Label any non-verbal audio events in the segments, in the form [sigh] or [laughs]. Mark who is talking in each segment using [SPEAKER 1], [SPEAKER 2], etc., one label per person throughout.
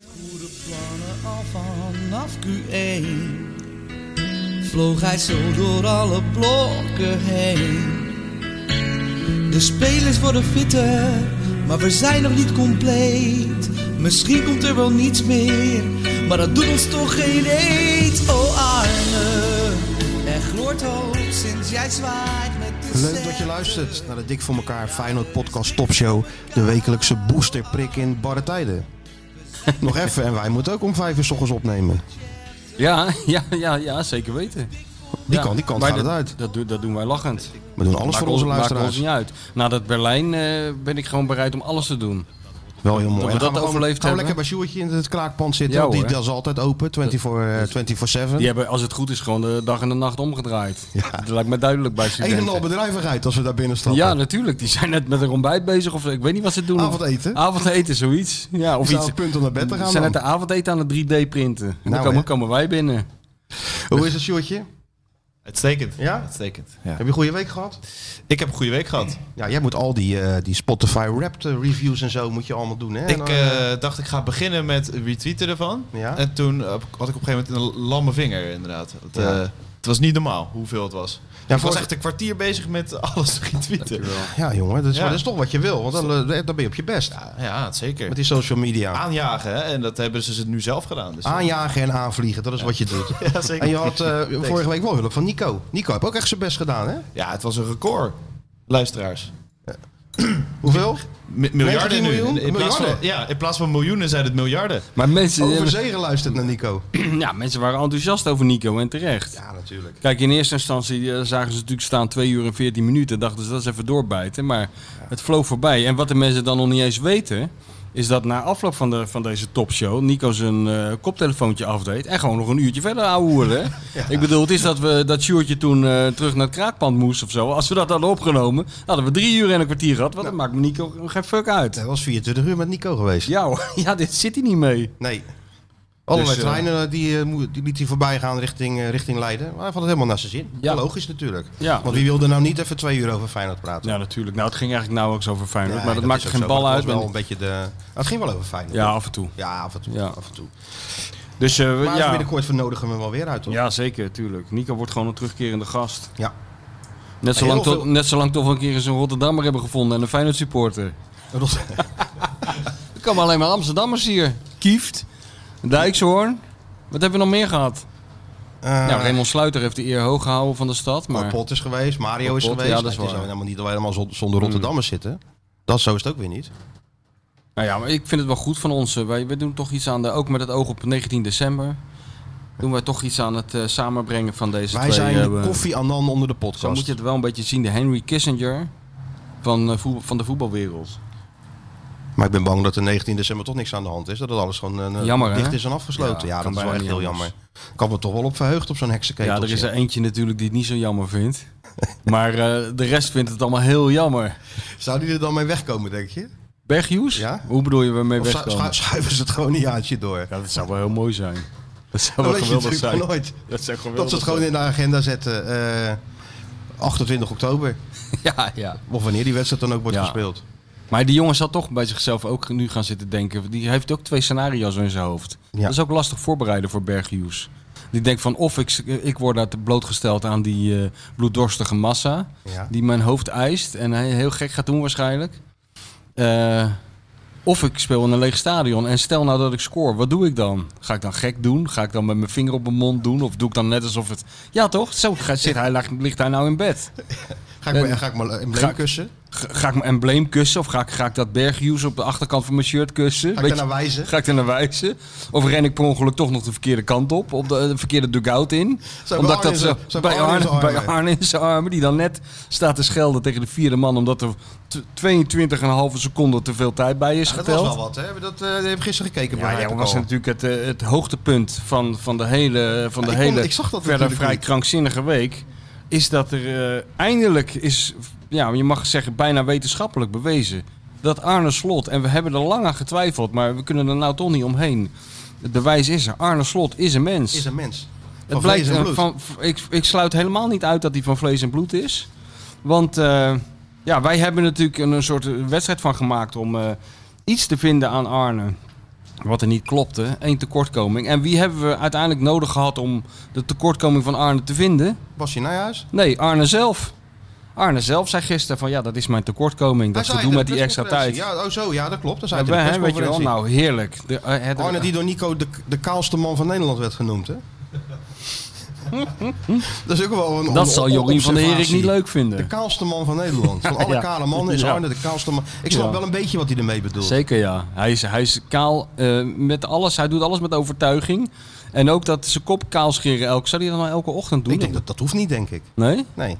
[SPEAKER 1] goede plannen al vanaf Q1 vloog hij zo door alle blokken heen. De spelers worden fitter, maar we zijn nog niet compleet. Misschien komt er wel niets meer, maar dat doet ons toch geen eet. Oh Arne, er gloort hoop sinds jij zwaait met de
[SPEAKER 2] Leuk dat je
[SPEAKER 1] sterren.
[SPEAKER 2] luistert naar de Dik voor elkaar Feyenoord podcast topshow. De wekelijkse boosterprik in barre
[SPEAKER 3] [laughs]
[SPEAKER 2] tijden. Nog even, en wij moeten ook om vijf uur 's ochtends opnemen.
[SPEAKER 3] Ja, [laughs] ja, ja, ja, zeker weten.
[SPEAKER 2] Die
[SPEAKER 3] Ja,
[SPEAKER 2] kant, die kant
[SPEAKER 3] maar
[SPEAKER 2] gaat het
[SPEAKER 3] dat-
[SPEAKER 2] uit.
[SPEAKER 3] Dat, doen- dat doen wij lachend.
[SPEAKER 2] We doen alles voor onze
[SPEAKER 3] Maakt ons-
[SPEAKER 2] luisteraars.
[SPEAKER 3] Maakt ons niet uit. Na dat Berlijn eh, ben ik gewoon bereid om alles te doen.
[SPEAKER 2] Wel heel mooi.
[SPEAKER 3] we
[SPEAKER 2] En dan
[SPEAKER 3] dat
[SPEAKER 2] gaan gewoon-
[SPEAKER 3] overleefd
[SPEAKER 2] gaan we
[SPEAKER 3] hebben.
[SPEAKER 2] lekker bij Sjoertje in het kraakpand zitten.
[SPEAKER 3] Ja,
[SPEAKER 2] want die
[SPEAKER 3] hoor.
[SPEAKER 2] dat is altijd open, eh, 24-7.
[SPEAKER 3] Die hebben, als het goed is, gewoon de dag en de nacht omgedraaid.
[SPEAKER 2] Ja.
[SPEAKER 3] Dat lijkt me duidelijk bij
[SPEAKER 2] Een en al
[SPEAKER 3] studenten.
[SPEAKER 2] bedrijvigheid als we daar binnen stappen.
[SPEAKER 3] Ja, natuurlijk. Die zijn net met een ontbijt bezig. Of ik weet niet wat ze doen.
[SPEAKER 2] Avondeten?
[SPEAKER 3] Avondeten, zoiets. Ja, of
[SPEAKER 2] Is dat
[SPEAKER 3] iets.
[SPEAKER 2] het punt om naar bed te gaan
[SPEAKER 3] Ze zijn net
[SPEAKER 2] dan?
[SPEAKER 3] de avondeten aan het 3D-printen. En
[SPEAKER 2] Nou,
[SPEAKER 3] dan komen,
[SPEAKER 2] hè.
[SPEAKER 3] komen wij binnen.
[SPEAKER 2] Hoe is het Sjoertje?
[SPEAKER 4] Uitstekend.
[SPEAKER 2] Ja?
[SPEAKER 4] Uitstekend. Ja.
[SPEAKER 2] Heb je een goede week gehad?
[SPEAKER 4] Ik heb een goede week gehad.
[SPEAKER 2] Ja, jij moet al die, eh, die Spotify Wrapped eh, reviews en zo moet je allemaal doen. Hè? En
[SPEAKER 4] Ik
[SPEAKER 2] dan, eh,
[SPEAKER 4] eh, dacht ik ga beginnen met retweeten ervan.
[SPEAKER 2] Ja.
[SPEAKER 4] En toen eh, had ik op een gegeven moment een lamme vinger inderdaad. Het,
[SPEAKER 2] Ja.
[SPEAKER 4] eh, het was niet normaal hoeveel het was.
[SPEAKER 2] Ja,
[SPEAKER 4] ik was
[SPEAKER 2] voor-
[SPEAKER 4] echt een kwartier bezig met [laughs] alles te retweeten.
[SPEAKER 2] ja, jongen, dat is,
[SPEAKER 4] Ja.
[SPEAKER 2] dat is toch wat je wil. Want dan, eh, dan ben je op je best.
[SPEAKER 4] Ja, het zeker.
[SPEAKER 2] Met die Ah, social media.
[SPEAKER 4] Aanjagen hè? en dat hebben ze nu zelf gedaan. Dus
[SPEAKER 2] Aanjagen en aanvliegen, dat is wat je doet.
[SPEAKER 4] Ja, zeker.
[SPEAKER 2] En je had eh, vorige week wel hulp van Nico. Nico heeft ook echt zijn best gedaan, hè?
[SPEAKER 4] Ja, het was een record. Luisteraars.
[SPEAKER 2] Hoeveel?
[SPEAKER 4] Mi- miljarden
[SPEAKER 2] 19
[SPEAKER 4] nu.
[SPEAKER 2] miljoen?
[SPEAKER 4] In, in plaats van,
[SPEAKER 2] Miljarden?
[SPEAKER 4] ja, in plaats van miljoenen zijn het miljarden.
[SPEAKER 3] Maar mensen,
[SPEAKER 2] Over zee geluisterd naar Nico.
[SPEAKER 3] ja, mensen waren enthousiast over Nico en terecht.
[SPEAKER 2] Ja, natuurlijk.
[SPEAKER 3] Kijk, in eerste instantie eh, zagen ze natuurlijk staan 2 uur en 14 minuten. Dachten ze dat is even doorbijten. Maar het vloog voorbij. En wat de mensen dan nog niet eens weten. Is dat na afloop van, de, van deze topshow. Nico zijn eh, koptelefoontje afdeed. En gewoon nog een uurtje verder [laughs] ouwehoeren. hè? Ik bedoel, het is dat we dat Sjoertje toen eh, terug naar het kraakpand moest of zo. Als we dat hadden opgenomen. hadden we drie uur en een kwartier gehad. Want dat maakt Nico geen fuck uit.
[SPEAKER 2] Hij was 24 uur met Nico geweest.
[SPEAKER 3] Ja, hoor. [laughs] ja, dit zit hij niet mee.
[SPEAKER 2] Nee. Allerlei
[SPEAKER 4] Dus, eh,
[SPEAKER 2] treinen eh, die, eh, mo- die liet hij voorbij gaan richting, eh, richting Leiden. Maar hij vond het helemaal naar zijn zin.
[SPEAKER 3] Ja.
[SPEAKER 2] Logisch natuurlijk.
[SPEAKER 3] Ja.
[SPEAKER 2] Want wie wilde nou niet even twee uur over Feyenoord praten?
[SPEAKER 3] Ja, natuurlijk. Nou, het ging eigenlijk nauwelijks over Feyenoord.
[SPEAKER 2] Nee,
[SPEAKER 3] maar dat, maakt
[SPEAKER 2] is
[SPEAKER 3] maakte
[SPEAKER 2] ook
[SPEAKER 3] geen
[SPEAKER 2] zo,
[SPEAKER 3] bal
[SPEAKER 2] maar
[SPEAKER 3] uit.
[SPEAKER 2] het was wel een beetje de... Nou, het ging wel over Feyenoord.
[SPEAKER 3] Ja, af en toe.
[SPEAKER 2] Ja, af en toe.
[SPEAKER 3] Ja.
[SPEAKER 2] Af en toe.
[SPEAKER 3] Dus eh, we-
[SPEAKER 2] Maar
[SPEAKER 3] ja.
[SPEAKER 2] binnenkort vernodigen we hem wel weer uit, toch?
[SPEAKER 3] Ja, zeker, tuurlijk. Nico wordt gewoon een terugkerende gast.
[SPEAKER 2] Ja.
[SPEAKER 3] Net
[SPEAKER 2] Heel
[SPEAKER 3] zolang,
[SPEAKER 2] veel-
[SPEAKER 3] tot, net zolang tot we een keer eens een Rotterdammer hebben gevonden en een Feyenoord supporter. Er komen alleen maar Amsterdammers hier. Kieft, Dijkshoorn. Wat hebben we nog meer gehad?
[SPEAKER 2] Eh,
[SPEAKER 3] nou, Raymond Sluiter heeft de eer hoog gehouden van de stad. Maar
[SPEAKER 2] Maar Pot is geweest, Mario is
[SPEAKER 3] Pot,
[SPEAKER 2] geweest.
[SPEAKER 3] ja, dat is
[SPEAKER 2] het is
[SPEAKER 3] waar. Mm.
[SPEAKER 2] helemaal niet dat wij helemaal zon- zonder Rotterdammers zitten. Dat zo is het ook weer niet.
[SPEAKER 3] Nou ja, maar ik vind het wel goed van ons. Eh, Wij, wij doen toch iets aan de, ook met het oog op 19 december. Doen wij toch iets aan het eh, samenbrengen van deze
[SPEAKER 2] Wij
[SPEAKER 3] twee.
[SPEAKER 2] zijn
[SPEAKER 3] eh,
[SPEAKER 2] de koffie anan onder de
[SPEAKER 3] Zo moet
[SPEAKER 2] podcast.
[SPEAKER 3] je het wel een beetje zien. De Henry Kissinger van, eh, voetbal- van de voetbalwereld.
[SPEAKER 2] Maar ik ben bang dat de 19 december toch niks aan de hand is. Dat het alles gewoon eh,
[SPEAKER 3] Jammer, hè?
[SPEAKER 2] dicht is en afgesloten. Ja, dat
[SPEAKER 3] Ja, kan
[SPEAKER 2] is wel
[SPEAKER 3] bijna
[SPEAKER 2] echt heel
[SPEAKER 3] niet
[SPEAKER 2] jammer.
[SPEAKER 3] anders.
[SPEAKER 2] Kan me toch wel op verheugd op zo'n heksenketel.
[SPEAKER 3] Ja, er is er
[SPEAKER 2] zitten.
[SPEAKER 3] eentje natuurlijk die het niet zo jammer vindt. [laughs] Maar eh, de rest vindt het allemaal heel jammer.
[SPEAKER 2] Zou
[SPEAKER 3] eh,
[SPEAKER 2] die er dan mee wegkomen, denk je?
[SPEAKER 3] Berghuis?
[SPEAKER 2] Ja?
[SPEAKER 3] Hoe bedoel je waarmee
[SPEAKER 2] Of schu-
[SPEAKER 3] wegkomen?
[SPEAKER 2] schu- schuiven ze het gewoon een jaartje door?
[SPEAKER 3] Ja, dat zou wel heel mooi zijn. Dat
[SPEAKER 2] Dat
[SPEAKER 3] zou wel
[SPEAKER 2] weet je
[SPEAKER 3] geweldig
[SPEAKER 2] natuurlijk
[SPEAKER 3] zijn.
[SPEAKER 2] maar nooit.
[SPEAKER 3] Dat zou geweldig
[SPEAKER 2] Dat ze het gewoon in de agenda zetten. eh, 28 oktober.
[SPEAKER 3] zijn. [laughs] Ja, ja.
[SPEAKER 2] Of wanneer die wedstrijd dan ook wordt
[SPEAKER 3] Ja.
[SPEAKER 2] gespeeld.
[SPEAKER 3] Maar die jongen zal toch bij zichzelf ook nu gaan zitten denken. Die heeft ook twee scenario's in zijn hoofd.
[SPEAKER 2] Ja.
[SPEAKER 3] Dat is ook lastig voorbereiden voor Berghuis. Die denkt van of ik, ik word uit blootgesteld aan die eh, bloeddorstige massa.
[SPEAKER 2] Ja.
[SPEAKER 3] die mijn hoofd eist en hij heel gek gaat doen waarschijnlijk. Eh, of ik speel in een leeg stadion en stel nou dat ik score, wat doe ik dan? Ga ik dan gek doen? Ga ik dan met mijn vinger op mijn mond doen? Of doe ik dan net alsof het... Ja toch? Zo ga- zit hij, lag- ligt hij nou in bed.
[SPEAKER 2] Ga ik, me-
[SPEAKER 3] Eh,
[SPEAKER 2] ga ik me
[SPEAKER 3] ga
[SPEAKER 2] een
[SPEAKER 3] ik-
[SPEAKER 2] kussen?
[SPEAKER 3] Ga, ga ik mijn embleem kussen? Of ga ik, ga ik dat berghuis op de achterkant van mijn shirt kussen?
[SPEAKER 2] Ga ik
[SPEAKER 3] Weet
[SPEAKER 2] daar
[SPEAKER 3] je-
[SPEAKER 2] naar wijzen?
[SPEAKER 3] Ga ik er naar wijzen? Of ren ik per ongeluk toch nog de verkeerde kant op? Op de, de verkeerde dugout in?
[SPEAKER 2] Zo bij
[SPEAKER 3] omdat ik
[SPEAKER 2] Arne
[SPEAKER 3] dat
[SPEAKER 2] in
[SPEAKER 3] zo,
[SPEAKER 2] zijn- zo bij
[SPEAKER 3] bij,
[SPEAKER 2] Arne in zijn
[SPEAKER 3] Arne, bij
[SPEAKER 2] armen.
[SPEAKER 3] Arne in zijn armen, die dan net staat te schelden tegen de vierde man. Omdat er t- 22,5 seconden te veel tijd bij is
[SPEAKER 2] Ja, dat was
[SPEAKER 3] geteld.
[SPEAKER 2] wel wat, hè? Dat, eh, heb ik gisteren gekeken. bij
[SPEAKER 3] ja, ja,
[SPEAKER 2] Haarlem
[SPEAKER 3] was
[SPEAKER 2] al.
[SPEAKER 3] natuurlijk het, eh, het hoogtepunt van, van de hele, van
[SPEAKER 2] Ja,
[SPEAKER 3] de
[SPEAKER 2] ik kon-
[SPEAKER 3] hele
[SPEAKER 2] ik zag dat
[SPEAKER 3] verder
[SPEAKER 2] natuurlijk
[SPEAKER 3] vrij
[SPEAKER 2] niet.
[SPEAKER 3] krankzinnige week. Is dat er eh, eindelijk is, ja, je mag zeggen, bijna wetenschappelijk bewezen. Dat Arne Slot, en we hebben er lang aan getwijfeld, maar we kunnen er nou toch niet omheen. De wijs is er. Arne Slot is een mens.
[SPEAKER 2] Is een mens.
[SPEAKER 3] Het
[SPEAKER 2] Van
[SPEAKER 3] blijkt,
[SPEAKER 2] vlees en
[SPEAKER 3] eh,
[SPEAKER 2] bloed.
[SPEAKER 3] van, v- ik, ik sluit helemaal niet uit dat hij van vlees en bloed is. Want eh, ja, wij hebben natuurlijk een, een soort eh, wedstrijd van gemaakt om eh, iets te vinden aan Arne. Wat er niet klopte. Eén tekortkoming. En wie hebben we uiteindelijk nodig gehad om de tekortkoming van Arne te vinden?
[SPEAKER 2] Basje Nijhuis?
[SPEAKER 3] Nee, Arne zelf. Arne zelf zei gisteren van ja, dat is mijn tekortkoming.
[SPEAKER 2] Hij
[SPEAKER 3] Dat
[SPEAKER 2] zei
[SPEAKER 3] gedoe
[SPEAKER 2] in
[SPEAKER 3] met
[SPEAKER 2] de
[SPEAKER 3] die extra tijd.
[SPEAKER 2] persconferentie. Ja, oh zo, ja, dat klopt. Dat zei
[SPEAKER 3] Ja,
[SPEAKER 2] hij in de
[SPEAKER 3] hè, weet je wel,
[SPEAKER 2] persconferentie.
[SPEAKER 3] nou heerlijk. De, eh, het-
[SPEAKER 2] Arne die door Nico de, de kaalste man van Nederland werd genoemd,
[SPEAKER 3] [laughs]
[SPEAKER 2] hè? dat is ook wel een
[SPEAKER 3] dat zal Jorien van der Herik
[SPEAKER 2] observatie.
[SPEAKER 3] niet leuk
[SPEAKER 2] De
[SPEAKER 3] vinden.
[SPEAKER 2] kaalste man van Nederland.
[SPEAKER 3] [laughs]
[SPEAKER 2] Van alle
[SPEAKER 3] Ja.
[SPEAKER 2] kale mannen is
[SPEAKER 3] Ja.
[SPEAKER 2] Arne de kaalste man. Ik snap
[SPEAKER 3] Ja.
[SPEAKER 2] wel een beetje wat hij ermee bedoelt.
[SPEAKER 3] Zeker ja. Hij is, hij is kaal eh, met alles. Hij doet alles met overtuiging. En ook dat zijn kop kaal scheren. Elk, zou hij dat nou elke ochtend doen?
[SPEAKER 2] Ik denk dat dat hoeft niet, denk ik.
[SPEAKER 3] Nee?
[SPEAKER 2] Nee.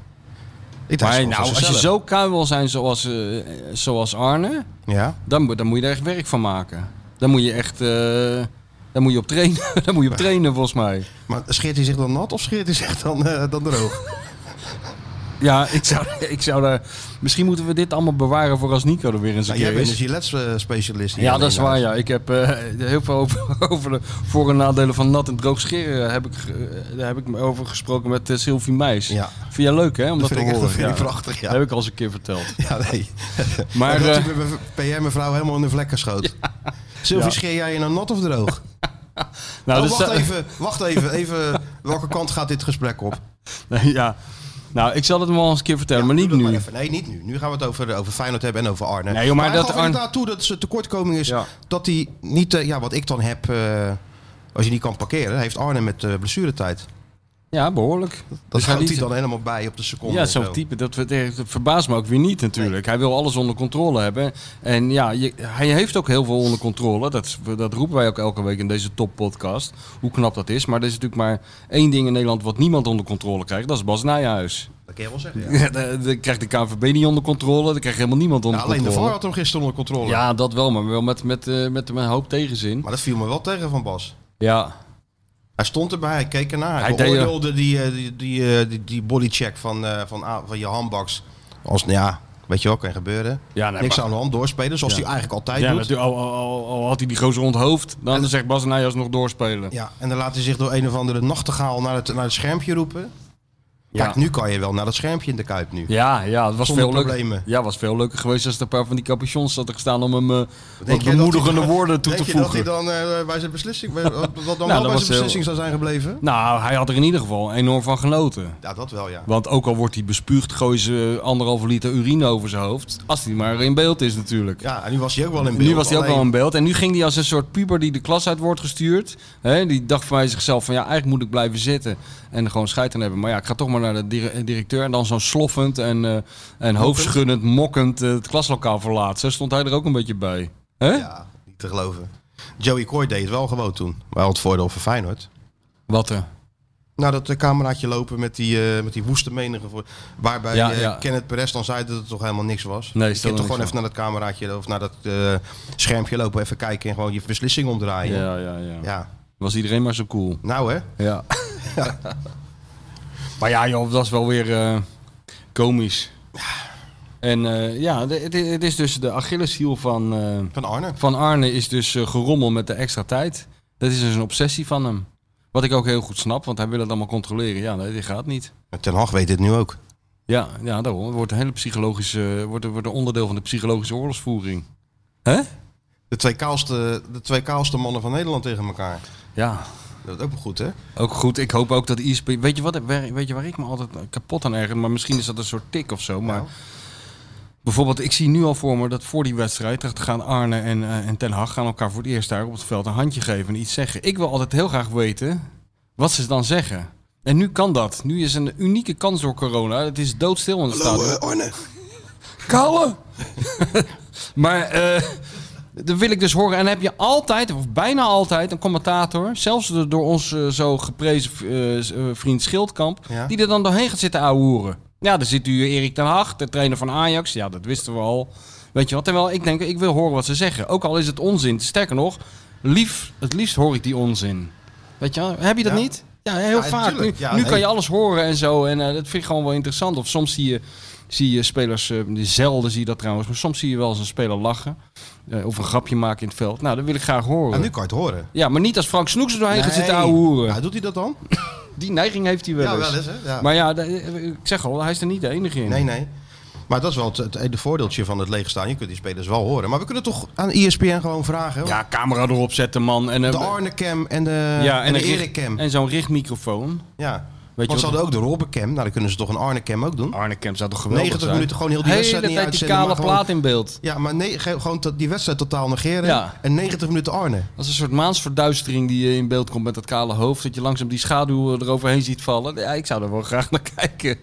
[SPEAKER 2] Ik dacht,
[SPEAKER 3] Maar
[SPEAKER 2] het is wel
[SPEAKER 3] nou,
[SPEAKER 2] voor
[SPEAKER 3] als je
[SPEAKER 2] zichzelf.
[SPEAKER 3] zo kaal wil zijn zoals, eh, eh, zoals Arne,
[SPEAKER 2] Ja.
[SPEAKER 3] dan, moet- dan moet je er echt werk van maken. Dan moet je echt... eh daar moet je op trainen. [laughs] daar moet je op trainen volgens mij.
[SPEAKER 2] Maar scheert hij zich dan nat of scheert hij zich dan, eh, dan
[SPEAKER 3] [laughs]
[SPEAKER 2] droog?
[SPEAKER 3] Ja, ik zou, [laughs] ik zou daar... Misschien moeten we dit allemaal bewaren voor als Nico er weer eens een
[SPEAKER 2] nou, jij
[SPEAKER 3] keer
[SPEAKER 2] bent
[SPEAKER 3] is.
[SPEAKER 2] een Gillette-specialist.
[SPEAKER 3] Ja, dat is waar. Ja. Ik heb eh, heel veel over, [laughs] over de voor- en nadelen van nat en droog scheren. eh, Heb ik, ge- daar heb ik me over gesproken met eh, Sylvie Meijs.
[SPEAKER 2] Ja.
[SPEAKER 3] Vind jij leuk, hè? Om
[SPEAKER 2] Dat
[SPEAKER 3] dat,
[SPEAKER 2] vind
[SPEAKER 3] te
[SPEAKER 2] ik echt
[SPEAKER 3] horen.
[SPEAKER 2] dat vind ik
[SPEAKER 3] Ja.
[SPEAKER 2] prachtig,
[SPEAKER 3] Dat
[SPEAKER 2] ja.
[SPEAKER 3] heb ik al eens een keer verteld.
[SPEAKER 2] [laughs] Ja, nee.
[SPEAKER 3] Maar,
[SPEAKER 2] dat
[SPEAKER 3] eh,
[SPEAKER 2] die me- PR-mevrouw helemaal in de vlekken schoot. Sylvie,
[SPEAKER 3] Ja.
[SPEAKER 2] scheer jij je nou nat of droog?
[SPEAKER 3] [laughs] nou,
[SPEAKER 2] oh, wacht
[SPEAKER 3] dus dat-
[SPEAKER 2] even, wacht even, even. Welke kant gaat dit gesprek op?
[SPEAKER 3] Nee, [laughs] ja. Nou, ik zal het hem wel eens een keer vertellen, maar
[SPEAKER 2] Ja,
[SPEAKER 3] niet
[SPEAKER 2] doe dat
[SPEAKER 3] nu.
[SPEAKER 2] maar even. Nee, niet nu. Nu gaan we het over, over Feyenoord hebben en over Arne.
[SPEAKER 3] Nee, joh, maar
[SPEAKER 2] hij
[SPEAKER 3] dat
[SPEAKER 2] gaf
[SPEAKER 3] Arne-
[SPEAKER 2] inderdaad toe dat ze tekortkoming is.
[SPEAKER 3] Ja.
[SPEAKER 2] Dat hij niet, eh, ja, wat ik dan heb, eh, als je niet kan parkeren, heeft Arne met eh, blessuretijd.
[SPEAKER 3] Ja, behoorlijk.
[SPEAKER 2] Dat
[SPEAKER 3] Dus
[SPEAKER 2] houdt
[SPEAKER 3] liet-
[SPEAKER 2] hij dan helemaal bij op de seconde.
[SPEAKER 3] Ja,
[SPEAKER 2] of
[SPEAKER 3] zo'n type. Dat, ver- dat verbaast me ook weer niet natuurlijk. Hij wil alles onder controle hebben. En ja, je- hij heeft ook heel veel onder controle. Dat, is- dat roepen wij ook elke week in deze toppodcast. Hoe knap dat is. Maar er is natuurlijk maar één ding in Nederland wat niemand onder controle krijgt. Dat is Bas Nijhuis.
[SPEAKER 2] Dat kan je wel zeggen. Ja.
[SPEAKER 3] [laughs] Ja. dan krijgt de KNVB niet onder controle. Dan krijgt helemaal niemand
[SPEAKER 2] Ja,
[SPEAKER 3] onder
[SPEAKER 2] alleen de VAR
[SPEAKER 3] controle.
[SPEAKER 2] had hem gisteren onder controle.
[SPEAKER 3] ja, dat wel. Maar wel met, met, eh, met een hoop tegenzin.
[SPEAKER 2] Maar dat viel me wel tegen van Bas.
[SPEAKER 3] Ja,
[SPEAKER 2] Hij stond erbij, hij keek ernaar. Hij,
[SPEAKER 3] Hij deed-
[SPEAKER 2] beoordeelde die, eh, die, die, eh, die, die bodycheck van, eh, van, A- van je handbaks. Als, nou ja, weet je wel, kan gebeuren.
[SPEAKER 3] Ja, nee,
[SPEAKER 2] Niks
[SPEAKER 3] maar-
[SPEAKER 2] aan de hand, doorspelen, zoals
[SPEAKER 3] Ja.
[SPEAKER 2] hij eigenlijk altijd
[SPEAKER 3] ja
[SPEAKER 2] doet.
[SPEAKER 3] natuurlijk, al, al- al- al had hij die gozer onthoofd. Dan, dan zegt Bas Nijhuis nog doorspelen.
[SPEAKER 2] Ja, en dan laat hij zich door een of andere nachtegaal naar het, naar het schermpje roepen.
[SPEAKER 3] Ja.
[SPEAKER 2] Kijk, nu kan je wel naar dat schermpje in de Kuip nu.
[SPEAKER 3] Ja, ja, het was
[SPEAKER 2] Zonder
[SPEAKER 3] veel leuker.
[SPEAKER 2] problemen.
[SPEAKER 3] Ja, was veel leuker geweest als er een paar van die capuchons hadden gestaan om hem eh,
[SPEAKER 2] Denk
[SPEAKER 3] wat
[SPEAKER 2] je dat
[SPEAKER 3] bemoedigende
[SPEAKER 2] hij-
[SPEAKER 3] woorden toe te
[SPEAKER 2] Denk je dat hij
[SPEAKER 3] voegen. Nou,
[SPEAKER 2] dan eh, bij zijn
[SPEAKER 3] [laughs]
[SPEAKER 2] beslissing, bij, wat dan wel
[SPEAKER 3] dat
[SPEAKER 2] bij
[SPEAKER 3] was
[SPEAKER 2] zijn
[SPEAKER 3] heel-
[SPEAKER 2] beslissing zou zijn gebleven?
[SPEAKER 3] Nou, hij had er in ieder geval enorm van genoten.
[SPEAKER 2] Ja, dat wel ja.
[SPEAKER 3] Want ook al wordt hij bespuugd, gooien ze anderhalve liter urine over zijn hoofd. Als hij maar in beeld is natuurlijk.
[SPEAKER 2] Ja, en nu was hij ook wel in beeld.
[SPEAKER 3] nu was hij ook wel
[SPEAKER 2] alleen-
[SPEAKER 3] in beeld. En nu ging hij als een soort puber die de klas uit wordt gestuurd. Hè, die dacht van bij zichzelf van ja, eigenlijk moet ik blijven zitten. En er gewoon scheid aan hebben. Maar ja, ik ga toch maar naar de dir- directeur. En dan zo'n sloffend en, eh, en hoofdschuddend, mokkend eh, het klaslokaal verlaat. Zo stond hij er ook een beetje bij. Hè?
[SPEAKER 2] Ja, niet te geloven. Joey Coy deed het wel gewoon toen. Wel het voordeel voor Feyenoord.
[SPEAKER 3] Wat er?
[SPEAKER 2] Nou, dat eh, cameraatje lopen met die, eh, met die woeste menige. Voor, waarbij
[SPEAKER 3] Ja,
[SPEAKER 2] eh,
[SPEAKER 3] ja.
[SPEAKER 2] Kenneth Perez dan zei dat het toch helemaal niks was.
[SPEAKER 3] Nee,
[SPEAKER 2] je
[SPEAKER 3] stel
[SPEAKER 2] kunt
[SPEAKER 3] er
[SPEAKER 2] toch gewoon
[SPEAKER 3] niks
[SPEAKER 2] even naar dat cameraatje of naar dat eh, schermpje lopen. Even kijken en gewoon je beslissing omdraaien.
[SPEAKER 3] Ja, ja, ja.
[SPEAKER 2] ja.
[SPEAKER 3] Was iedereen maar zo cool.
[SPEAKER 2] Nou hè?
[SPEAKER 3] Ja. [laughs] maar ja, joh, dat is wel weer eh, komisch. En eh, ja, de- het het is dus de Achilleshiel van, eh,
[SPEAKER 2] Van Arne.
[SPEAKER 3] van Arne is dus eh, gerommel met de extra tijd. Dat is dus een obsessie van hem. Wat ik ook heel goed snap, want hij wil het allemaal controleren. Ja, nee, dit gaat niet.
[SPEAKER 2] Ten Hag weet dit nu ook.
[SPEAKER 3] Ja, ja daarom. Het wordt een hele psychologische, eh, wordt, wordt een onderdeel van de psychologische oorlogsvoering. Hè?
[SPEAKER 2] De twee kaalste, de twee kaalste mannen van Nederland tegen elkaar.
[SPEAKER 3] Ja,
[SPEAKER 2] Dat is ook wel goed hè?
[SPEAKER 3] Ook goed, ik hoop ook dat ISP. Weet je, wat, waar- weet je waar ik me altijd kapot aan erger? Maar misschien is dat een soort tik of zo. Maar
[SPEAKER 2] Nou.
[SPEAKER 3] bijvoorbeeld, ik zie nu al voor me dat voor die wedstrijd dat gaan Arne en, eh, en Ten Hag gaan elkaar voor het eerst daar op het veld een handje geven en iets zeggen. Ik wil altijd heel graag weten wat ze dan zeggen. En nu kan dat. Nu is een unieke kans door corona. Het is doodstil in het stadion.
[SPEAKER 2] Arne.
[SPEAKER 3] Kallen! [laughs] maar eh dat wil ik dus horen. En heb je altijd, of bijna altijd, een commentator, zelfs de door ons eh, zo geprezen eh, s- eh, vriend Schildkamp,
[SPEAKER 2] Ja.
[SPEAKER 3] die er dan doorheen gaat zitten ouwehoeren. Ja, daar zit u eh, Erik ten Hag, de trainer van Ajax. Ja, dat wisten we al. Weet je wat? Terwijl ik denk, ik wil horen wat ze zeggen. Ook al is het onzin. Sterker nog, lief, het liefst hoor ik die onzin. Weet je wel? Heb je dat
[SPEAKER 2] Ja.
[SPEAKER 3] niet? Ja, heel
[SPEAKER 2] Ja,
[SPEAKER 3] vaak. Nu,
[SPEAKER 2] tuurlijk. Ja,
[SPEAKER 3] nu
[SPEAKER 2] nee.
[SPEAKER 3] kan je alles horen en zo. En eh, dat vind ik gewoon wel interessant. Of soms zie je, zie je spelers, eh, zelden zie je dat trouwens, maar soms zie je wel eens een speler lachen. eh, of een grapje maken in het veld. Nou, dat wil ik graag horen.
[SPEAKER 2] En Ah, nu kan je het horen.
[SPEAKER 3] Ja, maar niet als Frank Snoeks er doorheen gaat zitten
[SPEAKER 2] Nee.
[SPEAKER 3] ouwehoeren.
[SPEAKER 2] Ja, doet hij dat dan?
[SPEAKER 3] Die neiging heeft hij wel eens.
[SPEAKER 2] hè? Ja.
[SPEAKER 3] eh, Maar ja, de- ik zeg al, hij is er niet de enige in.
[SPEAKER 2] Nee, nee. Maar dat is wel het, het, het voordeeltje van het leegstaan. Je kunt die spelers wel horen. Maar we kunnen toch aan E ESPN gewoon vragen. hoor.
[SPEAKER 3] Ja, camera erop zetten, man. En, eh,
[SPEAKER 2] De Arne-cam en de,
[SPEAKER 3] ja,
[SPEAKER 2] en de
[SPEAKER 3] een richt-
[SPEAKER 2] Erik-cam.
[SPEAKER 3] En zo'n richtmicrofoon.
[SPEAKER 2] Ja.
[SPEAKER 3] Weet
[SPEAKER 2] Want
[SPEAKER 3] je
[SPEAKER 2] ze hadden ook de Robben-cam. Nou, dan kunnen ze toch een Arne-cam ook doen.
[SPEAKER 3] Arne Kemp zou toch geweldig
[SPEAKER 2] 90
[SPEAKER 3] zijn?
[SPEAKER 2] minuten gewoon heel die
[SPEAKER 3] Hele
[SPEAKER 2] wedstrijd niet
[SPEAKER 3] tijd die
[SPEAKER 2] uitzenden.
[SPEAKER 3] kale
[SPEAKER 2] maar gewoon-
[SPEAKER 3] plaat in beeld.
[SPEAKER 2] Ja, maar nee, ge- gewoon tot die wedstrijd totaal negeren.
[SPEAKER 3] Ja.
[SPEAKER 2] En 90 minuten Arne.
[SPEAKER 3] Als een soort maansverduistering die eh, in beeld komt met dat kale hoofd. Dat je langzaam die schaduw eh, eroverheen ziet vallen. Ja, ik zou er wel graag naar kijken.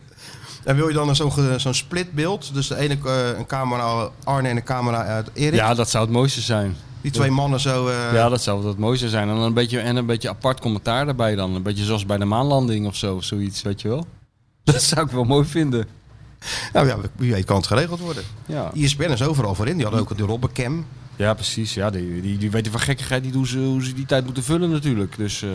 [SPEAKER 2] En wil je dan een zo'n ge- zo'n splitbeeld? Dus de ene eh, een camera Arne en een camera uit Erik.
[SPEAKER 3] Ja, dat zou het mooiste zijn.
[SPEAKER 2] die twee mannen zo. eh,
[SPEAKER 3] ja, dat zou het mooiste zijn. En een, beetje, en een beetje apart commentaar daarbij dan. Een beetje zoals bij de maanlanding of zo. of Zoiets, weet je wel. [laughs] Dat zou ik wel mooi vinden.
[SPEAKER 2] Nou ja, wie weet kan het geregeld worden. E
[SPEAKER 3] Ja,
[SPEAKER 2] ESPN is overal voor in. Die hadden ook de Robbencam.
[SPEAKER 3] ja precies. Ja, die, die, die weten van gekkigheid die, hoe, ze, hoe ze die tijd moeten vullen natuurlijk. Dus eh,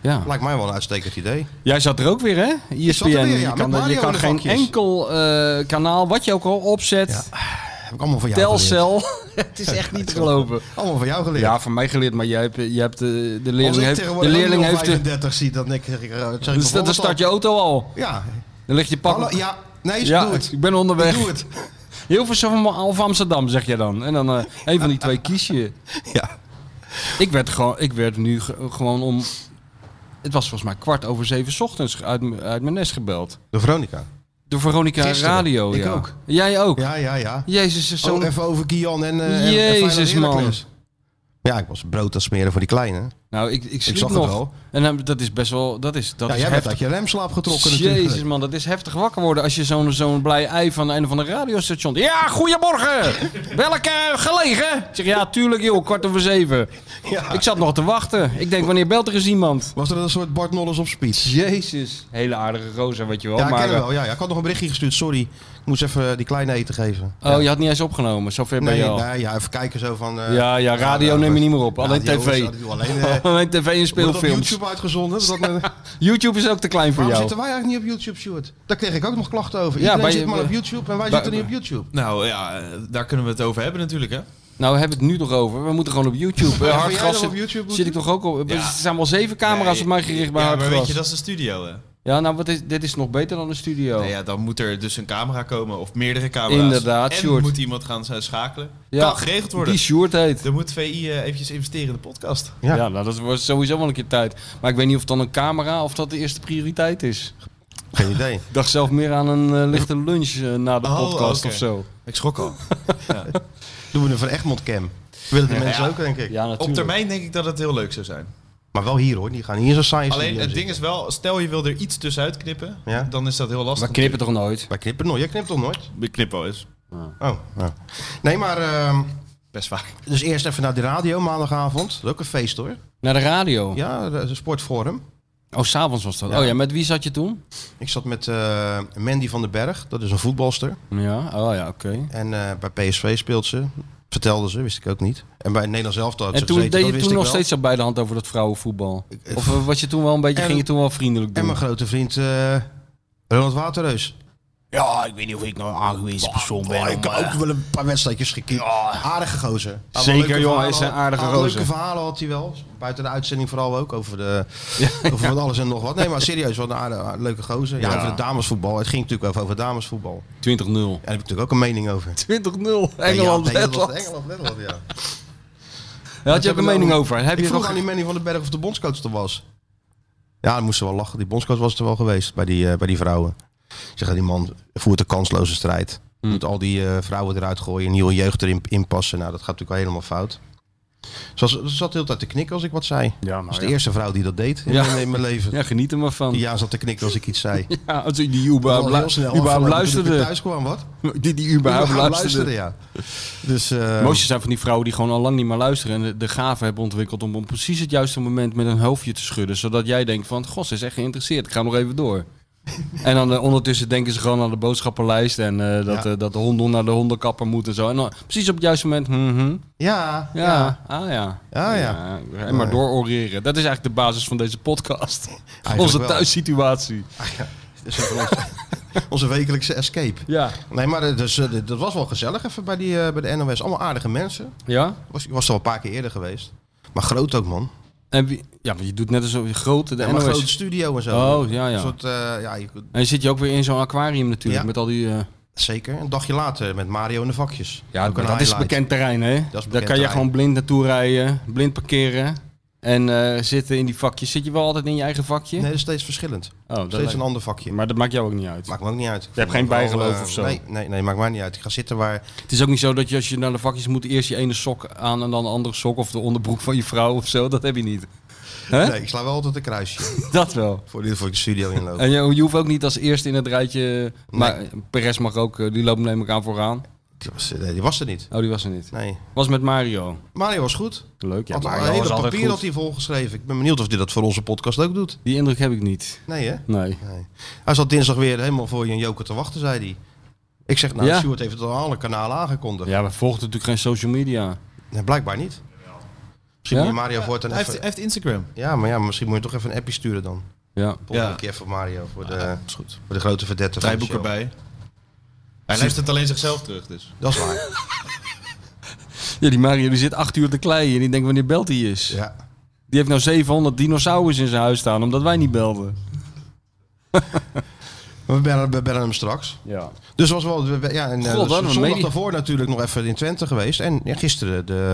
[SPEAKER 3] ja.
[SPEAKER 2] Lijkt mij wel een uitstekend idee.
[SPEAKER 3] Jij zat er ook weer, hè? E ESPN.
[SPEAKER 2] zat er weer, ja,
[SPEAKER 3] je
[SPEAKER 2] met
[SPEAKER 3] kan,
[SPEAKER 2] Mario
[SPEAKER 3] je kan
[SPEAKER 2] in de
[SPEAKER 3] geen
[SPEAKER 2] vakjes.
[SPEAKER 3] enkel eh, kanaal, wat je ook al opzet,
[SPEAKER 2] Heb ik allemaal van jou geleerd.
[SPEAKER 3] telcel. het is echt [laughs] niet te geloven.
[SPEAKER 2] Allemaal van jou geleerd.
[SPEAKER 3] Ja, van mij geleerd, maar jij hebt, je hebt eh, de, de
[SPEAKER 2] Als
[SPEAKER 3] leerling
[SPEAKER 2] ik
[SPEAKER 3] heeft, de
[SPEAKER 2] tegenwoordig ook
[SPEAKER 3] leerling
[SPEAKER 2] nog
[SPEAKER 3] heeft de,
[SPEAKER 2] 35 zie, dan denk ik... eh, zeg ik
[SPEAKER 3] dus dan
[SPEAKER 2] bijvoorbeeld
[SPEAKER 3] start je auto al.
[SPEAKER 2] al, Ja.
[SPEAKER 3] Dan ligt je pak.
[SPEAKER 2] Hallo,
[SPEAKER 3] op-
[SPEAKER 2] ja. Nee, ze
[SPEAKER 3] Ja,
[SPEAKER 2] doe het.
[SPEAKER 3] ik ben onderweg.
[SPEAKER 2] Ik doe het.
[SPEAKER 3] [laughs] Heel veel van Alf Amsterdam, zeg je dan. En dan eh een van die twee kies je.
[SPEAKER 2] Ja.
[SPEAKER 3] Ik werd, gewoon, ik werd nu ge- gewoon om. Het was volgens mij kwart over zeven 's ochtends uit, m- uit mijn nest gebeld.
[SPEAKER 2] De Veronica.
[SPEAKER 3] Door Veronica
[SPEAKER 2] Gisteren.
[SPEAKER 3] Radio.
[SPEAKER 2] Ik
[SPEAKER 3] ja.
[SPEAKER 2] ook.
[SPEAKER 3] Jij ook.
[SPEAKER 2] Ja, ja, ja.
[SPEAKER 3] Jezus,
[SPEAKER 2] Zo
[SPEAKER 3] zo'n
[SPEAKER 2] even over Kian en... eh, en- en
[SPEAKER 3] Jezus,
[SPEAKER 2] Feyenoord
[SPEAKER 3] man.
[SPEAKER 2] Heracles. Ja, ik was brood aan smeren voor die kleine.
[SPEAKER 3] Nou, ik, ik sliep
[SPEAKER 2] zag het
[SPEAKER 3] nog.
[SPEAKER 2] wel.
[SPEAKER 3] En dan- dat is best wel. Dat is, dat
[SPEAKER 2] ja,
[SPEAKER 3] is
[SPEAKER 2] jij bent
[SPEAKER 3] heftig.
[SPEAKER 2] uit je remslaap getrokken
[SPEAKER 3] Jezus
[SPEAKER 2] natuurlijk.
[SPEAKER 3] man, dat is heftig wakker worden als je zo'n zo'n blij ei van een van de radiostation. Ja, goedemorgen! Welke gelegen? Ik zeg ja, tuurlijk joh, kwart over zeven.
[SPEAKER 2] Ja.
[SPEAKER 3] Ik zat nog te wachten. Ik denk, wanneer belt er eens iemand?
[SPEAKER 2] Was er een soort Bart Nolles op speed?
[SPEAKER 3] Jezus. Hele aardige roze, weet je wel.
[SPEAKER 2] Ja, ik ken
[SPEAKER 3] maar, eh,
[SPEAKER 2] hem wel. Ja, ja. Ik had nog een berichtje gestuurd. Sorry. Ik moest even eh, die kleine eten geven.
[SPEAKER 3] eh, Oh, je had niet eens opgenomen. Zover ben
[SPEAKER 2] Nee,
[SPEAKER 3] je al.
[SPEAKER 2] nee, ja, even kijken zo van... eh,
[SPEAKER 3] Ja, ja, radio
[SPEAKER 2] nou,
[SPEAKER 3] neem je niet meer op.
[SPEAKER 2] radio
[SPEAKER 3] Alleen
[SPEAKER 2] is-
[SPEAKER 3] tv.
[SPEAKER 2] dat doe Alleen
[SPEAKER 3] [laughs]
[SPEAKER 2] eh,
[SPEAKER 3] Alleen tv en
[SPEAKER 2] Wordt dat op
[SPEAKER 3] speelfilms. YouTube?
[SPEAKER 2] YouTube uitgezonden? [laughs] Dat,
[SPEAKER 3] is ook te klein voor
[SPEAKER 2] waarom
[SPEAKER 3] jou.
[SPEAKER 2] zitten wij eigenlijk niet op YouTube, Stuart? Daar kreeg ik ook nog klachten over.
[SPEAKER 3] Ja,
[SPEAKER 2] Iedereen
[SPEAKER 3] bij-
[SPEAKER 2] zit maar
[SPEAKER 3] bij-
[SPEAKER 2] op YouTube en wij
[SPEAKER 3] bij-
[SPEAKER 2] zitten niet op YouTube.
[SPEAKER 4] Nou ja, daar kunnen we het over hebben natuurlijk, hè?
[SPEAKER 3] Nou, we hebben het nu nog over. We moeten gewoon op YouTube.
[SPEAKER 2] Ja,
[SPEAKER 3] Eh,
[SPEAKER 2] wil jij
[SPEAKER 3] Hartgras
[SPEAKER 2] nog op
[SPEAKER 3] zit,
[SPEAKER 2] YouTube
[SPEAKER 3] zit ik toch ook op.
[SPEAKER 4] Ja.
[SPEAKER 3] Er zijn wel zeven camera's
[SPEAKER 4] Nee.
[SPEAKER 3] op mij gericht bij
[SPEAKER 4] ja, maar
[SPEAKER 3] Hartgras.
[SPEAKER 4] weet je, dat is de studio, hè?
[SPEAKER 3] Ja, nou, wat is, dit is nog beter dan een studio.
[SPEAKER 4] Nou
[SPEAKER 3] ja.
[SPEAKER 4] ja, dan moet er dus een camera komen of meerdere camera's.
[SPEAKER 3] Inderdaad,
[SPEAKER 4] en
[SPEAKER 3] Sjoerd.
[SPEAKER 4] moet iemand gaan eh, schakelen.
[SPEAKER 3] Ja,
[SPEAKER 4] Kan geregeld worden.
[SPEAKER 3] Die Sjoerd heet.
[SPEAKER 4] Dan moet VI eh, eventjes investeren in de podcast.
[SPEAKER 2] Ja.
[SPEAKER 3] Ja, nou, dat wordt sowieso wel een keer tijd. Maar ik weet niet of dan een camera of dat de eerste prioriteit is.
[SPEAKER 2] Geen idee.
[SPEAKER 3] Ik dacht zelf meer aan een eh, lichte lunch eh, na de
[SPEAKER 4] Oh,
[SPEAKER 3] podcast
[SPEAKER 4] oké.
[SPEAKER 3] of zo.
[SPEAKER 4] Ik schrok al.
[SPEAKER 2] [laughs] Doen we een Van Egmond cam. Willen de mensen ook, denk ik.
[SPEAKER 3] Ja, natuurlijk.
[SPEAKER 4] Op termijn denk ik dat het heel leuk zou zijn.
[SPEAKER 2] Maar wel hier hoor. Die gaan hier zo science
[SPEAKER 4] Alleen
[SPEAKER 2] studio
[SPEAKER 4] het ding
[SPEAKER 2] zitten.
[SPEAKER 4] is wel, stel je wil er iets tussenuit knippen,
[SPEAKER 2] Ja.
[SPEAKER 4] dan is dat heel lastig.
[SPEAKER 3] We knippen toch nooit?
[SPEAKER 2] Wij knippen nooit. Jij knipt toch nooit?
[SPEAKER 4] We knippen wel eens.
[SPEAKER 2] Oh, ja. Nee, maar... ehm,
[SPEAKER 4] Best vaak.
[SPEAKER 2] dus eerst even naar de radio maandagavond. Dat is ook een feest hoor.
[SPEAKER 3] Naar de radio.
[SPEAKER 2] Ja, de de sportforum.
[SPEAKER 3] Oh, s'avonds was dat. Oh ja, met wie zat je toen?
[SPEAKER 2] Ik zat met eh, Mandy van den Berg. Dat is een voetbalster.
[SPEAKER 3] Ja, oh ja, oké.
[SPEAKER 2] En eh, bij PSV speelt ze. Vertelde ze, wist ik ook niet. En bij Nederland zelf had ze
[SPEAKER 3] En toen
[SPEAKER 2] gezeten,
[SPEAKER 3] deed
[SPEAKER 2] dat
[SPEAKER 3] je
[SPEAKER 2] wist
[SPEAKER 3] toen
[SPEAKER 2] ik
[SPEAKER 3] nog
[SPEAKER 2] wel.
[SPEAKER 3] steeds al bij de hand over dat vrouwenvoetbal?
[SPEAKER 2] Ik-
[SPEAKER 3] Of eh, was je toen wel een beetje,
[SPEAKER 2] En-
[SPEAKER 3] ging je toen wel vriendelijk
[SPEAKER 2] En
[SPEAKER 3] doen?
[SPEAKER 2] mijn grote vriend eh Ronald Waterreus.
[SPEAKER 5] Ja, ik weet niet of ik nou een aangewezen persoon ben.
[SPEAKER 2] ik heb
[SPEAKER 5] om, eh,
[SPEAKER 2] ook wel een paar wedstrijdjes gekipt. Aardige gozer. Had
[SPEAKER 3] Zeker,
[SPEAKER 2] leuke
[SPEAKER 3] jongen,
[SPEAKER 2] verhalen.
[SPEAKER 3] is een aardige
[SPEAKER 2] Had
[SPEAKER 3] gozer.
[SPEAKER 2] Leuke verhalen had hij wel. Buiten de uitzending vooral ook. Over, de, over van alles en nog wat. Nee, maar serieus, wat een aardige, leuke gozer. Ja,
[SPEAKER 3] Ja.
[SPEAKER 2] over de damesvoetbal. Het ging natuurlijk over, over damesvoetbal.
[SPEAKER 3] 20-0.
[SPEAKER 2] [laughs]
[SPEAKER 3] 20-0.
[SPEAKER 2] En daar heb ik natuurlijk ook een mening over.
[SPEAKER 3] Engeland,
[SPEAKER 2] Ja,
[SPEAKER 3] Letland.
[SPEAKER 2] Engeland, Letland, ja.
[SPEAKER 3] Daar had je ook
[SPEAKER 2] hebben
[SPEAKER 3] een
[SPEAKER 2] we
[SPEAKER 3] mening
[SPEAKER 2] dan-
[SPEAKER 3] over. Heb
[SPEAKER 2] ik
[SPEAKER 3] je
[SPEAKER 2] vroeg
[SPEAKER 3] nog...
[SPEAKER 2] aan die Manny van den Berg of de bondscoach er was. Ja, dan moesten we wel lachen. Die bondscoach was er wel geweest bij die, eh, bij die vrouwen. Ik Zeg, die man voert een kansloze strijd.
[SPEAKER 3] Hmm.
[SPEAKER 2] Moet al die eh, vrouwen eruit gooien, nieuwe jeugd erin inpassen. Nou, dat gaat natuurlijk wel helemaal fout. Ze, was, ze zat de hele tijd te knikken als ik wat zei. dat
[SPEAKER 3] Ja,
[SPEAKER 2] was
[SPEAKER 3] nou
[SPEAKER 2] de
[SPEAKER 3] ja.
[SPEAKER 2] eerste vrouw die dat deed in,
[SPEAKER 3] Ja.
[SPEAKER 2] mijn, in mijn leven. Ja.
[SPEAKER 3] Ja, geniet er maar van.
[SPEAKER 2] Die ja zat te knikken als ik iets zei.
[SPEAKER 3] Ja, als die die [laughs] überhaupt,
[SPEAKER 2] Al
[SPEAKER 3] lu-
[SPEAKER 2] heel snel
[SPEAKER 3] überhaupt
[SPEAKER 2] afgelopen toen ik weer
[SPEAKER 3] luisterde.
[SPEAKER 2] thuis kwam, wat?
[SPEAKER 3] Die die überhaupt
[SPEAKER 2] Überhaupt
[SPEAKER 3] luisterde.
[SPEAKER 2] ja. Dus, eh,
[SPEAKER 3] Het mooiste zijn van die vrouwen die gewoon al lang niet meer luisteren. En de, de gave hebben ontwikkeld om op precies het juiste moment met een hoofdje te schudden. Zodat jij denkt van, god, ze is echt geïnteresseerd. Ik ga nog
[SPEAKER 2] [laughs]
[SPEAKER 3] even door. en dan eh, ondertussen denken ze gewoon aan de boodschappenlijst. En eh, dat,
[SPEAKER 2] Ja.
[SPEAKER 3] eh, dat de honden naar de hondenkapper moeten en zo. En dan precies op het juiste moment, mhm,
[SPEAKER 2] ja,
[SPEAKER 3] ja,
[SPEAKER 2] ja.
[SPEAKER 3] ah ja.
[SPEAKER 2] ja.
[SPEAKER 3] En maar doororeren. Dat is eigenlijk de basis van deze
[SPEAKER 2] [laughs]
[SPEAKER 3] podcast. Onze
[SPEAKER 2] wel.
[SPEAKER 3] thuissituatie.
[SPEAKER 2] [laughs] Dat is even onze, onze wekelijkse escape.
[SPEAKER 3] Ja.
[SPEAKER 2] Nee, maar eh, dus, eh, dit- dat was wel gezellig even bij, die, eh, bij de NOS. Allemaal aardige mensen.
[SPEAKER 3] Ja?
[SPEAKER 2] Was, ik was er al een paar keer eerder geweest. Maar groot ook, man.
[SPEAKER 3] En wie, ja, maar je doet net alsof je grote de
[SPEAKER 2] Ja, maar
[SPEAKER 3] NOS.
[SPEAKER 2] grote studio en zo.
[SPEAKER 3] Oh, ja, ja.
[SPEAKER 2] Een soort, eh, ja, je-
[SPEAKER 3] En dan zit je ook weer in zo'n aquarium natuurlijk
[SPEAKER 2] Ja.
[SPEAKER 3] met al die eh,
[SPEAKER 2] Zeker. Een dagje later met Mario in de vakjes.
[SPEAKER 3] Ja,
[SPEAKER 2] Ook een
[SPEAKER 3] dat is
[SPEAKER 2] highlight.
[SPEAKER 3] bekend terrein, hè?
[SPEAKER 2] bekend
[SPEAKER 3] Daar kan je
[SPEAKER 2] terrein.
[SPEAKER 3] gewoon blind naartoe rijden, blind parkeren en eh, zitten in die vakjes. Zit je wel altijd in je eigen vakje?
[SPEAKER 2] Nee, dat is steeds verschillend.
[SPEAKER 3] Oh, dat
[SPEAKER 2] steeds
[SPEAKER 3] lijkt-
[SPEAKER 2] een ander vakje.
[SPEAKER 3] Maar dat maakt jou ook niet uit.
[SPEAKER 2] Maakt me ook niet uit. Je
[SPEAKER 3] hebt geen bijgeloof of zo?
[SPEAKER 2] Nee, nee, nee, maakt mij niet uit. Ik ga zitten waar...
[SPEAKER 3] Het is ook niet zo dat je als je naar de vakjes moet eerst je ene sok aan en dan de andere sok of de onderbroek van je vrouw of zo. [laughs] Dat heb je niet. Hè?
[SPEAKER 2] Nee, ik sla wel altijd een kruisje. [laughs]
[SPEAKER 3] Dat wel.
[SPEAKER 2] voor dit voor ik de studio inloop.
[SPEAKER 3] En je, je hoeft ook niet als eerste in het rijtje. Maar Perez mag ook, eh, die loopt neem ik aan vooraan.
[SPEAKER 2] Die was, nee, die was er niet.
[SPEAKER 3] Oh, die was er niet.
[SPEAKER 2] Nee. Oh,
[SPEAKER 3] Was met Mario.
[SPEAKER 2] Mario was goed.
[SPEAKER 3] Leuk. Ja,
[SPEAKER 2] had al
[SPEAKER 3] Mario
[SPEAKER 2] een
[SPEAKER 3] was
[SPEAKER 2] hele
[SPEAKER 3] altijd
[SPEAKER 2] papier
[SPEAKER 3] goed.
[SPEAKER 2] had hij volgeschreven. Ik ben benieuwd of hij dat voor onze podcast ook doet.
[SPEAKER 3] Die indruk heb ik niet.
[SPEAKER 2] Nee, hè?
[SPEAKER 3] Nee.
[SPEAKER 2] Nee. Hij zat dinsdag weer helemaal voor je een joker te wachten, zei hij. Ik zeg, nou,
[SPEAKER 3] Ja.
[SPEAKER 2] Stuart heeft het al aan alle kanalen aangekondigd.
[SPEAKER 3] Ja, we volgden natuurlijk geen social media.
[SPEAKER 2] Nee, blijkbaar niet. Misschien
[SPEAKER 3] Ja?
[SPEAKER 2] moet je Mario voortaan
[SPEAKER 4] Hij heeft, hij
[SPEAKER 2] even...
[SPEAKER 4] heeft Instagram.
[SPEAKER 2] Ja maar, ja, maar misschien moet je toch even een appje sturen dan.
[SPEAKER 3] Ja.
[SPEAKER 2] Volgende
[SPEAKER 4] Ja.
[SPEAKER 2] keer voor Mario, voor de, goed. Voor de grote verdette van de
[SPEAKER 4] Draaiboek
[SPEAKER 2] show.
[SPEAKER 4] erbij. Hij luistert alleen zichzelf terug, dus.
[SPEAKER 2] Dat is
[SPEAKER 4] [laughs]
[SPEAKER 2] waar.
[SPEAKER 3] ja, die Mario die zit acht uur te kleien en die denkt wanneer belt hij is.
[SPEAKER 2] ja.
[SPEAKER 3] Die heeft nou 700 dinosaurus in zijn huis staan omdat wij niet belden.
[SPEAKER 2] Maar We bellen, we bellen hem straks.
[SPEAKER 3] Ja.
[SPEAKER 2] Dus was wel, we- we- ja, en eh,
[SPEAKER 3] God, wat een
[SPEAKER 2] zondag
[SPEAKER 3] medie-
[SPEAKER 2] daarvoor natuurlijk nog even in Twente geweest. En ja, gisteren de...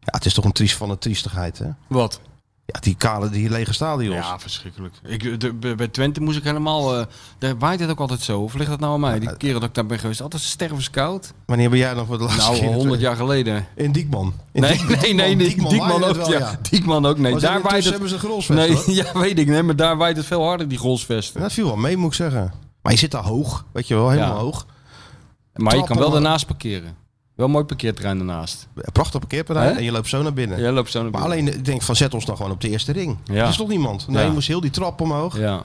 [SPEAKER 2] Ja, het is toch een triest van een triestigheid, hè?
[SPEAKER 3] Wat?
[SPEAKER 2] Ja, die kale, die lege stadions.
[SPEAKER 3] Ja, verschrikkelijk. Ik, de- bij- bij Twente moest ik helemaal... eh daar waait het ook altijd zo. Of ligt dat nou aan mij? Die keren dat ik daar ben geweest. Altijd stervenskoud.
[SPEAKER 2] [laughs] Wanneer ben jij dan voor de laatste
[SPEAKER 3] Nou,
[SPEAKER 2] keer... in
[SPEAKER 3] 100
[SPEAKER 2] Twente?
[SPEAKER 3] jaar
[SPEAKER 2] [laughs]
[SPEAKER 3] geleden.
[SPEAKER 2] In Diekman. In
[SPEAKER 3] Nee,
[SPEAKER 2] Diekman.
[SPEAKER 3] nee, nee. nee, Diekman,
[SPEAKER 2] waaide
[SPEAKER 3] ook.
[SPEAKER 2] het wel,
[SPEAKER 3] ja.
[SPEAKER 2] ja.
[SPEAKER 3] Diekman ook. Nee,
[SPEAKER 2] Maar
[SPEAKER 3] daar waait het...
[SPEAKER 2] hebben ze grolsvest,
[SPEAKER 3] Nee,
[SPEAKER 2] hoor.
[SPEAKER 3] [laughs] ja, weet ik. Nee, maar daar waait het veel harder, die golfsvesten.
[SPEAKER 2] Dat viel wel mee, moet ik zeggen. Maar je zit daar hoog, weet je wel, helemaal
[SPEAKER 3] Ja.
[SPEAKER 2] hoog.
[SPEAKER 3] Maar je kan wel
[SPEAKER 2] Trappen,
[SPEAKER 3] daarnaast parkeren. Wel een mooi parkeerterrein daarnaast.
[SPEAKER 2] Prachtig parkeerterrein
[SPEAKER 3] Hè?
[SPEAKER 2] en je loopt zo naar binnen.
[SPEAKER 3] Jij loopt zo naar
[SPEAKER 2] Maar
[SPEAKER 3] binnen.
[SPEAKER 2] alleen, ik denk van, zet ons dan gewoon op de eerste ring.
[SPEAKER 3] Ja.
[SPEAKER 2] Er is toch niemand? Nee,
[SPEAKER 3] Ja.
[SPEAKER 2] je moest heel die trap omhoog.
[SPEAKER 3] Ja.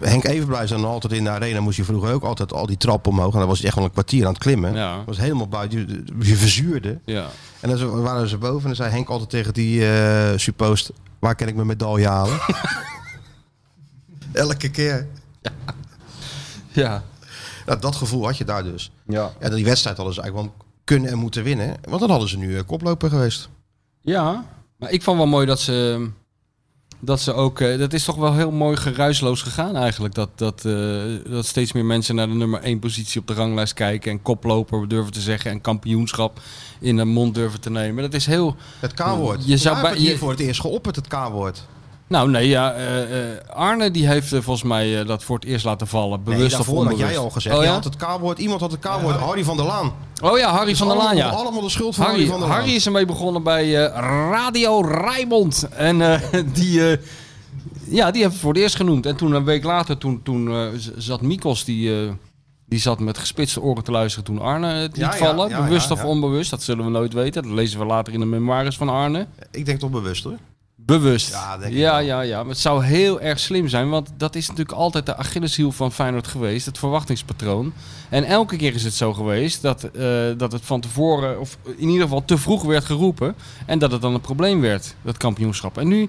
[SPEAKER 2] Henk Evenbruis dan altijd in de arena, moest je vroeger ook altijd al die trap omhoog. En dan was je echt wel een kwartier aan het klimmen.
[SPEAKER 3] Ja.
[SPEAKER 2] Dat was helemaal buiten, je, je verzuurde.
[SPEAKER 3] Ja.
[SPEAKER 2] En dan zo- waren ze boven en dan zei Henk altijd tegen die eh suppost, waar kan ik mijn medaille
[SPEAKER 3] [laughs]
[SPEAKER 2] halen? Elke keer.
[SPEAKER 3] Ja.
[SPEAKER 2] Nou, dat gevoel had je daar dus. Ja, die wedstrijd hadden ze eigenlijk wel kunnen en moeten winnen. Want dan hadden ze nu eh, koploper geweest.
[SPEAKER 3] Ja, maar ik vond wel mooi dat ze, dat ze ook... eh, Dat is toch wel heel mooi geruisloos gegaan eigenlijk. Dat, dat, eh, dat steeds meer mensen naar de nummer 1 positie op de ranglijst kijken... en koploper durven te zeggen en kampioenschap in de mond durven te nemen. Dat is heel...
[SPEAKER 2] Het K-woord.
[SPEAKER 3] Je zou
[SPEAKER 2] Jij
[SPEAKER 3] bij-
[SPEAKER 2] hebt het hier
[SPEAKER 3] je-
[SPEAKER 2] voor het eerst geopperd, het K-woord.
[SPEAKER 3] Nou nee, ja, eh, eh, Arne die heeft eh, volgens mij eh, dat voor het eerst laten vallen.
[SPEAKER 2] Nee,
[SPEAKER 3] Bewust of
[SPEAKER 2] daarvoor
[SPEAKER 3] onbewust.
[SPEAKER 2] had jij al gezegd.
[SPEAKER 3] Oh
[SPEAKER 2] Je
[SPEAKER 3] ja,
[SPEAKER 2] had het dus K-woord. Iemand had het K-woord. Harry van der Laan. Van
[SPEAKER 3] oh, ja Harry van der Laan, ja.
[SPEAKER 2] Allemaal de schuld van Harry,
[SPEAKER 3] Harry,
[SPEAKER 2] van der Laan.
[SPEAKER 3] Harry is ermee begonnen bij eh, Radio Rijmond. En eh, [laughs] die, eh, ja, die hebben we voor het eerst genoemd. En toen een week later, toen, toen eh, z- zat Mikos, die, eh, die zat met gespitste oren te luisteren toen Arne het liet
[SPEAKER 2] Ja, ja,
[SPEAKER 3] vallen.
[SPEAKER 2] ja,
[SPEAKER 3] bewust
[SPEAKER 2] ja,
[SPEAKER 3] of
[SPEAKER 2] ja.
[SPEAKER 3] onbewust, dat zullen we nooit weten. Dat lezen we later in de memoires van Arne.
[SPEAKER 2] Ik denk toch bewust hoor.
[SPEAKER 3] Bewust.
[SPEAKER 2] Ja, denk ik
[SPEAKER 3] ja,
[SPEAKER 2] wel.
[SPEAKER 3] ja, ja. Maar het zou heel erg slim zijn, want dat is natuurlijk altijd de Achilleshiel van Feyenoord geweest, het verwachtingspatroon. En elke keer is het zo geweest dat, eh, dat het van tevoren, of in ieder geval te vroeg werd geroepen, en dat het dan een probleem werd, dat kampioenschap. En nu,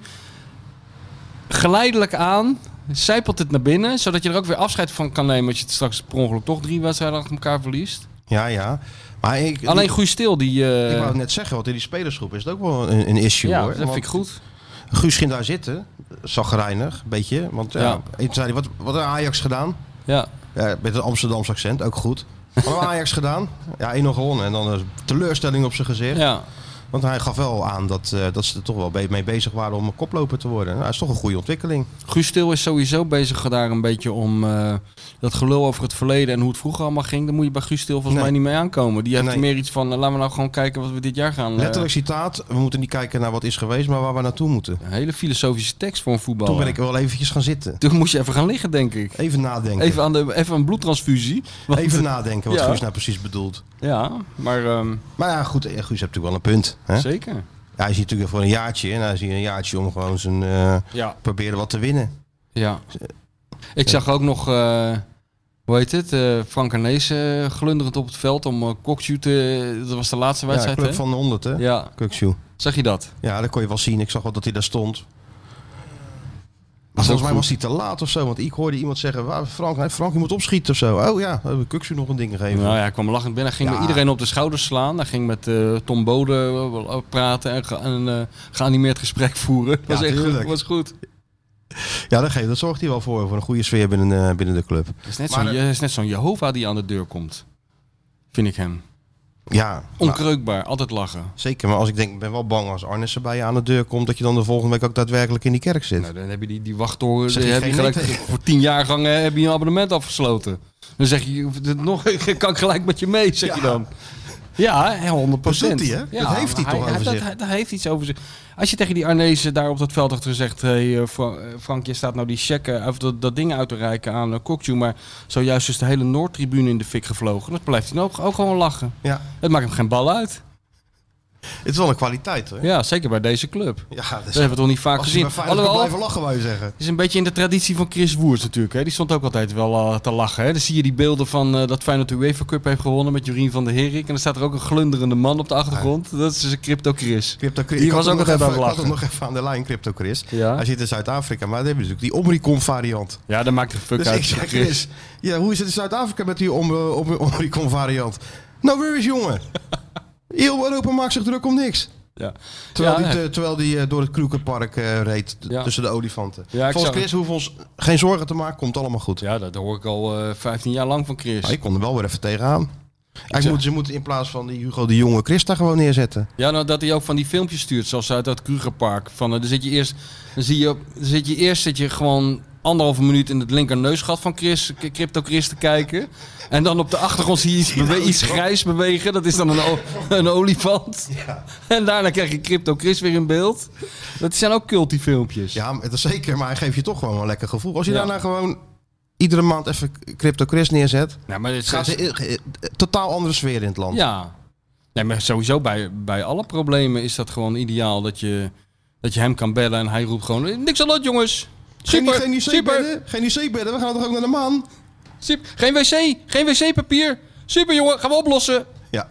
[SPEAKER 3] geleidelijk aan, zijpelt het naar binnen, zodat je er ook weer afscheid van kan nemen als je het straks per ongeluk toch drie wedstrijden achter elkaar verliest.
[SPEAKER 2] Ja, ja. Maar ik,
[SPEAKER 3] Alleen
[SPEAKER 2] ik,
[SPEAKER 3] Guus Stil, die... eh,
[SPEAKER 2] ik wou het net zeggen, want in die spelersgroep is het ook wel een, een issue
[SPEAKER 3] ja,
[SPEAKER 2] hoor.
[SPEAKER 3] dat
[SPEAKER 2] Want
[SPEAKER 3] vind ik goed.
[SPEAKER 2] Guus ging daar zitten, zagrijnig, een beetje. Want ja,
[SPEAKER 3] Ja.
[SPEAKER 2] en toen zei hij, wat, wat heeft Ajax gedaan?
[SPEAKER 3] Ja.
[SPEAKER 2] Ja, met een Amsterdamse accent, ook goed. Wat
[SPEAKER 3] [laughs]
[SPEAKER 2] heeft Ajax gedaan? Ja, 1-0 gewonnen. En dan een teleurstelling op zijn gezicht.
[SPEAKER 3] Ja.
[SPEAKER 2] Want hij gaf wel aan dat, eh, dat ze er toch wel be- mee bezig waren om een koploper te worden. Nou, dat is toch een goede ontwikkeling.
[SPEAKER 3] Guus Stil is sowieso bezig daar een beetje om eh, dat gelul over het verleden en hoe het vroeger allemaal ging. Daar moet je bij Guus Stil volgens
[SPEAKER 2] Nee.
[SPEAKER 3] mij niet mee aankomen. Die heeft
[SPEAKER 2] Nee.
[SPEAKER 3] meer iets van, eh, laten we nou gewoon kijken wat we dit jaar gaan. eh,
[SPEAKER 2] Letterlijk citaat, we moeten niet kijken naar wat is geweest, maar waar we naartoe moeten.
[SPEAKER 3] een hele filosofische tekst voor een voetbal.
[SPEAKER 2] Toen ben ik wel eventjes gaan zitten.
[SPEAKER 3] Toen moest je even gaan liggen, denk ik.
[SPEAKER 2] Even nadenken.
[SPEAKER 3] Even,
[SPEAKER 2] Even,
[SPEAKER 3] aan de, even een bloedtransfusie. Want-
[SPEAKER 2] nadenken wat
[SPEAKER 3] Ja.
[SPEAKER 2] Guus nou precies bedoelt.
[SPEAKER 3] Ja, maar ehm,
[SPEAKER 2] Maar ja, goed, eh, Guus heeft natuurlijk wel een punt. Hè?
[SPEAKER 3] zeker.
[SPEAKER 2] Hij is hier natuurlijk voor een jaartje en hij is hier een jaartje om gewoon zijn, eh,
[SPEAKER 3] Ja.
[SPEAKER 2] proberen wat te winnen.
[SPEAKER 3] ja. Ik zag ook nog, eh, hoe heet het, eh Frank Arnees eh, glunderend op het veld om uh, te... Dat was de laatste
[SPEAKER 2] Ja,
[SPEAKER 3] wedstrijd,
[SPEAKER 2] club
[SPEAKER 3] hè?
[SPEAKER 2] van de 100 hè?
[SPEAKER 3] Ja,
[SPEAKER 2] Kukshoe.
[SPEAKER 3] zag je dat?
[SPEAKER 2] Ja, dat kon je wel zien. Ik zag wel dat hij daar stond.
[SPEAKER 3] Was ook
[SPEAKER 2] Volgens mij
[SPEAKER 3] goed.
[SPEAKER 2] was hij te laat of zo. Want ik hoorde iemand zeggen, "Waar, Frank, nee, Frank, je moet opschieten of zo. Oh ja, we hebben Kukshoe nog een ding gegeven.
[SPEAKER 3] Nou ja, hij kwam lachend binnen. Hij ging
[SPEAKER 2] Ja.
[SPEAKER 3] met iedereen op de schouders slaan. Hij ging met eh, Tom Bode eh, praten en, ge- en eh, geanimeerd gesprek [laughs] voeren. Dat was echt goed.
[SPEAKER 2] tuurlijk.
[SPEAKER 3] was goed.
[SPEAKER 2] Ja, dat, geeft, dat zorgt hij wel voor, voor een goede sfeer binnen, eh, binnen de club.
[SPEAKER 3] Het is net
[SPEAKER 2] Maar
[SPEAKER 3] zo'n het is net zo'n Jehovah die aan de deur komt. Vind ik hem.
[SPEAKER 2] Ja, nou,
[SPEAKER 3] Onkreukbaar, altijd lachen.
[SPEAKER 2] zeker. Maar als ik denk, ik ben wel bang als Arnissen bij je aan de deur komt, dat je dan de volgende week ook daadwerkelijk in die kerk zit.
[SPEAKER 3] Nou, dan heb je die, die wachttoren,
[SPEAKER 2] Zeg
[SPEAKER 3] die
[SPEAKER 2] je
[SPEAKER 3] heb je
[SPEAKER 2] geen
[SPEAKER 3] gelijk,
[SPEAKER 2] nee
[SPEAKER 3] [laughs] voor tien jaar gang eh, heb je een abonnement afgesloten. Dan zeg je, dit nog, [laughs] kan ik gelijk met je mee, zeg je dan. Ja, hè, 100
[SPEAKER 2] Dat doet hij, hè? Dat heeft hij toch over
[SPEAKER 3] dat,
[SPEAKER 2] zich.
[SPEAKER 3] hij- dat heeft iets over zich. Als je tegen die Arnezen daar op dat veld had gezegd... Hey, eh, Fra- eh, Frank, je staat nou die checken of dat, dat ding uit te reiken aan uh, Maar zojuist is de hele Noordtribune in de fik gevlogen. Dan blijft hij ook, ook gewoon lachen.
[SPEAKER 2] Ja,
[SPEAKER 3] Het maakt hem geen bal uit.
[SPEAKER 2] het is wel een kwaliteit hoor. Ja,
[SPEAKER 3] Ja, zeker bij deze club.
[SPEAKER 2] dat
[SPEAKER 3] Dat
[SPEAKER 2] is-
[SPEAKER 3] hebben we toch niet vaak
[SPEAKER 2] als je
[SPEAKER 3] gezien.
[SPEAKER 2] maar veilig kan
[SPEAKER 3] Alhoewel,
[SPEAKER 2] blijven lachen, wou je zeggen.
[SPEAKER 3] het is een beetje in de traditie van Chris Woers natuurlijk. Hè? Die stond ook altijd wel eh, te lachen. Hè? Dan zie je die beelden van eh, dat Feyenoord de UEFA Cup heeft gewonnen met Jurien van der Herik. En dan staat er ook een glunderende man op de achtergrond. Dat is dus een crypto Chris.
[SPEAKER 2] Crypto Chris.
[SPEAKER 3] Die
[SPEAKER 2] Ik had
[SPEAKER 3] was
[SPEAKER 2] hem
[SPEAKER 3] ook
[SPEAKER 2] nog
[SPEAKER 3] altijd
[SPEAKER 2] even,
[SPEAKER 3] aan
[SPEAKER 2] ik
[SPEAKER 3] het
[SPEAKER 2] had hem
[SPEAKER 3] lachen.
[SPEAKER 2] nog even aan de lijn, Crypto Chris.
[SPEAKER 3] Ja.
[SPEAKER 2] Hij zit in Zuid-Afrika, maar dan hebben we natuurlijk dus die Omricon variant.
[SPEAKER 3] Ja, dat maakt er fuck
[SPEAKER 2] Dus
[SPEAKER 3] uit.
[SPEAKER 2] ik zeg
[SPEAKER 3] Chris.
[SPEAKER 2] Chris, ja, hoe is het in Zuid-Afrika met die om, eh, om, Omricon variant? Nou, weer eens
[SPEAKER 3] [laughs]
[SPEAKER 2] jongen. Heel Europa maakt zich druk om niks.
[SPEAKER 3] Ja.
[SPEAKER 2] Terwijl
[SPEAKER 3] ja,
[SPEAKER 2] die,
[SPEAKER 3] hè.
[SPEAKER 2] te- terwijl die eh, door het Kroekenpark eh, reed t-
[SPEAKER 3] Ja.
[SPEAKER 2] tussen de olifanten.
[SPEAKER 3] Ja, ik
[SPEAKER 2] Volgens
[SPEAKER 3] zou-
[SPEAKER 2] Chris hoeven we ons geen zorgen te maken, komt allemaal goed.
[SPEAKER 3] ja, dat hoor ik al eh, 15 jaar lang van Chris.
[SPEAKER 2] Maar ik kon er wel weer even tegenaan. Eigenlijk
[SPEAKER 3] zeg-
[SPEAKER 2] moeten ze moeten in plaats van die Hugo de Jonge Christa gewoon neerzetten.
[SPEAKER 3] Ja, nou, dat hij ook van die filmpjes stuurt, zoals uit dat Krugerpark. Van, eh, dan zit je eerst, dan zie je, op- dan zit je eerst zit je gewoon anderhalve minuut in het linkerneusgat van Chris, K- Crypto Chris te kijken. En dan op de achtergrond zie je
[SPEAKER 2] [laughs]
[SPEAKER 3] iets, bewe- iets grijs bewegen. Dat is dan een, o- [laughs] een olifant. En daarna krijg je Crypto Chris weer in beeld. Dat zijn ook cultie filmpjes.
[SPEAKER 2] Ja, dat is zeker, maar hij geeft je toch gewoon een lekker gevoel. Als je
[SPEAKER 3] Ja.
[SPEAKER 2] daarna gewoon iedere maand even Crypto Chris neerzet,
[SPEAKER 3] Nou, maar het
[SPEAKER 2] gaat
[SPEAKER 3] gaat...
[SPEAKER 2] ze totaal andere sfeer in het land.
[SPEAKER 3] Ja. Nee, maar sowieso bij, bij alle problemen is dat gewoon ideaal dat je, dat je hem kan bellen en hij roept gewoon... Niks aan dat, jongens.
[SPEAKER 2] Geen,
[SPEAKER 3] Super,
[SPEAKER 2] geen
[SPEAKER 3] super.
[SPEAKER 2] IC-bedden, geen IC-bedden, we gaan toch ook naar de maan?
[SPEAKER 3] Sip, geen wc, geen wc-papier. Super jongen, gaan we oplossen.
[SPEAKER 2] Ja.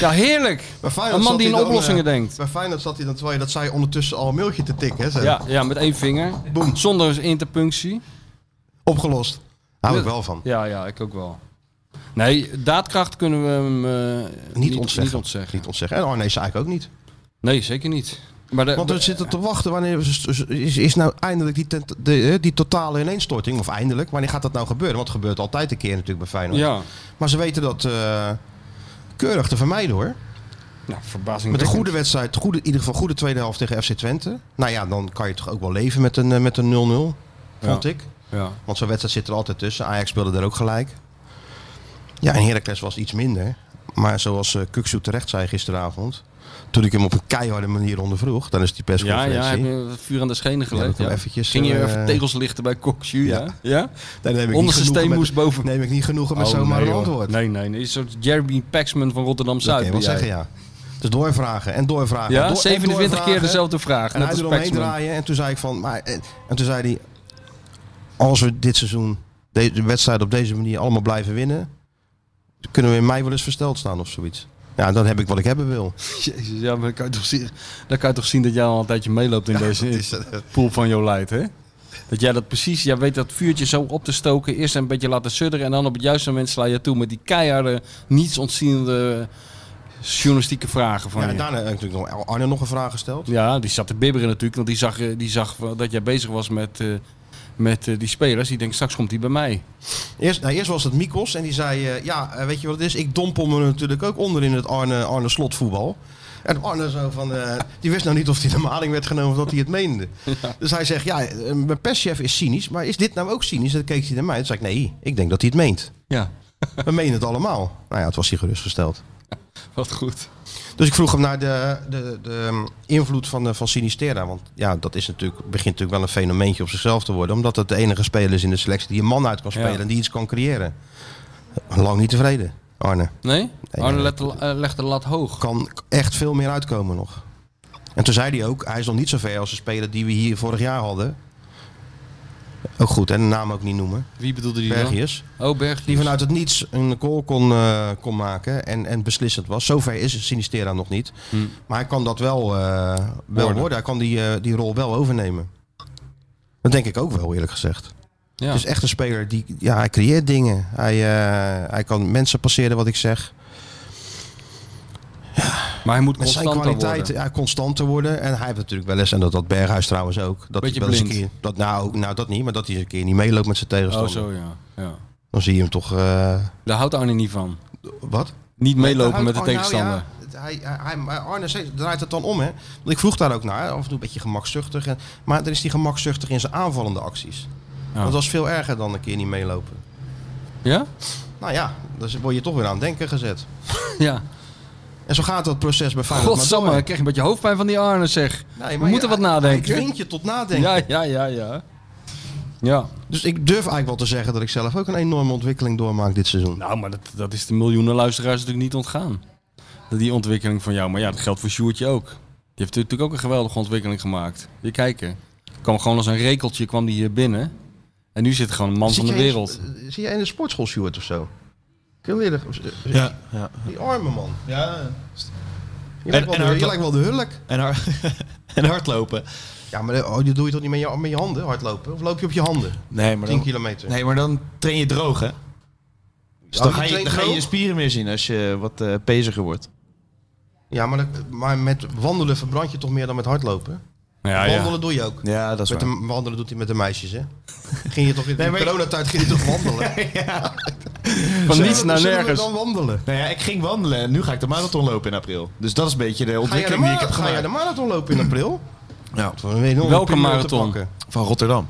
[SPEAKER 3] Ja, heerlijk.
[SPEAKER 2] Maar Feyenoord
[SPEAKER 3] Een man
[SPEAKER 2] zat
[SPEAKER 3] die in
[SPEAKER 2] hij dan,
[SPEAKER 3] oplossingen
[SPEAKER 2] eh,
[SPEAKER 3] denkt.
[SPEAKER 2] Bij Feyenoord zat hij dan, terwijl je dat zei, ondertussen al een mailtje te tikken. Hè, zo.
[SPEAKER 3] Ja, ja, met één vinger.
[SPEAKER 2] Boem.
[SPEAKER 3] Zonder interpunctie.
[SPEAKER 2] Opgelost. Hou ik wel van.
[SPEAKER 3] Ja, ja, ik ook wel. Nee, daadkracht kunnen we hem eh,
[SPEAKER 2] Niet ontzeggen.
[SPEAKER 3] Niet ontzeggen. Eh,
[SPEAKER 2] Niet ontzeggen. En Arne is eigenlijk ook niet.
[SPEAKER 3] Nee, zeker niet. Maar de,
[SPEAKER 2] Want we zitten te wachten, wanneer is, is, is nou eindelijk die, tent- de, eh, die totale ineenstorting, of eindelijk, wanneer gaat dat nou gebeuren? Want het gebeurt altijd een keer natuurlijk bij Feyenoord.
[SPEAKER 3] ja,
[SPEAKER 2] Maar ze weten dat eh, keurig te vermijden hoor.
[SPEAKER 3] nou, verbazing.
[SPEAKER 2] Met een goede wedstrijd, goede, in ieder geval goede tweede helft tegen FC Twente. Nou ja, dan kan je toch ook wel leven met een eh, met een 0-0, vond ik.
[SPEAKER 3] Ja.
[SPEAKER 2] Want zo'n wedstrijd zit er altijd tussen. Ajax speelde er ook gelijk. Ja, en Heracles was iets minder. Maar zoals eh Kuksu terecht zei gisteravond, toen ik hem op een keiharde manier ondervroeg, dan is die
[SPEAKER 3] Ja,
[SPEAKER 2] persconferentie.
[SPEAKER 3] ja, heb je wat vuur aan de schenen
[SPEAKER 2] heb
[SPEAKER 3] gelegd.
[SPEAKER 2] ik hem
[SPEAKER 3] Ja,
[SPEAKER 2] eventjes,
[SPEAKER 3] Ging je
[SPEAKER 2] eh,
[SPEAKER 3] even tegels lichten bij Cox Ja.
[SPEAKER 2] Ja.
[SPEAKER 3] ja?
[SPEAKER 2] Daar neem ik niet
[SPEAKER 3] Onderste
[SPEAKER 2] genoegen
[SPEAKER 3] steen moest
[SPEAKER 2] met,
[SPEAKER 3] boven.
[SPEAKER 2] Neem ik niet genoegen met
[SPEAKER 3] Oh,
[SPEAKER 2] zomaar
[SPEAKER 3] nee,
[SPEAKER 2] een
[SPEAKER 3] hoor.
[SPEAKER 2] antwoord.
[SPEAKER 3] Nee, nee, nee. Een soort Jeremy Paxman van Rotterdam-Zuid.
[SPEAKER 2] dat kan je wel
[SPEAKER 3] ben jij.
[SPEAKER 2] zeggen, ja. Dus doorvragen en doorvragen.
[SPEAKER 3] Ja,
[SPEAKER 2] Door- en
[SPEAKER 3] 27 keer
[SPEAKER 2] doorvragen.
[SPEAKER 3] dezelfde vraag.
[SPEAKER 2] En hij
[SPEAKER 3] net als
[SPEAKER 2] eromheen
[SPEAKER 3] Paxman.
[SPEAKER 2] draaien. En toen zei ik van... Maar, en, en toen zei hij... Als we dit seizoen de, de wedstrijd op deze manier allemaal blijven winnen... kunnen we in mei wel eens versteld staan of zoiets. Ja, dan heb ik wat ik hebben wil.
[SPEAKER 3] Jezus, ja, maar dan kan, je toch zien, dan kan je toch zien dat jij al een tijdje meeloopt in deze pool van jouw leid, hè? Dat jij dat precies, jij weet dat vuurtje zo op te stoken, eerst een beetje laten sudderen en dan op het juiste moment sla je toe met die keiharde, niets ontziende journalistieke vragen van
[SPEAKER 2] Ja, en
[SPEAKER 3] je.
[SPEAKER 2] daarna heb ik natuurlijk nog Arne nog een vraag gesteld.
[SPEAKER 3] Ja, die zat te bibberen natuurlijk, want die zag, eh, die zag wel dat jij bezig was met, eh, met eh, die spelers. Die denkt, straks komt hij bij mij.
[SPEAKER 2] Eerst, nou, eerst was het Mikos en die zei... eh, ja, eh, weet je wat het is? Ik dompel me natuurlijk ook onder in het Arne, Arne slotvoetbal. En Arne zo van... eh, die wist nou niet of hij de maling werd genomen of dat hij het meende. Dus hij zegt... Ja, eh, mijn perschef is cynisch. Maar is dit nou ook cynisch? Dan keek hij naar mij. Toen zei ik... Nee, ik denk dat hij het meent.
[SPEAKER 3] Ja,
[SPEAKER 2] We menen het allemaal. Nou ja, het was hij gerustgesteld.
[SPEAKER 3] wat goed.
[SPEAKER 2] Dus ik vroeg hem naar de, de, de ehm, invloed van, eh, van Sinistera. Want ja, dat is natuurlijk, begint natuurlijk wel een fenomeentje op zichzelf te worden. Omdat het de enige speler is in de selectie die een man uit kan spelen
[SPEAKER 3] Ja.
[SPEAKER 2] en die iets kan creëren. Lang niet tevreden, Arne.
[SPEAKER 3] Nee?
[SPEAKER 2] nee,
[SPEAKER 3] Arne
[SPEAKER 2] nee.
[SPEAKER 3] legt de- eh, legt de lat hoog.
[SPEAKER 2] Kan echt veel meer uitkomen nog. En toen zei hij ook, hij is nog niet zo ver als de speler die we hier vorig jaar hadden. Ook goed, en de naam ook niet noemen.
[SPEAKER 3] Wie bedoelde die dan?
[SPEAKER 2] Bergius.
[SPEAKER 3] Oh, Bergius.
[SPEAKER 2] Die vanuit het niets een goal kon, eh, kon maken en, en beslissend was. Zover is Sinistera nog niet. Maar hij kan dat wel, eh, wel worden.
[SPEAKER 3] Hm. Worden.
[SPEAKER 2] Hij kan die, eh, die rol wel overnemen. Dat denk ik ook wel, eerlijk gezegd.
[SPEAKER 3] Ja.
[SPEAKER 2] Het is echt een speler die... Ja, hij creëert dingen. Hij, eh, hij kan mensen passeren, wat ik zeg.
[SPEAKER 3] Maar hij moet
[SPEAKER 2] Met zijn
[SPEAKER 3] constanter
[SPEAKER 2] kwaliteit
[SPEAKER 3] worden.
[SPEAKER 2] ja, constant te worden. En hij heeft natuurlijk wel eens, en dat had Berghuis trouwens ook. Dat
[SPEAKER 3] Beetje
[SPEAKER 2] hij wel eens een
[SPEAKER 3] blind.
[SPEAKER 2] keer. Dat, nou, nou, dat niet, maar dat hij eens een keer niet meeloopt met zijn
[SPEAKER 3] Oh,
[SPEAKER 2] tegenstander.
[SPEAKER 3] zo ja. ja.
[SPEAKER 2] Dan zie je hem toch. eh,
[SPEAKER 3] Daar houdt Arne niet van.
[SPEAKER 2] wat?
[SPEAKER 3] Niet meelopen
[SPEAKER 2] Arne-
[SPEAKER 3] met de
[SPEAKER 2] oh, nou
[SPEAKER 3] tegenstander.
[SPEAKER 2] ja, het- hij, hij, hij- maar Arne zegt- draait het dan om, hè? Want ik vroeg daar ook naar, af en toe een beetje gemakzuchtig. En, maar dan is hij gemakzuchtig in zijn aanvallende acties.
[SPEAKER 3] Ja?
[SPEAKER 2] Dat was veel erger dan een keer niet meelopen.
[SPEAKER 3] ja? [laughs]
[SPEAKER 2] Nou ja, dan word je toch weer aan het denken gezet.
[SPEAKER 3] ja.
[SPEAKER 2] En zo gaat dat proces bij Feyenoord maar
[SPEAKER 3] Godsamme,
[SPEAKER 2] door.
[SPEAKER 3] ik krijg een beetje hoofdpijn van die Arne zeg.
[SPEAKER 2] Nee,
[SPEAKER 3] We
[SPEAKER 2] maar
[SPEAKER 3] moeten
[SPEAKER 2] ja,
[SPEAKER 3] wat nadenken.
[SPEAKER 2] Hij dwingt je tot nadenken.
[SPEAKER 3] Ja, ja, ja, ja. Ja.
[SPEAKER 2] Dus ik durf eigenlijk wel te zeggen dat ik zelf ook een enorme ontwikkeling doormaak dit seizoen.
[SPEAKER 3] Nou, maar dat, dat is de miljoenen luisteraars natuurlijk niet ontgaan. Dat Die ontwikkeling van jou. Maar ja, dat geldt voor Sjoertje ook. Die heeft natuurlijk ook een geweldige ontwikkeling gemaakt. Je kijken. Kwam gewoon als een rekeltje kwam die hier binnen. En nu zit er gewoon een man
[SPEAKER 2] Zit
[SPEAKER 3] van de
[SPEAKER 2] jij in-
[SPEAKER 3] wereld.
[SPEAKER 2] eh, Zie jij in de sportschool, Stuart, of zo? Heel eerlijk. eh,
[SPEAKER 4] Ja. ja.
[SPEAKER 2] Die arme man.
[SPEAKER 4] ja.
[SPEAKER 2] Je lijkt wel,
[SPEAKER 4] en
[SPEAKER 2] de,
[SPEAKER 4] hardlo-
[SPEAKER 2] je lijkt wel de hulk.
[SPEAKER 4] En, har- [laughs] en hardlopen.
[SPEAKER 2] Ja, maar eh, oh, dat doe je toch niet met je, met je handen hardlopen? Of loop je op je handen?
[SPEAKER 4] Nee maar,
[SPEAKER 2] 10
[SPEAKER 4] dan,
[SPEAKER 2] kilometer.
[SPEAKER 4] nee, maar dan train je droog, hè? Dus
[SPEAKER 2] Oh,
[SPEAKER 4] dan
[SPEAKER 2] je
[SPEAKER 4] ga je,
[SPEAKER 2] traint
[SPEAKER 4] dan ga je
[SPEAKER 2] droog?
[SPEAKER 4] je spieren meer zien als je wat eh, peziger wordt.
[SPEAKER 2] Ja, maar, dat- maar met wandelen verbrand je toch meer dan met hardlopen?
[SPEAKER 3] Ja, ja.
[SPEAKER 2] Wandelen doe je ook.
[SPEAKER 4] Ja, dat
[SPEAKER 2] Met de, wandelen doet hij met de meisjes, hè? Ging je toch in de
[SPEAKER 4] maar ik-
[SPEAKER 2] coronatijd ging je toch wandelen?
[SPEAKER 4] [laughs]
[SPEAKER 3] Van
[SPEAKER 2] Zullen
[SPEAKER 3] [laughs] niets
[SPEAKER 2] we-
[SPEAKER 3] naar
[SPEAKER 2] zullen we
[SPEAKER 3] nergens.
[SPEAKER 2] dan wandelen?
[SPEAKER 4] Nou ja, ik ging wandelen en nu ga ik de marathon lopen in april. Dus dat is een beetje de
[SPEAKER 2] Ga jij de,
[SPEAKER 4] ontwikkeling die ik
[SPEAKER 2] mara-
[SPEAKER 4] heb
[SPEAKER 2] ga jij de
[SPEAKER 4] gemaakt.
[SPEAKER 2] marathon lopen in april?
[SPEAKER 4] Ja.
[SPEAKER 2] Dan ben je nog een
[SPEAKER 3] Welke
[SPEAKER 2] primeur te
[SPEAKER 3] marathon?
[SPEAKER 2] pakken.
[SPEAKER 4] Van Rotterdam.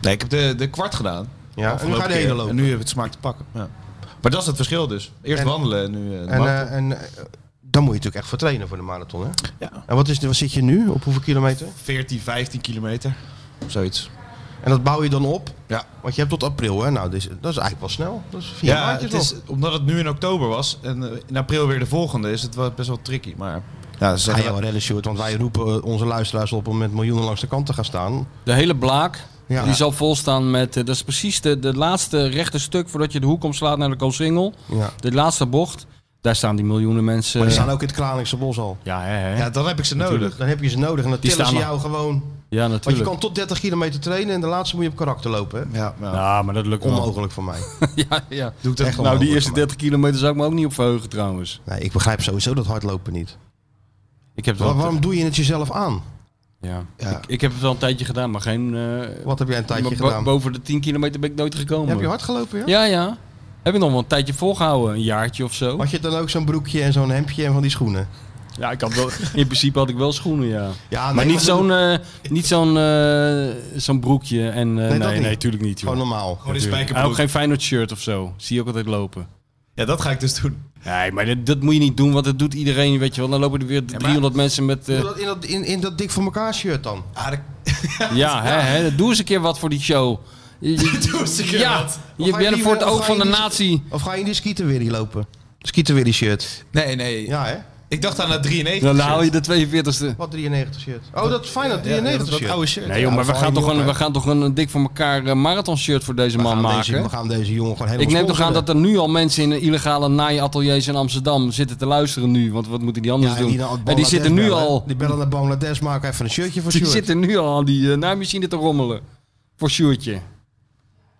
[SPEAKER 4] Nee, ik heb de, de kwart gedaan.
[SPEAKER 2] Ja, en nu
[SPEAKER 4] Afgelopen
[SPEAKER 2] ga je de
[SPEAKER 4] keer.
[SPEAKER 2] hele lopen.
[SPEAKER 4] En nu heb ik het smaak te pakken. Ja. Maar dat is het verschil dus. Eerst
[SPEAKER 2] En-
[SPEAKER 4] wandelen en nu eh, de
[SPEAKER 2] En,
[SPEAKER 4] marathon.
[SPEAKER 2] eh, en eh, dan moet je natuurlijk echt voor trainen voor de marathon, hè?
[SPEAKER 4] Ja.
[SPEAKER 2] En wat, is, de- wat zit je nu? Op hoeveel kilometer?
[SPEAKER 4] 14, 15 kilometer. Of zoiets.
[SPEAKER 2] En dat bouw je dan op?
[SPEAKER 4] Ja.
[SPEAKER 2] Want je hebt tot april, hè? Nou, dit is, dat is eigenlijk wel snel. Dat is vier
[SPEAKER 4] Ja,
[SPEAKER 2] maandjes
[SPEAKER 4] het
[SPEAKER 2] nog.
[SPEAKER 4] is, omdat het nu in oktober was en eh, in april weer de volgende, is het wel best wel tricky. Maar Ah, ja, ze
[SPEAKER 2] Ga
[SPEAKER 4] zeggen
[SPEAKER 2] je wel redden, Sjoerd, want wij roepen eh, onze luisteraars op om met miljoenen langs de kant te gaan staan.
[SPEAKER 3] De hele blaak.
[SPEAKER 2] Ja.
[SPEAKER 3] Die zal volstaan met... eh, dat is precies de, de laatste rechte stuk voordat je de hoek omslaat naar de Koolsingel.
[SPEAKER 2] Ja.
[SPEAKER 3] De laatste bocht. Daar staan die miljoenen mensen.
[SPEAKER 2] Maar die staan ook in het Kralingse bos al.
[SPEAKER 3] Ja, hè, hè.
[SPEAKER 4] ja, dan heb ik ze nodig.
[SPEAKER 2] Dan heb je ze nodig en dan
[SPEAKER 3] Die
[SPEAKER 2] tillen ze
[SPEAKER 3] staan
[SPEAKER 2] jou gewoon.
[SPEAKER 3] Ja,
[SPEAKER 2] Want je
[SPEAKER 3] natuurlijk.
[SPEAKER 2] kan tot 30 kilometer trainen en de laatste moet je op karakter lopen. Hè?
[SPEAKER 4] Ja, ja.
[SPEAKER 3] Ja, maar dat lukt wel.
[SPEAKER 2] Onmogelijk voor mij.
[SPEAKER 3] [laughs] Ja, ja.
[SPEAKER 4] Doe ik dat
[SPEAKER 2] Echt
[SPEAKER 4] gewoon.
[SPEAKER 3] Nou, die eerste
[SPEAKER 2] maar.
[SPEAKER 3] 30 kilometer zou ik me ook niet op verheugen trouwens.
[SPEAKER 2] Nee, ik begrijp sowieso dat hardlopen niet.
[SPEAKER 3] Ik heb het
[SPEAKER 2] Wa-
[SPEAKER 3] wel,
[SPEAKER 2] waarom doe je het jezelf aan?
[SPEAKER 3] ja.
[SPEAKER 4] Ja.
[SPEAKER 3] Ik, ik heb het wel een tijdje gedaan, maar geen... eh,
[SPEAKER 2] Wat heb jij een tijdje
[SPEAKER 3] bo-
[SPEAKER 2] gedaan?
[SPEAKER 3] Boven de 10 kilometer ben ik nooit gekomen.
[SPEAKER 2] Heb je hard gelopen, ja?
[SPEAKER 3] Ja, ja. Heb ik nog wel een tijdje volgehouden, een jaartje of zo.
[SPEAKER 2] Had je dan ook zo'n broekje en zo'n hempje en van die schoenen?
[SPEAKER 3] Ja, ik had wel, in principe had ik wel schoenen, ja.
[SPEAKER 2] Ja,
[SPEAKER 3] maar niet zo'n eh, niet zo'n eh, zo'n broekje en... eh, nee,
[SPEAKER 2] dat
[SPEAKER 3] nee,
[SPEAKER 2] niet.
[SPEAKER 3] tuurlijk niet, joh.
[SPEAKER 2] Gewoon normaal.
[SPEAKER 4] Gewoon die
[SPEAKER 3] Tuurlijk. En
[SPEAKER 4] spijkerbroek.
[SPEAKER 3] ook geen Feyenoord shirt of zo. Zie je ook altijd lopen.
[SPEAKER 4] Ja, dat ga ik dus doen.
[SPEAKER 3] Nee, maar dat, dat moet je niet doen, want dat doet iedereen, weet je wel. Dan lopen er weer 300 mensen met... eh,
[SPEAKER 2] Doe dat in, dat, in, in dat dik voor elkaar shirt dan.
[SPEAKER 4] Ah, dat- [laughs]
[SPEAKER 3] Ja, hè, hè, doe eens een keer wat voor die show. Je-
[SPEAKER 2] [laughs]
[SPEAKER 3] je-
[SPEAKER 4] Doe eens een keer
[SPEAKER 3] ja,
[SPEAKER 4] wat.
[SPEAKER 2] Of
[SPEAKER 3] je
[SPEAKER 2] ga
[SPEAKER 3] bent
[SPEAKER 2] die-
[SPEAKER 3] voor het
[SPEAKER 2] of
[SPEAKER 3] oog
[SPEAKER 2] ga
[SPEAKER 3] van
[SPEAKER 2] je
[SPEAKER 3] de
[SPEAKER 2] die-
[SPEAKER 3] natie.
[SPEAKER 2] Of ga je in die skieterwirrie lopen? Skieterwirrie shirt.
[SPEAKER 4] Nee, nee.
[SPEAKER 2] Ja, hè?
[SPEAKER 4] Ik dacht aan dat 93
[SPEAKER 3] Dan haal je
[SPEAKER 4] shirt.
[SPEAKER 3] de 42e.
[SPEAKER 2] Wat 93 shirt? Oh, dat is fijn, dat
[SPEAKER 4] Ja, ja,
[SPEAKER 2] 93
[SPEAKER 4] dat,
[SPEAKER 2] shirt.
[SPEAKER 4] dat oude shirt.
[SPEAKER 3] Nee joh, maar we
[SPEAKER 2] val je
[SPEAKER 3] gaan,
[SPEAKER 2] niet
[SPEAKER 3] toch
[SPEAKER 2] op,
[SPEAKER 3] een,
[SPEAKER 2] hè?
[SPEAKER 3] we gaan toch een dik voor elkaar eh, marathon shirt voor deze
[SPEAKER 2] We
[SPEAKER 3] man
[SPEAKER 2] gaan
[SPEAKER 3] maken.
[SPEAKER 2] Deze, we gaan deze jongen gewoon
[SPEAKER 3] ik
[SPEAKER 2] helemaal
[SPEAKER 3] neem toch aan
[SPEAKER 2] sponsoren.
[SPEAKER 3] dat er nu al mensen in illegale naaiateliers in Amsterdam zitten te luisteren nu. Want wat moeten die anders
[SPEAKER 2] Ja,
[SPEAKER 3] doen?
[SPEAKER 2] naar
[SPEAKER 3] en die
[SPEAKER 2] Bangladesh
[SPEAKER 3] zitten nu
[SPEAKER 2] bellen.
[SPEAKER 3] al,
[SPEAKER 2] Die bellen naar Bangladesh, maken even een shirtje voor
[SPEAKER 3] [laughs] die
[SPEAKER 2] Sjoerd.
[SPEAKER 3] zitten nu al aan die eh naaimachine te rommelen. Voor Sjoerdje.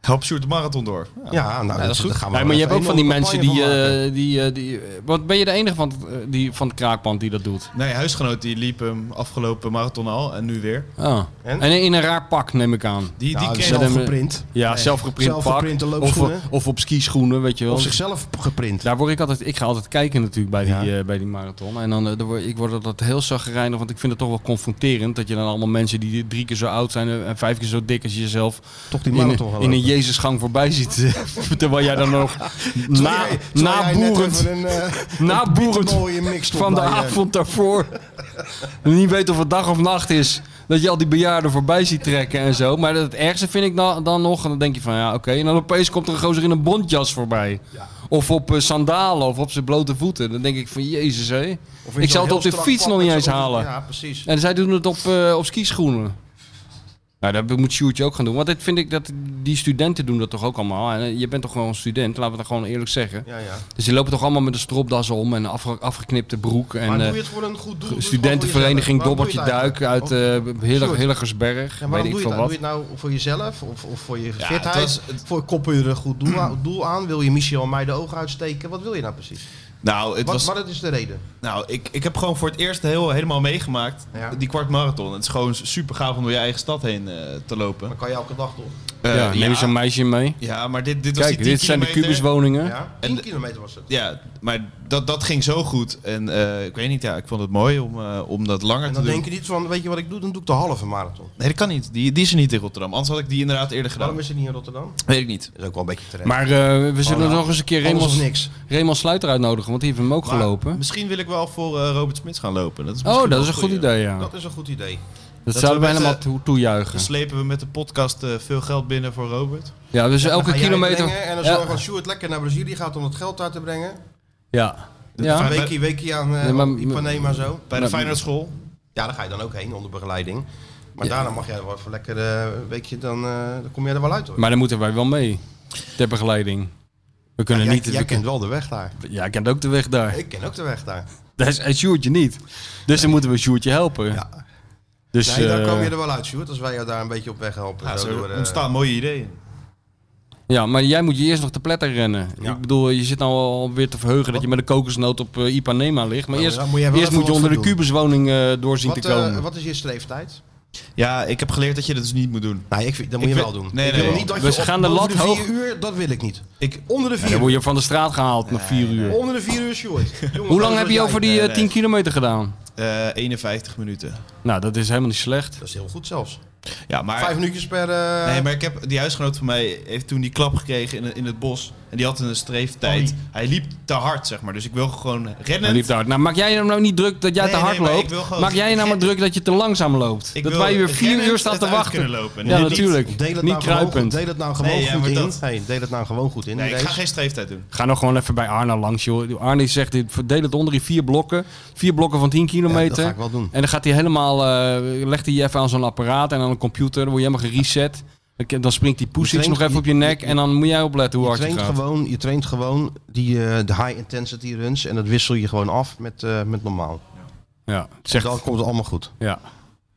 [SPEAKER 4] Help Sjoerd de marathon door. Ja.
[SPEAKER 2] Ja, nou, dat,
[SPEAKER 4] is goed.
[SPEAKER 2] daar gaan we
[SPEAKER 3] Nee,
[SPEAKER 2] wel
[SPEAKER 3] maar je hebt
[SPEAKER 2] even
[SPEAKER 3] ook van die
[SPEAKER 2] een
[SPEAKER 3] mensen
[SPEAKER 2] campagne
[SPEAKER 3] die,
[SPEAKER 2] van maken.
[SPEAKER 3] eh, die, eh, die... eh, Wat ben je de enige van, het, eh, die, van het kraakpand die dat doet?
[SPEAKER 4] Nee, huisgenoot die liep hem afgelopen marathon al en nu weer.
[SPEAKER 3] Ah.
[SPEAKER 2] En?
[SPEAKER 3] En? in een raar pak neem ik aan.
[SPEAKER 4] Die,
[SPEAKER 2] Ja, dus
[SPEAKER 4] die
[SPEAKER 2] die
[SPEAKER 4] kreeg
[SPEAKER 2] zelf
[SPEAKER 3] hem-
[SPEAKER 2] geprint.
[SPEAKER 3] Ja, zelfgeprint pak.
[SPEAKER 2] zelfgeprinte loopschoenen.
[SPEAKER 3] Of, of op skischoenen, weet je wel.
[SPEAKER 2] Of zichzelf geprint.
[SPEAKER 3] Daar word ik altijd, ik ga altijd kijken natuurlijk bij die,
[SPEAKER 2] Ja.
[SPEAKER 3] eh, bij die marathon. En dan, eh, dan word, ik word altijd heel zagrijnig, want ik vind het toch wel confronterend. Dat je dan allemaal mensen die drie keer zo oud zijn eh, en vijf keer zo dik als jezelf
[SPEAKER 2] Toch die
[SPEAKER 3] in,
[SPEAKER 2] marathon
[SPEAKER 3] een-
[SPEAKER 2] gaan
[SPEAKER 3] in een
[SPEAKER 2] lopen.
[SPEAKER 3] Jezusgang voorbij ziet. eh, [laughs] Terwijl jij dan nog na,
[SPEAKER 2] Terwijl jij- terwijl jij net
[SPEAKER 3] naboerend,
[SPEAKER 2] even een, eh,
[SPEAKER 3] naboerend
[SPEAKER 2] mooie mix stond
[SPEAKER 3] van de
[SPEAKER 2] bij eh, je.
[SPEAKER 3] avond daarvoor. en niet weet of het dag of nacht is. Dat je al die bejaarden voorbij ziet trekken en zo. Maar het ergste vind ik dan, dan nog. En dan denk je van ja, oké. En dan opeens komt er een gozer in een bondjas voorbij. Of op eh, sandalen of op zijn blote voeten. Dan denk ik van jezus hé.
[SPEAKER 2] Of in zo'n
[SPEAKER 3] Ik zal het op
[SPEAKER 2] heel
[SPEAKER 3] de
[SPEAKER 2] strak
[SPEAKER 3] fiets
[SPEAKER 2] pak
[SPEAKER 3] nog
[SPEAKER 2] met
[SPEAKER 3] niet eens
[SPEAKER 2] zo'n-
[SPEAKER 3] halen.
[SPEAKER 2] Ja, precies.
[SPEAKER 3] En zij doen het op, eh, op skischoenen. Nou, dat moet Sjoerdje ook gaan doen. Want dit vind ik dat die studenten doen dat toch ook allemaal. En eh, je bent toch gewoon een student, laten we dat gewoon eerlijk zeggen.
[SPEAKER 2] Ja, ja.
[SPEAKER 3] Dus die lopen toch allemaal met een stropdas om en een afge- afgeknipte broek. En,
[SPEAKER 2] maar doe
[SPEAKER 3] eh,
[SPEAKER 2] je het voor een goed doel? Doe het
[SPEAKER 3] Studentenvereniging
[SPEAKER 2] gewoon voor
[SPEAKER 3] Dobbertje
[SPEAKER 2] jezelf.
[SPEAKER 3] Duik
[SPEAKER 2] Waarom
[SPEAKER 3] uit
[SPEAKER 2] doe je het eigenlijk?
[SPEAKER 3] eh Hille-
[SPEAKER 2] Sjoerd.
[SPEAKER 3] Hilligersberg.
[SPEAKER 2] En
[SPEAKER 3] weet
[SPEAKER 2] waarom
[SPEAKER 3] ik
[SPEAKER 2] doe je
[SPEAKER 3] veel
[SPEAKER 2] het? dan? Doe
[SPEAKER 3] wat.
[SPEAKER 2] je het nou voor jezelf of, of voor je
[SPEAKER 4] dat
[SPEAKER 2] fitheid?
[SPEAKER 4] is het-
[SPEAKER 2] Voor koppen je er een goed doel, doel aan? Wil je Michel en mij de ogen uitsteken? Wat wil je nou precies?
[SPEAKER 4] Nou, het
[SPEAKER 2] Wat,
[SPEAKER 4] was,
[SPEAKER 2] maar dat is de reden.
[SPEAKER 4] nou ik, ik heb gewoon voor het eerst heel, helemaal meegemaakt
[SPEAKER 2] Ja.
[SPEAKER 4] die kwartmarathon. Het is gewoon super gaaf om door je eigen stad heen eh, te lopen.
[SPEAKER 2] Dan kan je elke dag toch?
[SPEAKER 4] Eh,
[SPEAKER 3] ja, neem je zo'n meisje mee.
[SPEAKER 4] ja, maar dit, dit was
[SPEAKER 3] Kijk,
[SPEAKER 4] die 10
[SPEAKER 3] dit zijn de
[SPEAKER 4] kilometer.
[SPEAKER 3] kubuswoningen.
[SPEAKER 2] Ja, 10 kilometer was het.
[SPEAKER 4] Ja, maar dat, dat ging zo goed. En eh, ik weet niet, ja, ik vond het mooi om, eh, om dat langer
[SPEAKER 2] En
[SPEAKER 4] te
[SPEAKER 2] dan
[SPEAKER 4] doen.
[SPEAKER 2] denk je niet van, weet je wat ik doe? Dan doe ik de halve marathon.
[SPEAKER 4] Nee, dat kan niet. Die, die is er niet in Rotterdam. Anders had ik die inderdaad eerder gedaan.
[SPEAKER 2] Waarom is het niet in Rotterdam?
[SPEAKER 4] Weet ik niet.
[SPEAKER 2] Dat is ook wel een beetje terecht.
[SPEAKER 3] Maar eh, we zullen
[SPEAKER 2] Gewoon,
[SPEAKER 3] nog eens een keer
[SPEAKER 2] Alles of
[SPEAKER 3] Raymond,
[SPEAKER 2] nou. niks.
[SPEAKER 3] Raymond Sluiter uitnodigen, want die heeft hem ook
[SPEAKER 4] Maar
[SPEAKER 3] gelopen.
[SPEAKER 4] Misschien wil ik wel voor eh, Robert Smits gaan lopen. Dat is
[SPEAKER 3] Oh,
[SPEAKER 4] misschien
[SPEAKER 3] dat
[SPEAKER 4] wel
[SPEAKER 3] is een goed
[SPEAKER 4] goeie.
[SPEAKER 3] idee, ja.
[SPEAKER 2] Dat is een goed idee.
[SPEAKER 3] Dat
[SPEAKER 4] we
[SPEAKER 3] zouden we
[SPEAKER 4] met,
[SPEAKER 3] helemaal
[SPEAKER 4] eh,
[SPEAKER 3] toe- toejuichen.
[SPEAKER 4] Dan
[SPEAKER 2] Dus-
[SPEAKER 4] slepen we met de podcast eh, veel geld binnen voor Robert.
[SPEAKER 3] Ja, dus
[SPEAKER 2] Dan
[SPEAKER 3] elke
[SPEAKER 2] ga jij
[SPEAKER 3] kilometer...
[SPEAKER 2] brengen En dan
[SPEAKER 3] Ja,
[SPEAKER 2] zorgen we Sjoerd lekker naar Brazilië gaat om het geld uit te brengen.
[SPEAKER 3] ja.
[SPEAKER 2] Ja.
[SPEAKER 3] ja.
[SPEAKER 2] Een weekje, weekje aan eh
[SPEAKER 3] Nee, maar-
[SPEAKER 2] Ipanema zo.
[SPEAKER 4] Bij de
[SPEAKER 3] Nou,
[SPEAKER 4] Feyenoord school.
[SPEAKER 2] Ja, daar ga je dan ook heen onder begeleiding. Maar daarna mag jij wel voor lekker eh, een weekje, dan, eh, dan kom jij er wel uit hoor.
[SPEAKER 3] Maar dan moeten wij wel mee. Ter begeleiding. We kunnen
[SPEAKER 2] jij,
[SPEAKER 3] niet...
[SPEAKER 2] jij
[SPEAKER 3] we
[SPEAKER 2] kent wel de weg daar.
[SPEAKER 3] kun- Jij kent ook de weg daar.
[SPEAKER 2] Ik ken ook de weg daar.
[SPEAKER 3] Dat is en Sjoerdje niet. Dus dan moeten we Sjoerdje helpen.
[SPEAKER 2] Ja.
[SPEAKER 3] Dus,
[SPEAKER 2] nee, dan
[SPEAKER 3] eh,
[SPEAKER 2] kom je er wel uit, Sjoerd, als wij jou daar een beetje op weg helpen.
[SPEAKER 4] Ja,
[SPEAKER 2] zo
[SPEAKER 4] zo
[SPEAKER 2] door, eh,
[SPEAKER 4] ontstaan mooie ideeën.
[SPEAKER 3] Ja, maar jij moet je eerst nog te pletter rennen.
[SPEAKER 2] Ja.
[SPEAKER 3] Ik bedoel, je zit nou alweer te verheugen dat je met een kokosnoot op eh, Ipanema ligt. Maar
[SPEAKER 2] Nou,
[SPEAKER 3] eerst
[SPEAKER 2] daar
[SPEAKER 3] moet
[SPEAKER 2] moet
[SPEAKER 3] je,
[SPEAKER 2] jij wel
[SPEAKER 3] eerst
[SPEAKER 2] even
[SPEAKER 3] moet je
[SPEAKER 2] wat
[SPEAKER 3] onder de
[SPEAKER 2] voor doen.
[SPEAKER 3] kubuswoning eh, door zien
[SPEAKER 2] wat,
[SPEAKER 3] te
[SPEAKER 2] eh,
[SPEAKER 3] komen.
[SPEAKER 2] wat is je sleeftijd?
[SPEAKER 4] Ja, ik heb geleerd dat je dat dus niet moet doen.
[SPEAKER 2] Nou, ik, vind- dat moet
[SPEAKER 4] Ik
[SPEAKER 2] je
[SPEAKER 4] weet-
[SPEAKER 2] wel doen.
[SPEAKER 4] nee,
[SPEAKER 2] ik
[SPEAKER 4] nee,
[SPEAKER 2] wil
[SPEAKER 4] nee.
[SPEAKER 2] niet dat
[SPEAKER 3] We
[SPEAKER 2] je
[SPEAKER 3] gaan de
[SPEAKER 2] boven
[SPEAKER 3] lat
[SPEAKER 2] vier
[SPEAKER 3] hoog.
[SPEAKER 2] uur, dat wil ik niet.
[SPEAKER 4] Ik,
[SPEAKER 2] Onder de
[SPEAKER 3] Ja,
[SPEAKER 2] vier
[SPEAKER 3] dan
[SPEAKER 2] uur.
[SPEAKER 3] word je van de straat gehaald na vier uur.
[SPEAKER 2] Onder de vier uur, Sjoerd. Jongens,
[SPEAKER 3] Hoe lang
[SPEAKER 2] dat
[SPEAKER 3] heb
[SPEAKER 2] is
[SPEAKER 3] je
[SPEAKER 2] wat
[SPEAKER 3] over
[SPEAKER 2] jij-
[SPEAKER 3] die eh,
[SPEAKER 4] nee.
[SPEAKER 3] 10 kilometer gedaan?
[SPEAKER 4] eh, 51 minuten.
[SPEAKER 3] Nou, dat is helemaal niet slecht.
[SPEAKER 2] Dat is heel goed zelfs.
[SPEAKER 4] Ja, maar...
[SPEAKER 2] Vijf minuutjes per... eh,
[SPEAKER 4] Nee, maar ik heb, die huisgenoot van mij heeft toen die klap gekregen in, in het bos. En die had een streeftijd.
[SPEAKER 2] Oei.
[SPEAKER 4] Hij liep te hard, zeg maar. Dus ik wil gewoon rennen.
[SPEAKER 3] Nou, lief daar. nou, maak jij je nou niet druk dat jij
[SPEAKER 4] Nee,
[SPEAKER 3] te
[SPEAKER 4] nee,
[SPEAKER 3] hard
[SPEAKER 4] maar ik
[SPEAKER 3] loopt.
[SPEAKER 4] wil gewoon-
[SPEAKER 3] Maak jij je nou maar
[SPEAKER 4] Ik-
[SPEAKER 3] druk dat je te langzaam loopt.
[SPEAKER 4] Ik
[SPEAKER 3] dat
[SPEAKER 4] wil
[SPEAKER 3] wij weer vier
[SPEAKER 4] rennend
[SPEAKER 3] uur staan
[SPEAKER 4] het
[SPEAKER 3] te
[SPEAKER 4] uit
[SPEAKER 3] wachten.
[SPEAKER 4] kunnen lopen.
[SPEAKER 3] Ja,
[SPEAKER 4] Dit
[SPEAKER 3] natuurlijk.
[SPEAKER 2] Deel het
[SPEAKER 3] niet
[SPEAKER 2] nou Gewoon,
[SPEAKER 3] kruipend.
[SPEAKER 2] deel het nou gewoon
[SPEAKER 4] Nee, ja,
[SPEAKER 2] goed
[SPEAKER 4] maar
[SPEAKER 2] in.
[SPEAKER 4] dat-
[SPEAKER 2] Hey, deel het nou gewoon goed in.
[SPEAKER 4] Nee, ik
[SPEAKER 2] deze.
[SPEAKER 4] ga geen streeftijd doen.
[SPEAKER 3] Ga nog gewoon even bij Arne langs, joh. Arne zegt, dit, verdeel het onder in vier blokken. Vier blokken van 10
[SPEAKER 2] Ja,
[SPEAKER 3] kilometer.
[SPEAKER 2] dat ga ik wel doen.
[SPEAKER 3] En dan gaat hij helemaal, eh, legt hij je even aan zo'n apparaat en aan een computer. Dan word je helemaal gereset. Dan ke- Dan springt die push
[SPEAKER 2] traint-
[SPEAKER 3] nog even op je
[SPEAKER 2] je-
[SPEAKER 3] nek.
[SPEAKER 2] je-
[SPEAKER 3] En dan moet jij opletten hoe
[SPEAKER 2] Je
[SPEAKER 3] hard je
[SPEAKER 2] traint,
[SPEAKER 3] gaat.
[SPEAKER 2] gewoon, je traint gewoon die, eh, de high intensity runs en dat wissel je gewoon af met, eh, met normaal.
[SPEAKER 3] Ja, zegt,
[SPEAKER 2] Dan komt het allemaal goed,
[SPEAKER 3] ja.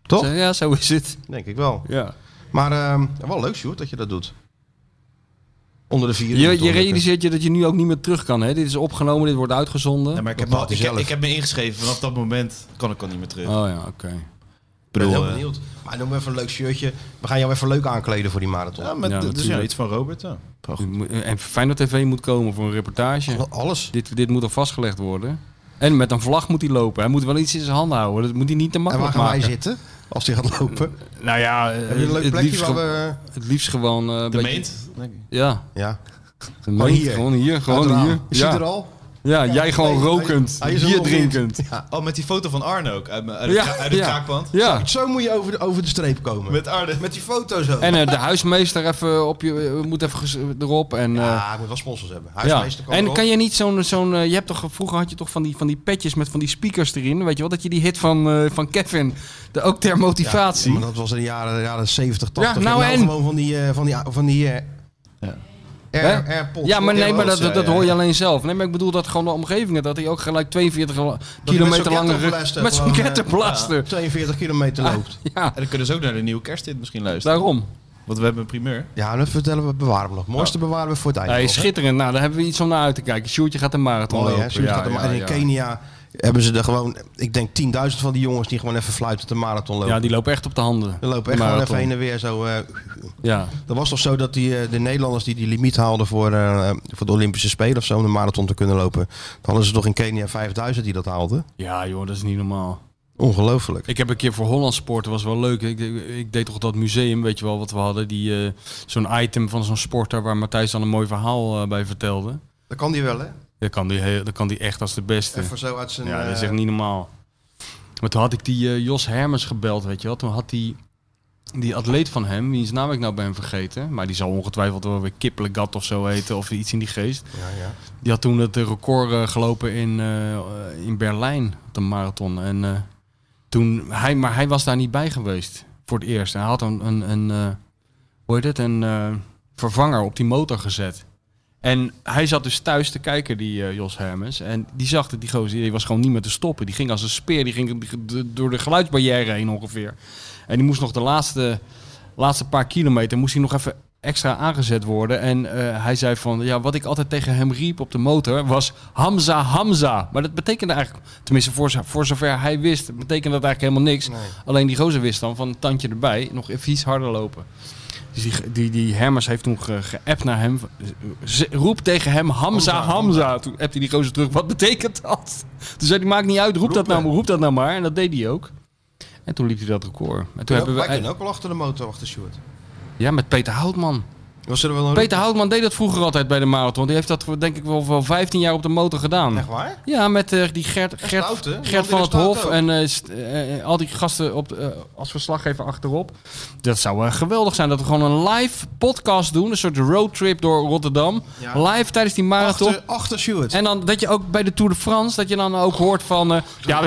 [SPEAKER 2] Toch?
[SPEAKER 3] Zeg, Ja, zo is het.
[SPEAKER 2] denk ik wel.
[SPEAKER 3] Ja.
[SPEAKER 2] Maar ehm, wel leuk, Sjoerd, dat je dat doet. Onder de vier
[SPEAKER 3] Je,
[SPEAKER 2] uur
[SPEAKER 3] je
[SPEAKER 2] door.
[SPEAKER 3] realiseert je dat je nu ook niet meer terug kan. Hè? Dit is opgenomen, dit wordt uitgezonden.
[SPEAKER 4] Ja, maar ik
[SPEAKER 2] Dat
[SPEAKER 4] heb, al,
[SPEAKER 2] maakt hij
[SPEAKER 4] ik, heb-
[SPEAKER 2] zelf.
[SPEAKER 4] ik heb me ingeschreven. Vanaf dat moment kan ik al niet meer terug.
[SPEAKER 3] Oh ja, oké.
[SPEAKER 4] Ik
[SPEAKER 2] Ik ben
[SPEAKER 4] bedoel,
[SPEAKER 2] heel
[SPEAKER 4] eh,
[SPEAKER 2] benieuwd. Maar doe maar even een leuk shirtje. We gaan jou even leuk aankleden voor die marathon.
[SPEAKER 4] Ja, maar
[SPEAKER 3] Ja,
[SPEAKER 4] d- dus ja,
[SPEAKER 3] natuurlijk.
[SPEAKER 4] iets van Robert. Ja.
[SPEAKER 3] Je moet- En Feyenoord TV moet komen voor een reportage.
[SPEAKER 2] Al- Alles.
[SPEAKER 3] Dit, dit moet al vastgelegd worden. En met een vlag moet hij lopen. Hij moet wel iets in zijn handen houden. Dat moet hij niet te
[SPEAKER 2] En waar
[SPEAKER 3] makkelijk
[SPEAKER 2] gaan wij
[SPEAKER 3] maken.
[SPEAKER 2] zitten als die gaat lopen?
[SPEAKER 3] Nou ja, eh,
[SPEAKER 2] Heb je een leuk
[SPEAKER 3] het,
[SPEAKER 2] plekje
[SPEAKER 3] liefst
[SPEAKER 2] waar
[SPEAKER 3] ge-
[SPEAKER 2] we...
[SPEAKER 3] het liefst gewoon... eh, een
[SPEAKER 4] De
[SPEAKER 3] beetje-
[SPEAKER 4] meent. denk ik.
[SPEAKER 3] Ja,
[SPEAKER 2] Ja,
[SPEAKER 3] de meent.
[SPEAKER 2] hier.
[SPEAKER 3] Gewoon hier, gewoon
[SPEAKER 2] uit het raam.
[SPEAKER 3] hier.
[SPEAKER 2] Je
[SPEAKER 3] ja.
[SPEAKER 2] ziet er al.
[SPEAKER 3] ja, Ah, jij gewoon
[SPEAKER 2] Nee, hij-
[SPEAKER 3] rokend,
[SPEAKER 2] hij is er
[SPEAKER 3] bier
[SPEAKER 2] nog niet.
[SPEAKER 3] drinkend.
[SPEAKER 2] Ja.
[SPEAKER 4] Oh, met die foto van Arne ook. Uit, mijn- uit, het,
[SPEAKER 3] Ja,
[SPEAKER 4] kra- uit het
[SPEAKER 3] ja.
[SPEAKER 4] kraakpand.
[SPEAKER 3] Ja,
[SPEAKER 2] Zo moet je over de, over de streep komen.
[SPEAKER 4] Met Arne.
[SPEAKER 2] Met die foto zo.
[SPEAKER 3] en eh, de huismeester even op je, eh, moet even ges- erop. En, eh,
[SPEAKER 2] ja, moet wel sponsors hebben.
[SPEAKER 3] Ja.
[SPEAKER 2] Huismeester kan
[SPEAKER 3] En
[SPEAKER 2] erop.
[SPEAKER 3] kan je niet zo'n zo'n eh, je hebt toch vroeger had je toch van die van die petjes met van die speakers erin, weet je wel dat je die hit van, eh, van Kevin de, ook ter
[SPEAKER 2] Ja,
[SPEAKER 3] motivatie.
[SPEAKER 2] maar dat was in de jaren, jaren 70, 80.
[SPEAKER 3] Ja, nou
[SPEAKER 2] Je hebt
[SPEAKER 3] en?
[SPEAKER 2] Gewoon van die, eh, van die, van die eh
[SPEAKER 4] Ja.
[SPEAKER 2] Air,
[SPEAKER 3] Hè?
[SPEAKER 2] AirPods.
[SPEAKER 3] Ja, maar nee, maar dat,
[SPEAKER 4] ja,
[SPEAKER 3] dat, dat
[SPEAKER 4] ja.
[SPEAKER 3] hoor je alleen zelf. Nee, maar ik bedoel dat gewoon de omgeving. het, Dat hij ook gelijk 42 la-
[SPEAKER 2] zo'n
[SPEAKER 3] kilometer lange
[SPEAKER 2] ketterblaster
[SPEAKER 3] Met zo'n Ah.
[SPEAKER 2] gewoon, eh,
[SPEAKER 3] ketterblaster.
[SPEAKER 2] 42 kilometer loopt.
[SPEAKER 3] Ja,
[SPEAKER 4] En dan kunnen ze ook naar de nieuwe kerstdit misschien luisteren.
[SPEAKER 3] daarom.
[SPEAKER 4] Want we hebben een primeur.
[SPEAKER 2] Ja, dat vertellen we, bewaren we nog. Het mooiste bewaren we voor het eind.
[SPEAKER 3] Hij is
[SPEAKER 2] nog, hè?
[SPEAKER 3] schitterend. Nou, daar hebben we iets om naar uit te kijken. Sjoertje gaat een marathon
[SPEAKER 2] Mooi,
[SPEAKER 3] lopen.
[SPEAKER 2] hè? Zo gaat het maar. En in Kenia hebben ze er gewoon, ik denk 10.000 van die jongens die gewoon even fluiten de marathon lopen.
[SPEAKER 3] Ja, die lopen echt op de handen.
[SPEAKER 2] Die lopen echt gewoon
[SPEAKER 3] Marathon.
[SPEAKER 2] even heen en weer zo. eh.
[SPEAKER 3] Ja.
[SPEAKER 2] dat was toch zo dat die, eh, de Nederlanders die die limiet haalden voor, eh, voor de Olympische Spelen of zo om de marathon te kunnen lopen. Dan hadden ze toch in Kenia 5000 die dat haalden.
[SPEAKER 3] ja, joh, dat is niet normaal.
[SPEAKER 2] Ongelooflijk.
[SPEAKER 3] Ik heb een keer voor Holland Sport, dat was wel leuk. Ik, ik, ik deed toch dat museum, weet je wel, wat we hadden. Die, eh, zo'n item van zo'n sporter waar Matthijs dan een mooi verhaal eh, bij vertelde.
[SPEAKER 2] Dat kan die wel, hè?
[SPEAKER 3] Dat kan die, heel- dat kan die echt als de beste.
[SPEAKER 2] Even zo uit zijn...
[SPEAKER 3] Ja, dat is
[SPEAKER 2] eh,
[SPEAKER 3] echt niet normaal. Maar toen had ik die eh, Jos Hermers gebeld, weet je wel. Toen had die, die atleet van hem, wiens naam ik nou ben vergeten. Maar die zal ongetwijfeld wel weer Kippelegat of zo heten. Of iets in die geest.
[SPEAKER 2] Ja, ja.
[SPEAKER 3] Die had toen het eh, record eh, gelopen in, eh, eh, in Berlijn op de marathon. En eh, toen, hij, maar hij was daar niet bij geweest voor het eerst. Hij had een, een, een eh, hoe heet het, een eh, vervanger op die motor gezet. En hij zat dus thuis te kijken, die eh, Jos Hermes. En die zag dat die gozer, die was gewoon niet meer te stoppen. Die ging als een speer, die ging d- door de geluidsbarrière heen ongeveer. En die moest nog de laatste, laatste paar kilometer, moest hij nog even extra aangezet worden. En eh, hij zei van, ja, wat ik altijd tegen hem riep op de motor was Hamza Hamza. Maar dat betekende eigenlijk, tenminste voor, zo- voor zover hij wist, betekende dat eigenlijk helemaal niks. Alleen die gozer wist dan van een tandje erbij, nog even iets harder lopen. Dus die, die, die Hermers heeft toen ge- geappt naar hem. Z- Roep tegen hem Hamza Hamza. Toen appte hij die gozer terug. Wat betekent dat? Toen zei hij, maakt niet uit. Roep dat, nou, roep dat nou maar. En dat deed hij ook. En toen liep hij dat record. En toen hebben
[SPEAKER 2] wij
[SPEAKER 3] we,
[SPEAKER 2] kunnen ook wel achter de motor, achter Sjoerd.
[SPEAKER 3] ja, met Peter Houtman.
[SPEAKER 2] Was er wel een
[SPEAKER 3] Peter Houtman deed dat vroeger altijd bij de marathon. Die heeft dat voor, denk ik wel, wel 15 jaar op de motor gedaan.
[SPEAKER 2] Echt waar?
[SPEAKER 3] Ja, met eh, die Gert, Gert,
[SPEAKER 2] oud, hè? Die
[SPEAKER 3] Gert van
[SPEAKER 2] andere
[SPEAKER 3] het Hof
[SPEAKER 2] staat ook.
[SPEAKER 3] en eh, st- eh, eh, al die gasten op, de- eh, als verslaggever achterop. Dat zou eh, geweldig zijn dat we gewoon een live podcast doen. Een soort roadtrip door Rotterdam. Live tijdens die marathon.
[SPEAKER 2] Achter, achter Sjoerd.
[SPEAKER 3] En dan dat je ook bij de Tour de France, dat je dan ook hoort van. eh, ja,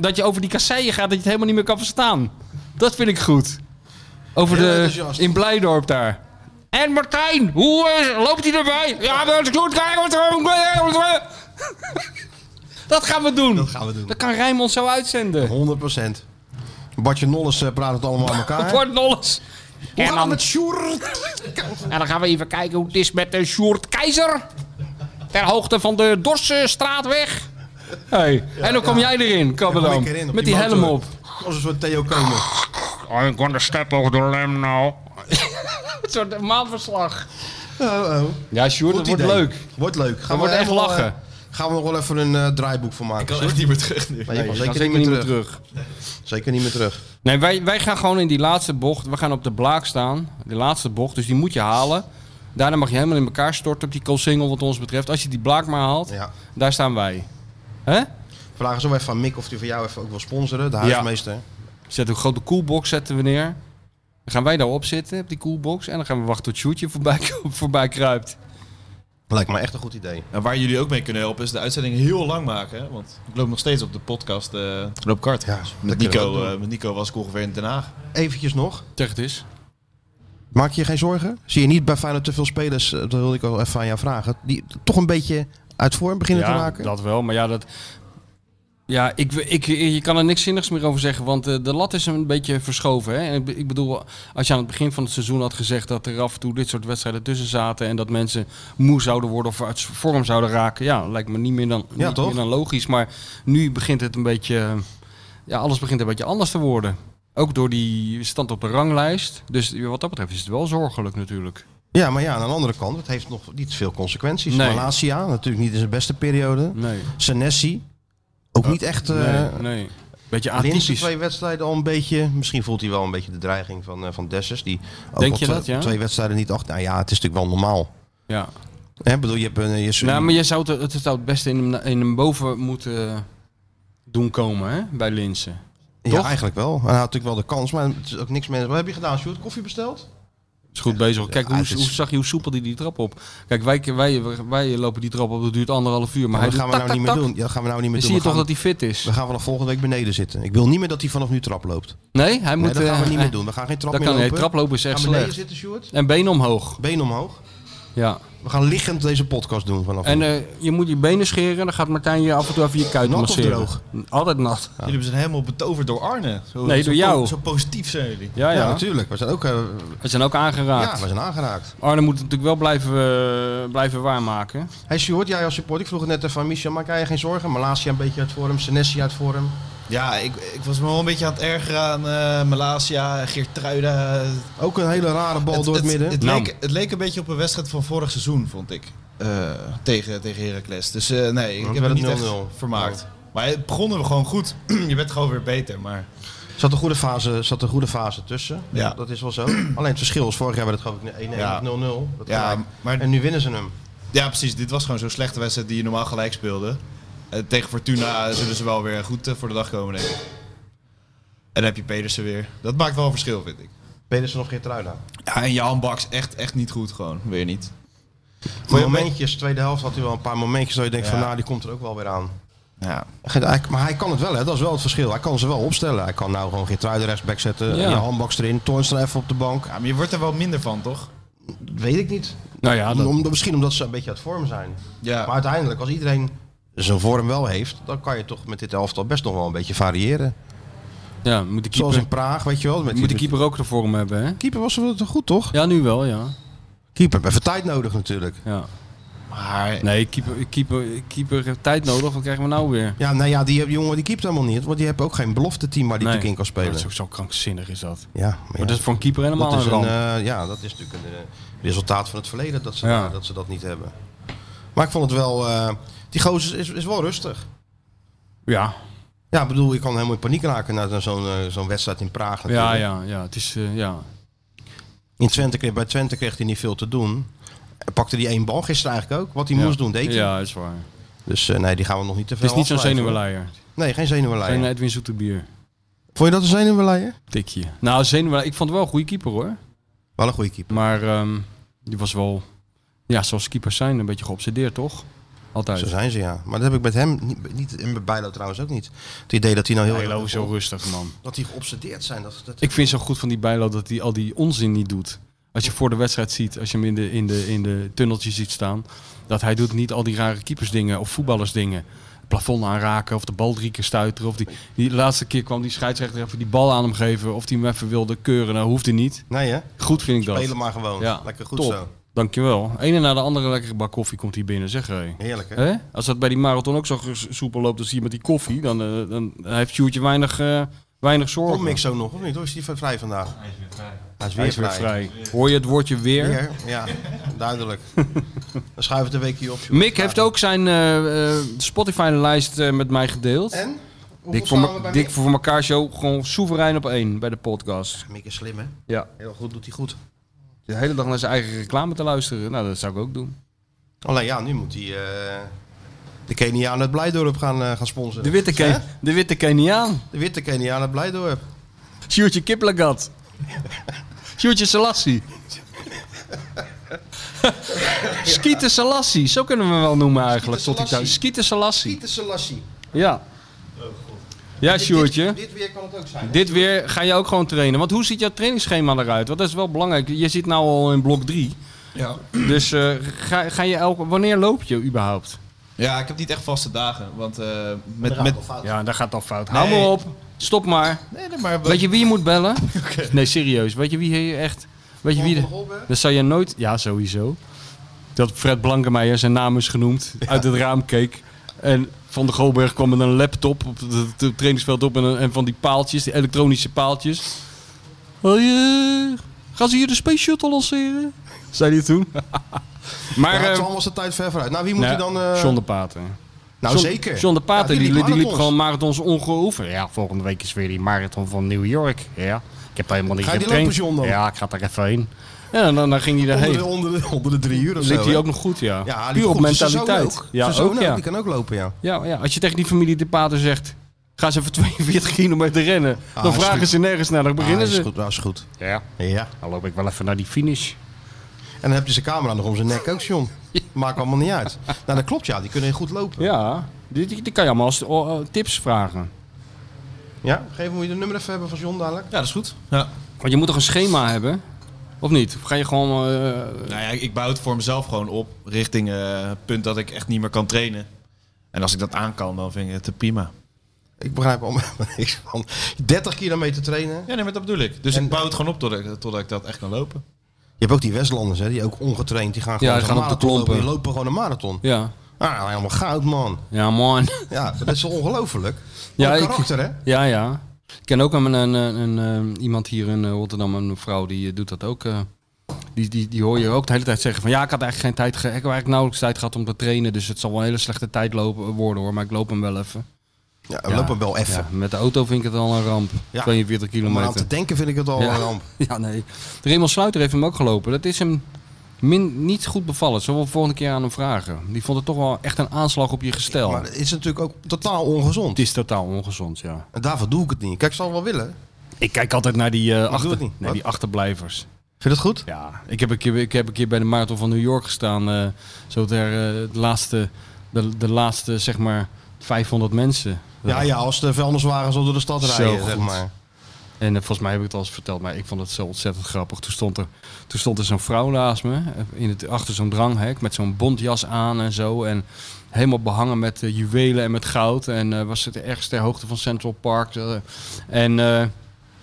[SPEAKER 3] dat je over die kasseien gaat, dat je het helemaal niet meer kan verstaan. Dat vind ik goed. Over
[SPEAKER 2] Heel
[SPEAKER 3] de.
[SPEAKER 2] enthousiast.
[SPEAKER 3] In Blijdorp daar. En Martijn, hoe eh, loopt hij erbij? Ja, dat is goed, kijk, wat er- Dat gaan we doen.
[SPEAKER 2] gaan we doen.
[SPEAKER 3] Dat kan Rijmond zo uitzenden.
[SPEAKER 2] 100%. Bartje Nolles eh, praat het allemaal aan elkaar.
[SPEAKER 3] Voor Nolles.
[SPEAKER 2] Hoe
[SPEAKER 3] En
[SPEAKER 2] gaat het
[SPEAKER 3] dan,
[SPEAKER 2] met Sjoerd?
[SPEAKER 3] en dan gaan we even kijken hoe het is met de Sjoerd Keizer. Ter hoogte van de Dorse straatweg. Hey. en dan kom jij erin,
[SPEAKER 2] Kom
[SPEAKER 3] Kabbelam.
[SPEAKER 2] ik erin op
[SPEAKER 3] met die,
[SPEAKER 2] motor.
[SPEAKER 3] helm op.
[SPEAKER 2] Als een soort Theo Komen.
[SPEAKER 6] I'm gonna step over the limb now.
[SPEAKER 3] [laughs] Een soort maandverslag.
[SPEAKER 2] Oh, oh.
[SPEAKER 3] Ja, Sjoerd, dat wordt
[SPEAKER 2] idee.
[SPEAKER 3] leuk.
[SPEAKER 2] Wordt leuk. Gaan
[SPEAKER 3] wordt echt
[SPEAKER 2] even wel,
[SPEAKER 3] lachen.
[SPEAKER 2] eh, gaan we nog wel even een eh, draaiboek voor maken.
[SPEAKER 4] kan echt niet meer terug nu.
[SPEAKER 2] Nee, je kan
[SPEAKER 3] Gaat
[SPEAKER 2] zeker niet meer terug.
[SPEAKER 3] terug.
[SPEAKER 2] Zeker niet meer terug.
[SPEAKER 3] Nee, wij, wij gaan gewoon in die laatste bocht. We gaan op de blaak staan. De laatste bocht, dus die moet je halen. Daarna mag je helemaal in elkaar storten op die koolsingel wat ons betreft. Als je die blaak maar haalt,
[SPEAKER 2] Ja.
[SPEAKER 3] daar staan wij. Hè?
[SPEAKER 2] Vragen zo even aan Mick of hij voor jou even ook wil sponsoren. De huismeester.
[SPEAKER 3] Zetten we een grote koelbox zetten we neer. Dan gaan wij daarop zitten, op die koelbox. En dan gaan we wachten tot Sjoerdje voorbij, [laughs] voorbij kruipt.
[SPEAKER 2] Lijkt me echt een goed idee.
[SPEAKER 4] En waar jullie ook mee kunnen helpen is de uitzending heel lang maken. hè, Want ik loop nog steeds op de podcast eh Loop Kart.
[SPEAKER 2] Ja, dat
[SPEAKER 4] met,
[SPEAKER 2] kunnen we
[SPEAKER 4] Nico,
[SPEAKER 2] ook doen.
[SPEAKER 4] eh, met Nico was ik ongeveer in Den Haag.
[SPEAKER 2] Eventjes nog.
[SPEAKER 3] Zeg het eens.
[SPEAKER 2] Maak je je geen zorgen? Zie je niet bij Feyenoord te veel spelers, eh, dat wilde ik al even aan jou vragen, die toch een beetje uit vorm beginnen te raken?
[SPEAKER 3] dat wel. Maar ja, dat... Ja, ik, ik, je kan er niks zinnigs meer over zeggen, want eh, de lat is een beetje verschoven. Hè? En ik, be- ik bedoel, als je aan het begin van het seizoen had gezegd dat er af en toe dit soort wedstrijden tussen zaten... en dat mensen moe zouden worden of uit vorm zouden raken... ja, lijkt me niet meer dan,
[SPEAKER 2] Ja,
[SPEAKER 3] niet
[SPEAKER 2] toch?
[SPEAKER 3] meer dan logisch. Maar nu begint het een beetje... eh, Ja, alles begint een beetje anders te worden. Ook door die stand op de ranglijst. Dus wat dat betreft is het wel zorgelijk natuurlijk.
[SPEAKER 2] Ja, maar ja, aan de andere kant, het heeft nog niet veel consequenties.
[SPEAKER 3] Nee.
[SPEAKER 2] Malasia, natuurlijk niet in zijn beste periode.
[SPEAKER 3] Nee,
[SPEAKER 2] Senesi, ook niet echt... eh
[SPEAKER 3] nee, nee. Beetje
[SPEAKER 2] de eerste
[SPEAKER 3] atypisch.
[SPEAKER 2] twee wedstrijden al een beetje... Misschien voelt hij wel een beetje de dreiging van, eh, van Dessers. Die ook
[SPEAKER 3] Denk
[SPEAKER 2] al
[SPEAKER 3] je
[SPEAKER 2] twee-
[SPEAKER 3] dat, ja?
[SPEAKER 2] twee wedstrijden niet achter... Nou ja, het is natuurlijk wel normaal.
[SPEAKER 3] Ja.
[SPEAKER 2] Hè, bedoel, je hebt een... eh, Je,
[SPEAKER 3] Nou, maar je zou het, het, het zou het beste in hem, in hem boven moeten doen komen, hè? Bij Linsen.
[SPEAKER 2] ja,
[SPEAKER 3] toch?
[SPEAKER 2] eigenlijk wel. Hij had natuurlijk wel de kans, maar het is ook niks meer... Wat heb je gedaan, Sjoerd? Koffie besteld?
[SPEAKER 3] Is goed bezig. Kijk,
[SPEAKER 2] Ja,
[SPEAKER 3] hoe,
[SPEAKER 2] het is-
[SPEAKER 3] hoe zag je hoe soepel die die trap op? Kijk, wij, wij, wij lopen die trap op, dat duurt anderhalf uur.
[SPEAKER 2] Maar
[SPEAKER 3] Maar hij
[SPEAKER 2] dat gaan
[SPEAKER 3] doet
[SPEAKER 2] we
[SPEAKER 3] tak,
[SPEAKER 2] nou niet
[SPEAKER 3] tak,
[SPEAKER 2] meer
[SPEAKER 3] tak.
[SPEAKER 2] doen. Ja, dat gaan we nou niet meer
[SPEAKER 3] Dan
[SPEAKER 2] doen.
[SPEAKER 3] zie
[SPEAKER 2] We
[SPEAKER 3] je toch
[SPEAKER 2] gaan-
[SPEAKER 3] dat hij fit is.
[SPEAKER 2] We gaan vanaf volgende week beneden zitten. Ik wil niet meer dat hij vanaf nu trap loopt.
[SPEAKER 3] Nee, hij
[SPEAKER 2] nee,
[SPEAKER 3] moet...
[SPEAKER 2] dat gaan we
[SPEAKER 3] eh,
[SPEAKER 2] niet meer doen. We gaan geen trap
[SPEAKER 3] Dat
[SPEAKER 2] meer
[SPEAKER 3] kan nee,
[SPEAKER 2] lopen.
[SPEAKER 3] traplopen is echt
[SPEAKER 2] gaan beneden
[SPEAKER 3] slecht.
[SPEAKER 2] zitten, Sjoerd.
[SPEAKER 3] En been omhoog.
[SPEAKER 2] Been omhoog.
[SPEAKER 3] Ja.
[SPEAKER 2] We gaan liggend deze podcast doen vanaf
[SPEAKER 3] En
[SPEAKER 2] nu.
[SPEAKER 3] eh, je moet je benen scheren, dan gaat Martijn je af en toe even je kuit
[SPEAKER 2] Nat of
[SPEAKER 3] masseren.
[SPEAKER 2] droog?
[SPEAKER 3] Altijd nat.
[SPEAKER 4] Jullie zijn helemaal betoverd door Arne. Zo,
[SPEAKER 3] Nee,
[SPEAKER 4] zo
[SPEAKER 3] door jou.
[SPEAKER 4] po- Zo positief zijn jullie.
[SPEAKER 3] Ja,
[SPEAKER 2] ja,
[SPEAKER 3] ja.
[SPEAKER 2] natuurlijk. We zijn ook eh,
[SPEAKER 3] We zijn ook
[SPEAKER 2] ja,
[SPEAKER 3] aangeraakt.
[SPEAKER 2] we zijn aangeraakt.
[SPEAKER 3] Arne moet het natuurlijk wel blijven, eh, blijven waarmaken.
[SPEAKER 2] Hey Sjoerd, jij als support. Ik vroeg het net even aan Michel. Maak jij je geen zorgen? Malasia een beetje uit vorm. Senesi uit vorm.
[SPEAKER 4] Ja, ik, ik was me wel een beetje aan het ergeren aan eh Malasia, Geertruida.
[SPEAKER 2] Ook een hele rare bal door het, midden.
[SPEAKER 4] Het,
[SPEAKER 3] Nou.
[SPEAKER 4] leek, het leek een beetje op een wedstrijd van vorig seizoen, vond ik. Eh, tegen, tegen Heracles. Dus eh, nee, ik
[SPEAKER 2] het
[SPEAKER 4] heb het
[SPEAKER 2] werd
[SPEAKER 4] niet
[SPEAKER 2] 0-0.
[SPEAKER 4] echt vermaakt. Maar het begonnen we gewoon goed. [clears throat] Je bent gewoon weer beter, maar...
[SPEAKER 2] zat, een goede fase, zat een goede fase tussen.
[SPEAKER 4] Ja.
[SPEAKER 2] Dat is wel zo. Alleen het verschil is vorig jaar werd het geloof ik 1-1
[SPEAKER 4] Ja.
[SPEAKER 2] of 0-0. Dat
[SPEAKER 4] Ja,
[SPEAKER 2] gelijk.
[SPEAKER 4] maar
[SPEAKER 2] En nu winnen ze hem.
[SPEAKER 4] Ja, precies. Dit was gewoon zo'n slechte wedstrijd die je normaal gelijk speelde. Eh, tegen Fortuna zullen ze wel weer goed eh, voor de dag komen, denk ik. En dan heb je Pedersen weer. Dat maakt wel een verschil, vind ik.
[SPEAKER 2] Pedersen of Geertruida.
[SPEAKER 4] Ja, en Jan Baks echt, echt niet goed gewoon. Weer niet.
[SPEAKER 2] Voor momentjes, tweede helft had hij wel een paar momentjes dat je denkt van
[SPEAKER 4] Ja.
[SPEAKER 2] nou, die komt er ook wel weer aan.
[SPEAKER 4] Ja.
[SPEAKER 2] Geen- hij- Maar hij kan het wel, hè? dat is wel het verschil. Hij kan ze wel opstellen. Hij kan nou gewoon Geertruiden rechtsback zetten,
[SPEAKER 3] Ja.
[SPEAKER 2] je handbaks erin, Toornstra even op de bank.
[SPEAKER 4] ja, maar je wordt er wel minder van, toch?
[SPEAKER 2] Dat weet ik niet.
[SPEAKER 3] Nou ja, dat,
[SPEAKER 2] Om, misschien omdat ze een beetje uit vorm zijn.
[SPEAKER 4] Ja.
[SPEAKER 2] Maar uiteindelijk, als iedereen zijn vorm wel heeft, dan kan je toch met dit elftal best nog wel een beetje variëren.
[SPEAKER 3] Ja, moet de
[SPEAKER 2] Zoals
[SPEAKER 3] keeper,
[SPEAKER 2] in Praag, weet je wel. Met die-
[SPEAKER 3] moet de keeper ook de vorm hebben, hè?
[SPEAKER 2] keeper was wel goed, toch?
[SPEAKER 3] Ja, nu wel, ja.
[SPEAKER 2] Keeper, even tijd nodig natuurlijk.
[SPEAKER 3] ja.
[SPEAKER 4] Maar
[SPEAKER 3] Nee, keeper, keeper, keeper heeft tijd nodig. Wat krijgen we nou weer?
[SPEAKER 2] Ja, nou ja, die, die jongen die keept helemaal niet. Want die hebben ook geen belofte team waar die
[SPEAKER 3] Nee.
[SPEAKER 2] natuurlijk in kan spelen.
[SPEAKER 3] Dat is ook zo krankzinnig is dat.
[SPEAKER 2] Ja, maar ja,
[SPEAKER 3] Maar dat is voor een keeper helemaal
[SPEAKER 2] dat is
[SPEAKER 3] een
[SPEAKER 2] een,
[SPEAKER 3] ramp.
[SPEAKER 2] eh, ja, dat is natuurlijk een eh, resultaat van het verleden dat ze,
[SPEAKER 3] Ja.
[SPEAKER 2] dat ze dat niet hebben. Maar ik vond het wel... eh, die gozer is, is wel rustig. eh,
[SPEAKER 3] ja.
[SPEAKER 2] Ja, ik bedoel, je kan helemaal in paniek raken na zo'n eh, zo'n wedstrijd in Praag natuurlijk.
[SPEAKER 3] Ja, ja, ja. Het is, eh, ja.
[SPEAKER 2] In Twente, kreeg- bij Twente kreeg hij niet veel te doen. Hij pakte die één bal gisteren eigenlijk ook. Wat hij
[SPEAKER 3] Ja.
[SPEAKER 2] moest doen, deed hij.
[SPEAKER 3] Ja, is waar.
[SPEAKER 2] Dus eh, nee, die gaan we nog niet te
[SPEAKER 3] Het
[SPEAKER 2] veel
[SPEAKER 3] is niet zo'n
[SPEAKER 2] afwijzen,
[SPEAKER 3] zenuwleier.
[SPEAKER 2] hoor. Nee, geen zenuwleier.
[SPEAKER 3] Geen eh, Edwin Zoeterbier.
[SPEAKER 2] Vond je dat een zenuwleier?
[SPEAKER 3] Tikje. Nou, zenuwleier. Ik vond het wel een goede keeper, hoor.
[SPEAKER 2] Wel een goede keeper.
[SPEAKER 3] Maar ehm, die was wel, ja, zoals keepers zijn, een beetje geobsedeerd, toch? Altijd.
[SPEAKER 2] Zo zijn ze, ja. Maar dat heb ik met hem niet, niet en met Bijlo trouwens ook niet. Het idee dat hij nou heel
[SPEAKER 3] Bijlo
[SPEAKER 2] erg-
[SPEAKER 3] is zo rustig, man.
[SPEAKER 2] Dat die geobsedeerd zijn. Dat, dat...
[SPEAKER 3] Ik vind zo goed van die Bijlo dat hij al die onzin niet doet. Als je voor de wedstrijd ziet, als je hem in de, in de, in de tunneltje ziet staan, dat hij doet niet al die rare keepersdingen of voetballersdingen. Het plafond aanraken of de bal drie keer stuiteren. Of die, die laatste keer kwam die scheidsrechter even die bal aan hem geven of die hem even wilde keuren. Nou, hoefde niet.
[SPEAKER 2] Nee, hè?
[SPEAKER 3] Goed vind ik dat.
[SPEAKER 2] Spelen maar gewoon.
[SPEAKER 3] Ja,
[SPEAKER 2] Lekker goed
[SPEAKER 3] top.
[SPEAKER 2] zo.
[SPEAKER 3] Dankjewel. Ene na de andere lekkere bak koffie komt hier binnen, zeg hé.
[SPEAKER 2] Heerlijk, hè?
[SPEAKER 3] Hè? Als dat bij die marathon ook zo ge- soepel loopt als hier met die koffie, dan, eh, dan heeft Sjoerdje weinig, eh, weinig zorgen.
[SPEAKER 2] Kom ik zo nog, of niet? Hoor, is die vrij vandaag? Hij is weer vrij. Hij is weer,
[SPEAKER 3] Hij is weer
[SPEAKER 2] vrij.
[SPEAKER 3] vrij. Hoor je het woordje weer?
[SPEAKER 2] Weer? Ja,
[SPEAKER 3] [laughs]
[SPEAKER 2] duidelijk. Dan schuif het een weekje op. joh.
[SPEAKER 3] Mick heeft ook zijn eh, eh, Spotify-lijst eh, met mij gedeeld.
[SPEAKER 2] En?
[SPEAKER 3] Dik
[SPEAKER 2] Hoeveel
[SPEAKER 3] voor,
[SPEAKER 2] staan we
[SPEAKER 3] me-
[SPEAKER 2] bij
[SPEAKER 3] Dik
[SPEAKER 2] Mick?
[SPEAKER 3] voor voor elkaar show gewoon soeverein op één bij de podcast.
[SPEAKER 2] Mick is slim, hè?
[SPEAKER 3] Ja.
[SPEAKER 2] Heel goed doet hij goed.
[SPEAKER 3] De hele dag naar zijn eigen reclame te luisteren. Nou, dat zou ik ook doen.
[SPEAKER 2] Alleen ja, nu moet hij eh, de Keniaan uit Blijdorp gaan, eh, gaan sponsoren.
[SPEAKER 3] De witte, Ken-
[SPEAKER 2] Hè?
[SPEAKER 3] de witte Keniaan.
[SPEAKER 2] De witte Keniaan uit Blijdorp.
[SPEAKER 3] Sjoerdje
[SPEAKER 2] [laughs]
[SPEAKER 3] Kiplagat. Sjoerdje Selassie. Skieten Selassie. Zo kunnen we hem wel noemen eigenlijk.
[SPEAKER 2] Schieten
[SPEAKER 3] Tot die thuis.
[SPEAKER 2] Selassie.
[SPEAKER 3] Skieten Selassie.
[SPEAKER 2] Pieter Selassie.
[SPEAKER 3] Ja. Ja,
[SPEAKER 2] Dit-
[SPEAKER 3] Sjoerdje.
[SPEAKER 2] Dit, dit weer kan het ook zijn.
[SPEAKER 3] Dit weer ga je ook gewoon trainen. Want hoe ziet jouw trainingsschema eruit? Want dat is wel belangrijk. Je zit nou al in blok 3.
[SPEAKER 4] ja.
[SPEAKER 3] Dus eh, ga, ga je elke, wanneer loop je überhaupt?
[SPEAKER 4] ja, ik heb niet echt vaste dagen. Want eh,
[SPEAKER 2] Met,
[SPEAKER 4] met, met,
[SPEAKER 3] Ja, dat gaat al fout.
[SPEAKER 4] Nee.
[SPEAKER 3] Hou Nou, maar op. Stop maar.
[SPEAKER 4] Nee, nee, maar
[SPEAKER 3] Weet je wie je moet bellen? Nee, serieus. Weet je wie je echt... Weet je wie... de- Dat zou je nooit... Ja, sowieso. Dat Fred Blankenmeijer, zijn naam is genoemd, uit het raam keek. En Van de Golberg kwam met een laptop op het trainingsveld op en, een- en van die paaltjes, die elektronische paaltjes. Hoi, eh, gaan ze hier de Space Shuttle lanceren? Zei hij toen. [laughs] maar...
[SPEAKER 2] Maar ja,
[SPEAKER 3] eh,
[SPEAKER 2] het was de tijd ver vooruit. Nou, wie moet
[SPEAKER 3] nou,
[SPEAKER 2] hij dan... eh,
[SPEAKER 3] John de Pater.
[SPEAKER 2] nou,
[SPEAKER 3] John-
[SPEAKER 2] zeker.
[SPEAKER 3] John de Pater,
[SPEAKER 2] Ja,
[SPEAKER 3] die, die, liep
[SPEAKER 2] marathons.
[SPEAKER 3] gewoon marathons ongeoefend. Ja, volgende week is weer die marathon van New York. Ja, ik heb helemaal niet
[SPEAKER 2] Ga je die
[SPEAKER 3] getraind.
[SPEAKER 2] lopen, John, dan?
[SPEAKER 3] Ja, ik ga er even heen. Ja, en dan, dan ging hij
[SPEAKER 2] Onder de,
[SPEAKER 3] daarheen.
[SPEAKER 2] onder, de, onder de drie uur of zo.
[SPEAKER 3] eh, Liep hij
[SPEAKER 2] hè?
[SPEAKER 3] ook nog goed, ja.
[SPEAKER 2] Ja, hij liep
[SPEAKER 3] Puur op
[SPEAKER 2] goed. Zijn zoon
[SPEAKER 3] mentaliteit.
[SPEAKER 2] ook.
[SPEAKER 3] Ja,
[SPEAKER 2] Zijn zoon
[SPEAKER 3] ook,
[SPEAKER 2] ook,
[SPEAKER 3] ja.
[SPEAKER 2] Die kan ook lopen, ja.
[SPEAKER 3] Ja, ja, als je tegen die familie de pater zegt... Ga eens even [laughs] 42 kilometer rennen.
[SPEAKER 2] Ah,
[SPEAKER 3] dan
[SPEAKER 2] is
[SPEAKER 3] vragen
[SPEAKER 2] goed.
[SPEAKER 3] ze nergens naar, dan beginnen
[SPEAKER 2] ah, is
[SPEAKER 3] ze.
[SPEAKER 2] goed, dat is goed.
[SPEAKER 3] Ja,
[SPEAKER 2] Ja.
[SPEAKER 3] dan loop ik wel even naar die finish.
[SPEAKER 2] En dan heb je zijn camera nog om zijn nek ook, John. Maakt allemaal niet uit. Nou, dat klopt, ja. Die kunnen goed lopen.
[SPEAKER 3] Ja, die, die, die kan je allemaal als oh, eh, tips vragen.
[SPEAKER 2] Ja? Geef me je de nummer even hebben van John dadelijk.
[SPEAKER 4] Ja, dat is goed. Ja.
[SPEAKER 3] Want je moet toch een schema hebben? Of niet? Of ga je gewoon... eh,
[SPEAKER 4] Nou ja, ik bouw het voor mezelf gewoon op richting eh punt dat ik echt niet meer kan trainen. En als ik dat aan kan, dan vind ik het eh, prima.
[SPEAKER 2] Ik begrijp [laughs] allemaal niks van. 30 kilometer trainen.
[SPEAKER 4] Ja, nee, maar dat bedoel ik. Dus
[SPEAKER 2] En-
[SPEAKER 4] ik bouw het gewoon op totdat, ik- totdat ik dat echt kan lopen.
[SPEAKER 2] Je hebt ook die Westlanders, hè, die ook ongetraind, die gaan
[SPEAKER 3] Ja,
[SPEAKER 2] gewoon
[SPEAKER 3] die
[SPEAKER 2] zo'n
[SPEAKER 3] gaan op de
[SPEAKER 2] marathon
[SPEAKER 3] klompen.
[SPEAKER 2] Lopen. Die lopen gewoon een marathon.
[SPEAKER 3] ja.
[SPEAKER 2] Ah, helemaal goud, man.
[SPEAKER 3] Ja, man.
[SPEAKER 2] Ja, dat is ongelooflijk.
[SPEAKER 3] Ja,
[SPEAKER 2] Ja,
[SPEAKER 3] ik-
[SPEAKER 2] karakter, hè?
[SPEAKER 3] Ja, ja. Ik ken ook een, een, een, een, eh, iemand hier in eh, Rotterdam, een vrouw, die eh, doet dat ook. eh. die, die, die hoor je ook de hele tijd zeggen van ja, ik had eigenlijk geen tijd, ge- ik heb eigenlijk nauwelijks tijd gehad om te trainen, dus het zal wel een hele slechte tijd lopen, eh, worden hoor, maar ik loop hem wel even.
[SPEAKER 2] Ja,
[SPEAKER 3] Ja.
[SPEAKER 2] loop hem wel even.
[SPEAKER 3] Ja, met de auto vind ik het al een ramp,
[SPEAKER 2] Ja.
[SPEAKER 3] 42
[SPEAKER 2] Om maar aan te
[SPEAKER 3] kilometer.
[SPEAKER 2] denken vind ik het al
[SPEAKER 3] Ja.
[SPEAKER 2] een ramp.
[SPEAKER 3] [laughs] Ja, nee. Raymond Sluiter heeft hem ook gelopen. Dat is hem min, niet goed bevallen. Zullen we volgende keer aan hem vragen? Die vond het toch wel echt een aanslag op je gestel.
[SPEAKER 2] Maar het is natuurlijk ook totaal
[SPEAKER 3] het
[SPEAKER 2] ongezond.
[SPEAKER 3] is totaal ongezond, ja.
[SPEAKER 2] En daarvoor doe ik het niet. Kijk, ik zal het wel willen.
[SPEAKER 3] Ik kijk altijd naar die, eh,
[SPEAKER 2] doe
[SPEAKER 3] achter,
[SPEAKER 2] het niet.
[SPEAKER 3] naar die achterblijvers.
[SPEAKER 2] Vind je dat goed?
[SPEAKER 3] Ja, ik heb een keer, ik heb een keer bij de Marathon van New York gestaan. eh, zo ter eh, de laatste, de, de laatste, zeg maar, 500 mensen.
[SPEAKER 2] Ja, ja, als de vuilniswagens al door de stad
[SPEAKER 3] Zo
[SPEAKER 2] rijden,
[SPEAKER 3] goed.
[SPEAKER 2] zeg maar.
[SPEAKER 3] En eh, volgens mij heb ik het al eens verteld, maar ik vond het zo ontzettend grappig. Toen stond er, toen stond er zo'n vrouw naast me, eh, in het, achter zo'n dranghek, met zo'n bontjas aan en zo. En helemaal behangen met eh, juwelen en met goud. En eh, was het ergens ter hoogte van Central Park. eh. en, eh,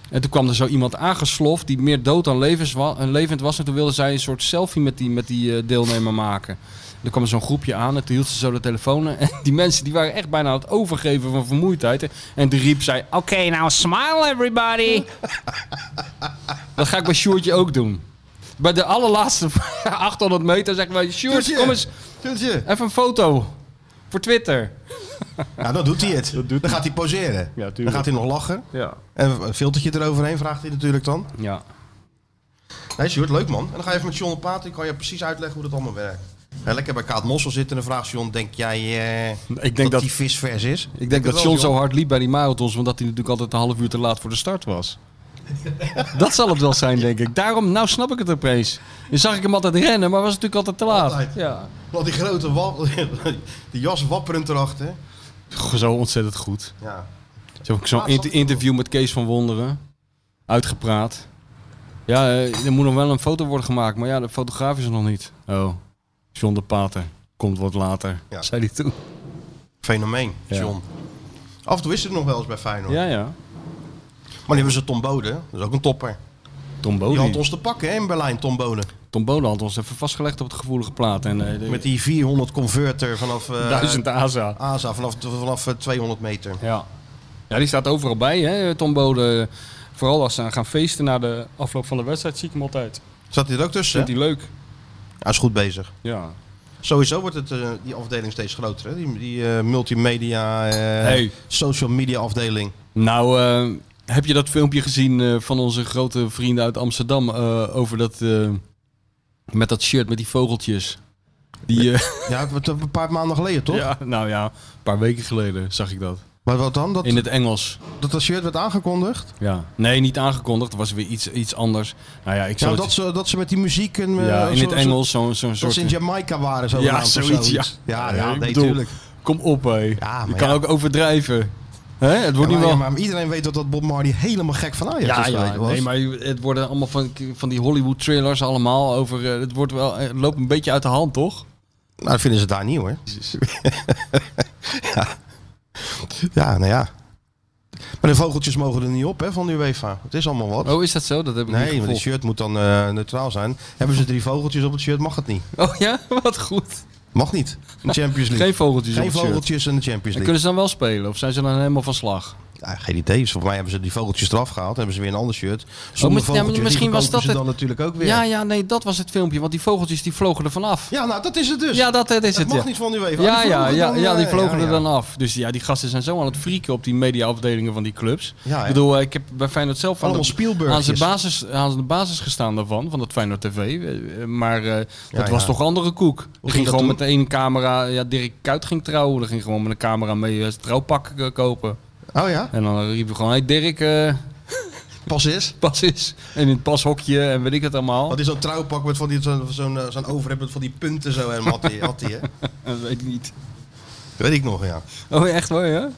[SPEAKER 3] en toen kwam er zo iemand aangesloft die meer dood dan levens wa- eh, levend was. En toen wilde zij een soort selfie met die, met die eh, deelnemer maken. En er kwam er zo'n groepje aan en toen hield ze zo de telefoon. [laughs] En die mensen die waren echt bijna aan het overgeven van vermoeidheid. En toen riep zij, oké, nou smile everybody. [laughs] Dat ga ik bij Sjoertje ook doen. Bij de allerlaatste [laughs] 800 meter zeggen wij, Sjoertje,
[SPEAKER 2] Sjoerdje.
[SPEAKER 3] kom eens,
[SPEAKER 2] Tuntje.
[SPEAKER 3] even een foto. Voor Twitter.
[SPEAKER 2] Nou, dan doet hij het. dan gaat hij poseren. dan gaat hij nog lachen.
[SPEAKER 3] Ja.
[SPEAKER 2] En een filtertje eroverheen vraagt hij natuurlijk dan.
[SPEAKER 3] Ja.
[SPEAKER 2] Nee, Sjoerd, leuk man. En dan ga je even met John op praten. Ik kan je precies uitleggen hoe dat allemaal werkt. Ja, lekker bij Kaat Mossel zitten en dan vraagt John, denk jij eh,
[SPEAKER 3] Ik
[SPEAKER 2] dat,
[SPEAKER 3] denk dat,
[SPEAKER 2] die vis vers is?
[SPEAKER 3] ik denk dat
[SPEAKER 2] wel,
[SPEAKER 3] John zo hard liep bij die marathons, omdat hij natuurlijk altijd een half uur te laat voor de
[SPEAKER 2] [laughs]
[SPEAKER 3] start was. dat zal het wel zijn, denk ik. Daarom, nou snap ik het opeens. Dan zag ik hem altijd rennen, maar was natuurlijk altijd te laat.
[SPEAKER 2] Altijd.
[SPEAKER 3] Ja.
[SPEAKER 2] Want die grote wap, [laughs] die jas wapperend erachter.
[SPEAKER 3] Goh, Zo ontzettend goed.
[SPEAKER 2] Ja.
[SPEAKER 3] Zo- Zo'n inter- interview met Kees van Wonderen. Uitgepraat. Ja, eh, er moet nog wel een foto worden gemaakt, maar ja, de fotograaf is er nog niet. Oh, John de Pater. Komt wat later,
[SPEAKER 2] Ja.
[SPEAKER 3] zei hij toen.
[SPEAKER 2] Fenomeen,
[SPEAKER 3] Ja.
[SPEAKER 2] John. Af en toe is het nog wel eens bij Feyenoord.
[SPEAKER 3] Ja, ja.
[SPEAKER 2] Maar nu hebben ze Tom Bode, dat is ook een topper.
[SPEAKER 3] Tom
[SPEAKER 2] Die had
[SPEAKER 3] Bode.
[SPEAKER 2] ons te pakken hè, in Berlijn, Tom Bode.
[SPEAKER 3] Tom Bode had ons even vastgelegd op het gevoelige plaat. En, eh, de-
[SPEAKER 2] Met die 400 converter vanaf eh,
[SPEAKER 3] duizend ASA.
[SPEAKER 2] ASA, vanaf, vanaf eh, 200 meter.
[SPEAKER 3] Ja. ja, die staat overal bij, hè, Tom Bode. Vooral als ze aan gaan feesten na de afloop van de wedstrijd, zie ik hem altijd.
[SPEAKER 2] Zat hij er ook tussen?
[SPEAKER 3] Vindt
[SPEAKER 2] hè?
[SPEAKER 3] hij leuk.
[SPEAKER 2] Hij is goed bezig.
[SPEAKER 3] Ja.
[SPEAKER 2] Sowieso wordt het, eh, die afdeling steeds groter. Hè? Die, die eh, multimedia, eh,
[SPEAKER 3] Hey.
[SPEAKER 2] social media afdeling.
[SPEAKER 3] Nou, eh, heb je dat filmpje gezien eh, van onze grote vrienden uit Amsterdam eh, over dat eh, met dat shirt met die vogeltjes? Die, eh,
[SPEAKER 2] Ja, wat, een paar maanden geleden toch?
[SPEAKER 3] [laughs] ja, nou ja, een paar weken geleden zag ik dat.
[SPEAKER 2] Maar wat dan? Dat,
[SPEAKER 3] In het Engels.
[SPEAKER 2] dat dat shirt werd aangekondigd?
[SPEAKER 3] Ja. Nee, niet aangekondigd. Het was weer iets, iets anders. Nou ja, ik zou
[SPEAKER 2] Nou,
[SPEAKER 3] het-
[SPEAKER 2] dat, ze, dat ze met die muziek... En, eh,
[SPEAKER 3] ja, in
[SPEAKER 2] zo-
[SPEAKER 3] het
[SPEAKER 2] zo-
[SPEAKER 3] Engels zo'n zo'n
[SPEAKER 2] dat
[SPEAKER 3] soort...
[SPEAKER 2] ze in Jamaica waren zo.
[SPEAKER 3] Ja, zoiets, ja.
[SPEAKER 2] Ja, ja,
[SPEAKER 3] Ja, ik
[SPEAKER 2] nee,
[SPEAKER 3] bedoel,
[SPEAKER 2] tuurlijk.
[SPEAKER 3] Kom op, hé.
[SPEAKER 2] Ja,
[SPEAKER 3] je
[SPEAKER 2] maar
[SPEAKER 3] kan
[SPEAKER 2] ja.
[SPEAKER 3] ook overdrijven. Hè? Het wordt
[SPEAKER 2] Ja,
[SPEAKER 3] nu
[SPEAKER 2] maar,
[SPEAKER 3] wel...
[SPEAKER 2] ja, maar iedereen weet dat dat Bob Marley helemaal gek van Ajax
[SPEAKER 3] Ja,
[SPEAKER 2] is
[SPEAKER 3] ja,
[SPEAKER 2] geweest, was.
[SPEAKER 3] nee, maar het worden allemaal van, van die Hollywood thrillers allemaal over. eh, Het, wordt wel, het loopt een beetje uit de hand, toch?
[SPEAKER 2] Nou, dat vinden ze daar niet hoor. [laughs] ja. ja, nou ja. Maar de vogeltjes mogen er niet op hè, van de UEFA. Het is allemaal wat.
[SPEAKER 3] Oh, is dat zo? Dat heb ik
[SPEAKER 2] Nee,
[SPEAKER 3] niet
[SPEAKER 2] want het
[SPEAKER 3] gevolgd.
[SPEAKER 2] shirt moet dan eh, neutraal zijn. Hebben ze drie vogeltjes op het shirt, mag het niet.
[SPEAKER 3] Oh ja, [laughs] wat goed.
[SPEAKER 2] Mag niet. In de Champions League.
[SPEAKER 3] Geen vogeltjes
[SPEAKER 2] Geen
[SPEAKER 3] op het shirt.
[SPEAKER 2] vogeltjes in de Champions League.
[SPEAKER 3] En kunnen ze dan wel spelen? Of zijn ze dan helemaal van slag?
[SPEAKER 2] Ja, geen idee. Dus Volgens mij hebben ze die vogeltjes eraf gehaald. Hebben ze weer een ander shirt. Zonder
[SPEAKER 3] Oh, maar- ja, maar
[SPEAKER 2] vogeltjes, die
[SPEAKER 3] misschien was
[SPEAKER 2] verkopen
[SPEAKER 3] dat
[SPEAKER 2] ze
[SPEAKER 3] het-
[SPEAKER 2] dan natuurlijk ook weer.
[SPEAKER 3] Ja,
[SPEAKER 2] Ja,
[SPEAKER 3] ja, nee, dat was het filmpje. Want die vogeltjes die vlogen er vanaf. Ja,
[SPEAKER 2] nou dat is het dus.
[SPEAKER 3] ja dat, dat is
[SPEAKER 2] het
[SPEAKER 3] het.
[SPEAKER 2] mag
[SPEAKER 3] Ja.
[SPEAKER 2] niet van de UEFA.
[SPEAKER 3] Ja,
[SPEAKER 2] Die
[SPEAKER 3] ja,
[SPEAKER 2] vlogen
[SPEAKER 3] ja,
[SPEAKER 2] dan,
[SPEAKER 3] ja, die
[SPEAKER 2] eh,
[SPEAKER 3] vlogen
[SPEAKER 2] ja,
[SPEAKER 3] er
[SPEAKER 2] ja.
[SPEAKER 3] dan af. Dus ja, die gasten zijn zo aan het frieken op die mediaafdelingen van die clubs.
[SPEAKER 2] Ja,
[SPEAKER 3] ik
[SPEAKER 2] hè?
[SPEAKER 3] bedoel, eh, ik heb bij Feyenoord zelf aan
[SPEAKER 2] Allemaal
[SPEAKER 3] de,
[SPEAKER 2] Spielbergjes.
[SPEAKER 3] aan, zijn basis, aan de basis gestaan daarvan, van dat Feyenoord TV. Eh, eh, Maar eh, dat
[SPEAKER 2] ja.
[SPEAKER 3] was toch andere koek. Er ging
[SPEAKER 2] dat
[SPEAKER 3] gewoon
[SPEAKER 2] toen?
[SPEAKER 3] met één camera, ja, Dirk Kuyt ging trouwen. Er ging gewoon met een camera mee eh, zijn trouwpak eh, kopen.
[SPEAKER 2] Oh ja,
[SPEAKER 3] En dan riepen we gewoon, hey Dirk, eh,
[SPEAKER 2] pas is.
[SPEAKER 3] pas is. En in het pashokje en weet ik het allemaal.
[SPEAKER 2] Wat is zo'n trouwpak met van die- zo'n zo'n eh, zo'n overhemd met van die punten zo helemaal had hij, had hij,
[SPEAKER 3] [laughs]
[SPEAKER 2] hè?
[SPEAKER 3] Dat weet ik niet.
[SPEAKER 2] Weet ik nog, ja.
[SPEAKER 3] Oh, echt waar, ja?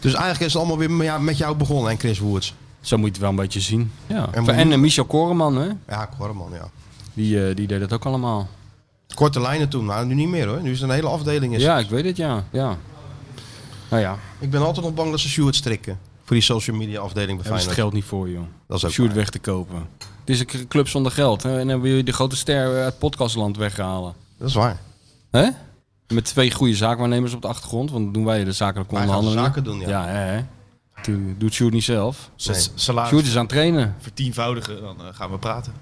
[SPEAKER 2] Dus eigenlijk is het allemaal weer met jou- met jou begonnen en Chris Woods.
[SPEAKER 3] Zo moet je het wel een beetje zien. Ja.
[SPEAKER 2] En
[SPEAKER 3] En,
[SPEAKER 2] moet-
[SPEAKER 3] eh, Michel Koreman, hè?
[SPEAKER 2] Ja, Korman, ja.
[SPEAKER 3] Die, eh, die deed dat ook allemaal.
[SPEAKER 2] Korte lijnen toen, nou nu niet meer hoor. Nu is het een hele afdeling. Is
[SPEAKER 3] Ja,
[SPEAKER 2] het.
[SPEAKER 3] ik weet het, ja. ja. Nou ja,
[SPEAKER 2] Ik ben altijd nog bang dat ze Stuart strikken. Voor die social media afdeling bij
[SPEAKER 3] daar is het
[SPEAKER 2] Feyenoord.
[SPEAKER 3] geld niet voor, joh.
[SPEAKER 2] Dat is ook
[SPEAKER 3] Sjoerd
[SPEAKER 2] waar.
[SPEAKER 3] weg te kopen. Het is een cl- club zonder geld. Hè? En dan wil je de grote ster uit podcastland weghalen.
[SPEAKER 2] Dat is waar.
[SPEAKER 3] Hè? Met twee goede zaakwaarnemers op de achtergrond. Want dan doen wij de zakelijke
[SPEAKER 2] Wij gaan de
[SPEAKER 3] onderhandelingen.
[SPEAKER 2] zaken doen, ja.
[SPEAKER 3] hè, hè. Doe- Doet Sjoerd niet zelf.
[SPEAKER 4] Dus S-
[SPEAKER 2] Nee.
[SPEAKER 4] Salaris
[SPEAKER 3] Sjoerd is aan het trainen. [laughs]
[SPEAKER 4] vertienvoudigen, dan eh, gaan we praten. [laughs]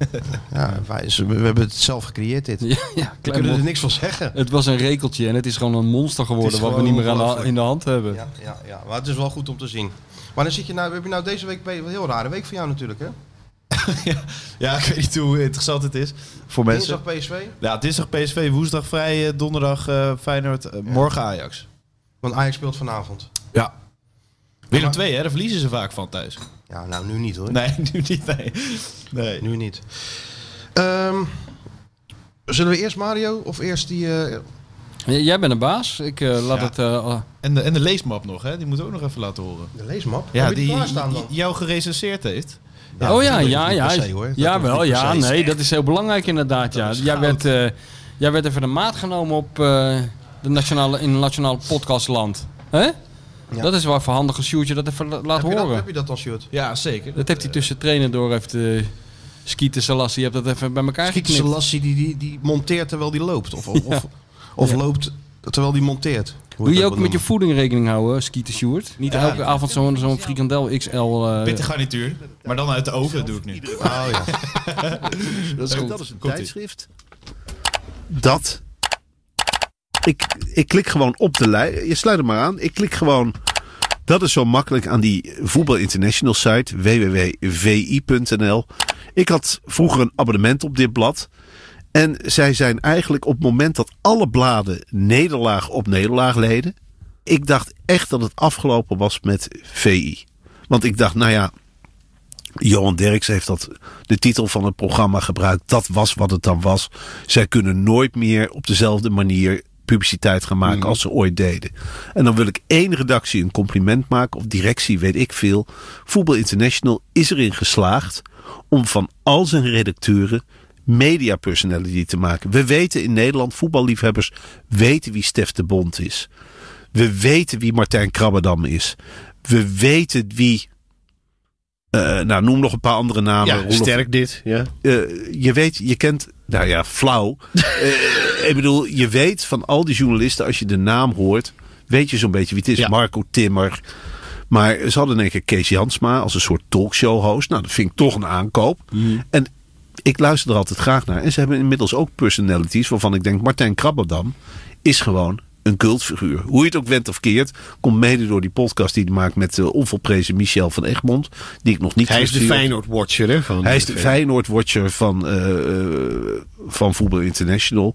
[SPEAKER 2] Ja, wij, ze- we hebben het zelf gecreëerd dit.
[SPEAKER 3] Ja, ja,
[SPEAKER 2] We
[SPEAKER 3] klein
[SPEAKER 2] kunnen er
[SPEAKER 3] mon-
[SPEAKER 2] niks van zeggen.
[SPEAKER 3] het was een rekeltje en het is gewoon een monster geworden wat we
[SPEAKER 2] gewoon
[SPEAKER 3] niet meer aan de ha-
[SPEAKER 2] ongelooflijk.
[SPEAKER 3] in de hand hebben.
[SPEAKER 2] Ja, ja, ja, maar het is wel goed om te zien. Maar dan zit je nou, heb je nou deze week bij, een heel rare week voor jou natuurlijk hè?
[SPEAKER 4] ja, ik weet niet hoe interessant het is voor mensen.
[SPEAKER 2] Dinsdag PSV,
[SPEAKER 4] Ja, dinsdag PSV, woensdag vrij, eh, donderdag eh, Feyenoord, eh, morgen Ajax.
[SPEAKER 2] want Ajax speelt vanavond.
[SPEAKER 4] Ja. Willem
[SPEAKER 2] Maar-
[SPEAKER 4] 2, hè? Daar verliezen ze vaak van thuis.
[SPEAKER 2] Ja, nou nu niet hoor.
[SPEAKER 4] [laughs] Nee, nu niet. Nee. nee.
[SPEAKER 2] Nu niet. Ehm, zullen we eerst Mario of eerst die... eh,
[SPEAKER 3] J- Jij bent een baas. Ik eh, laat
[SPEAKER 4] Ja.
[SPEAKER 3] het... eh,
[SPEAKER 4] En de, en de leesmap nog, hè? Die moeten we ook nog even laten horen.
[SPEAKER 2] De leesmap?
[SPEAKER 4] Ja,
[SPEAKER 2] Heb je
[SPEAKER 4] die
[SPEAKER 2] klaarstaan dan?
[SPEAKER 4] j- jou gerecenseerd heeft.
[SPEAKER 3] oh ja,
[SPEAKER 2] dat
[SPEAKER 3] ja,
[SPEAKER 2] hoeft
[SPEAKER 3] ja.
[SPEAKER 2] niet per se, hoor. Dat
[SPEAKER 3] ja,
[SPEAKER 2] hoeft
[SPEAKER 3] wel,
[SPEAKER 2] niet per
[SPEAKER 3] ja.
[SPEAKER 2] se.
[SPEAKER 3] Nee, dat is heel belangrijk inderdaad. Ja.
[SPEAKER 4] is
[SPEAKER 3] Jij,
[SPEAKER 4] goud.
[SPEAKER 3] werd, eh, jij werd even de maat genomen op eh, de nationale, in het nationale podcastland. Hè?
[SPEAKER 2] Ja.
[SPEAKER 3] Dat is wel even handig een shootje dat even la- laat
[SPEAKER 2] Heb je, dat,
[SPEAKER 3] horen.
[SPEAKER 2] heb je dat dan, Sjoerd?
[SPEAKER 4] Ja, zeker.
[SPEAKER 3] dat heeft hij tussen trainen door heeft... eh Skieten Salassi, je hebt dat even bij elkaar
[SPEAKER 2] Schiet
[SPEAKER 3] geknipt.
[SPEAKER 2] Selassie, die, die, die monteert terwijl die loopt. Of, of, of, of loopt terwijl die monteert. Hoe
[SPEAKER 3] Doe
[SPEAKER 2] het
[SPEAKER 3] je
[SPEAKER 2] ook wil
[SPEAKER 3] ook met je
[SPEAKER 2] noemen.
[SPEAKER 3] voeding rekening houden, Skieten Sjoerd? Niet elke avond zo'n zo'n frikandel XL... eh,
[SPEAKER 4] Pittig garnituur. Maar dan uit de oven doe ik nu.
[SPEAKER 2] Oh ja.
[SPEAKER 3] [laughs] dat is goed.
[SPEAKER 7] Dat is een
[SPEAKER 4] Komt-ie.
[SPEAKER 7] tijdschrift. Dat. Ik, ik klik gewoon op de lijst. Je sluit hem maar aan. Ik klik gewoon. Dat is zo makkelijk aan die Voetbal International site. www.vi.nl Ik had vroeger een abonnement op dit blad. En zij zijn eigenlijk op het moment dat alle bladen nederlaag op nederlaag leden. Ik dacht echt dat het afgelopen was met VI. Want ik dacht, nou ja, Johan Derks heeft dat, de titel van het programma gebruikt. Dat was wat het dan was. Zij kunnen nooit meer op dezelfde manier publiciteit gaan maken als ze ooit deden. En dan wil ik één redactie een compliment maken, of directie, weet ik veel. Voetbal International is erin geslaagd om van al zijn redacteuren media personality te maken. We weten in Nederland, voetballiefhebbers weten wie Stef de Bond is. We weten wie Martijn Krabbedam is. We weten wie. eh, nou, noem nog een paar andere namen.
[SPEAKER 8] Ja,
[SPEAKER 7] Roelof-
[SPEAKER 8] sterk dit. Ja.
[SPEAKER 7] eh, je weet, je kent, nou ja,
[SPEAKER 8] [laughs]
[SPEAKER 7] flauw. Eh, ik bedoel, je weet van al die journalisten, als je de naam hoort, weet je zo'n beetje wie het is.
[SPEAKER 8] Ja.
[SPEAKER 7] Marco Timmer. Maar ze hadden in één keer Kees Jansma als een soort talkshow-host. Nou, dat vind ik toch een aankoop.
[SPEAKER 8] Hmm.
[SPEAKER 7] En ik luister er altijd graag naar. En ze hebben inmiddels ook personalities waarvan ik denk, Martijn Krabberdam is gewoon een cultfiguur. Hoe je het ook went of keert, komt mede door die podcast die hij maakt met de onvolprezen Michel van Egmond, die ik nog niet
[SPEAKER 8] Hij is de
[SPEAKER 7] terugzie op-
[SPEAKER 8] Feyenoord-watcher. hè, van
[SPEAKER 7] hij is de
[SPEAKER 8] VI.
[SPEAKER 7] Feyenoord-watcher van, eh, eh, van Voetbal International.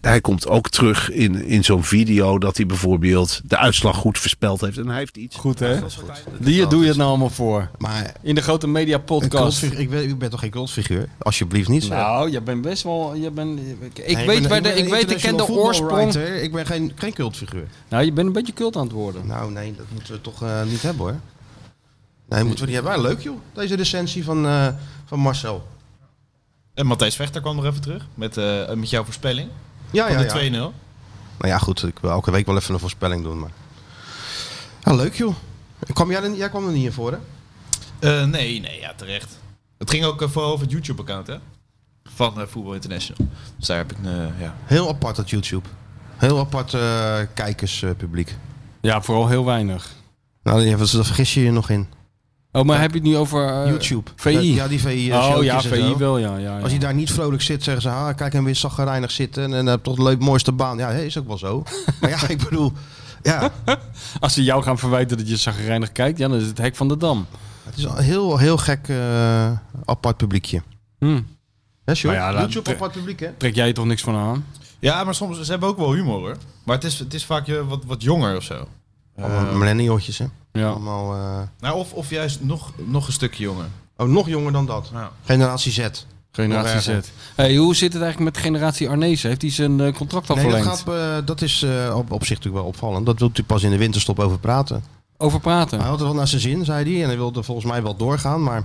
[SPEAKER 7] Hij komt ook terug in, in zo'n video dat hij bijvoorbeeld de uitslag goed voorspeld heeft. En hij heeft iets.
[SPEAKER 3] Goed, hè? Hier doe je het nou allemaal voor.
[SPEAKER 2] Maar
[SPEAKER 3] In de grote media
[SPEAKER 2] een
[SPEAKER 3] podcast.
[SPEAKER 2] cultfiguur, ik, ben, ik ben toch geen cultfiguur? Alsjeblieft niet. zeg.
[SPEAKER 3] Nou, je bent best wel. Je bent, ik
[SPEAKER 2] Nee,
[SPEAKER 3] weet,
[SPEAKER 2] ben-
[SPEAKER 3] waar de,
[SPEAKER 2] ben
[SPEAKER 3] ik,
[SPEAKER 2] een
[SPEAKER 3] weet, ik ken de
[SPEAKER 2] international
[SPEAKER 3] oorsprong.
[SPEAKER 2] voetbalwriter. Ik ben geen, geen cultfiguur.
[SPEAKER 3] Nou, je bent een beetje cult aan het worden.
[SPEAKER 2] Nou nee, dat moeten we toch eh, niet hebben hoor. Nee, moeten we niet hebben. Ah, leuk joh, deze recensie van, eh, van Marcel.
[SPEAKER 4] En Matthijs Vechter kwam nog even terug. Met, eh, met jouw voorspelling.
[SPEAKER 2] Ja,
[SPEAKER 4] Van
[SPEAKER 2] Ah, ja,
[SPEAKER 4] de
[SPEAKER 2] ja.
[SPEAKER 4] 2-0.
[SPEAKER 2] Nou ja, goed, ik wil elke week wel even een voorspelling doen. Maar... Ja, Ah, leuk joh. Kwam jij, er, jij kwam er niet in voor hè?
[SPEAKER 4] Eh, nee, nee, ja, terecht. Het ging ook eh, vooral over het YouTube-account, hè? Van eh Voetbal International. Dus daar heb ik, eh ja.
[SPEAKER 2] Heel apart dat YouTube. Heel apart eh, kijkerspubliek.
[SPEAKER 3] Ja, vooral heel weinig.
[SPEAKER 2] nou, ja, wat- daar vergis je je nog in.
[SPEAKER 3] Oh, maar heb je het nu over. eh,
[SPEAKER 2] YouTube.
[SPEAKER 3] VI.
[SPEAKER 2] Ja, die VI.
[SPEAKER 3] oh
[SPEAKER 2] showtjes
[SPEAKER 3] ja,
[SPEAKER 2] en
[SPEAKER 3] VI
[SPEAKER 2] zo.
[SPEAKER 3] wel, ja. ja, ja.
[SPEAKER 2] Als hij daar niet vrolijk zit, zeggen ze, ah, kijk hem weer zagrijnig zitten en eh, hebt toch de leuk mooiste baan. Ja, hé, is ook wel [laughs] zo. maar ja, ik bedoel, ja,
[SPEAKER 3] Als ze jou gaan verwijten dat je zagrijnig kijkt, ja, dan is het hek van de dam.
[SPEAKER 2] het is een heel, heel gek eh, apart publiekje.
[SPEAKER 3] Hm.
[SPEAKER 2] Hè, Sjoerd?
[SPEAKER 3] Maar ja, dat-
[SPEAKER 2] YouTube apart publiek, hè?
[SPEAKER 3] Trek jij je toch niks van aan?
[SPEAKER 4] ja, maar soms, ze hebben ook wel humor, hoor. Maar het is, het is vaak je wat, wat jonger of zo.
[SPEAKER 2] Allemaal millennialtjes, hè?
[SPEAKER 3] Ja.
[SPEAKER 2] Allemaal, eh,
[SPEAKER 4] Nou, of, of juist nog, nog een stukje jonger.
[SPEAKER 2] oh, nog jonger dan dat.
[SPEAKER 4] Ja.
[SPEAKER 2] Generatie Z.
[SPEAKER 3] Generatie
[SPEAKER 2] nog
[SPEAKER 3] Z.
[SPEAKER 2] erger.
[SPEAKER 3] Hey, hoe zit het eigenlijk met generatie Arnezen? Heeft hij zijn eh, contract al
[SPEAKER 2] Nee, dat,
[SPEAKER 3] verlengd?
[SPEAKER 2] gaat, eh, dat is eh, op, op zich natuurlijk wel opvallend. Dat wilt u pas in de winterstop over praten.
[SPEAKER 3] Over praten.
[SPEAKER 2] Hij had het wel naar zijn zin, zei hij. En hij wilde volgens mij wel doorgaan, maar...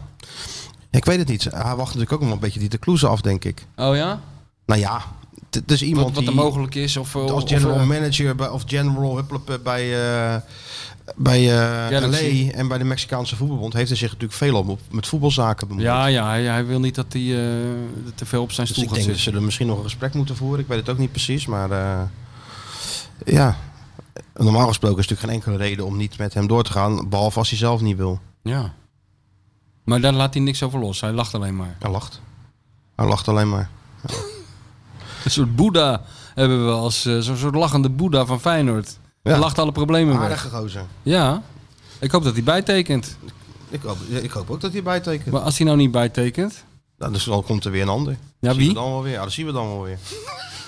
[SPEAKER 2] Ik weet het niet. Hij wacht natuurlijk ook nog wel een beetje die de kloeze af, denk ik.
[SPEAKER 3] Oh ja?
[SPEAKER 2] Nou ja, het- het is iemand
[SPEAKER 3] Wat, wat er
[SPEAKER 2] die
[SPEAKER 3] mogelijk is? Of, eh,
[SPEAKER 2] als
[SPEAKER 3] of,
[SPEAKER 2] general
[SPEAKER 3] eh,
[SPEAKER 2] manager bij, of general hupplepup bij, eh, bij eh,
[SPEAKER 3] Galaxy.
[SPEAKER 2] LA en bij de Mexicaanse voetbalbond heeft hij zich natuurlijk veel op met voetbalzaken bemoeid.
[SPEAKER 3] ja, ja hij, hij wil niet dat hij eh, te veel op zijn
[SPEAKER 2] dus
[SPEAKER 3] stoel
[SPEAKER 2] ik
[SPEAKER 3] gaat
[SPEAKER 2] denk dat
[SPEAKER 3] zitten.
[SPEAKER 2] ze er misschien nog een gesprek moeten voeren. Ik weet het ook niet precies, maar eh, ja. Normaal gesproken is natuurlijk geen enkele reden om niet met hem door te gaan, behalve als hij zelf niet wil.
[SPEAKER 3] Ja. Maar daar laat hij niks over los. Hij lacht alleen maar.
[SPEAKER 2] Hij lacht. Hij lacht alleen maar.
[SPEAKER 3] Een soort Boeddha hebben we als eh, zo'n soort lachende Boeddha van Feyenoord.
[SPEAKER 2] Ja.
[SPEAKER 3] Hij lacht alle problemen weg.
[SPEAKER 2] Aardige gozer.
[SPEAKER 3] Ja. Ik hoop dat hij bijtekent.
[SPEAKER 2] Ik hoop, ik hoop ook dat hij bijtekent.
[SPEAKER 3] Maar als hij nou niet bijtekent...
[SPEAKER 2] Nou, dus dan komt er weer een ander.
[SPEAKER 3] Ja,
[SPEAKER 2] Dat zien
[SPEAKER 3] wie?
[SPEAKER 2] we dan wel weer. [laughs] Ja, dat zien we dan wel weer.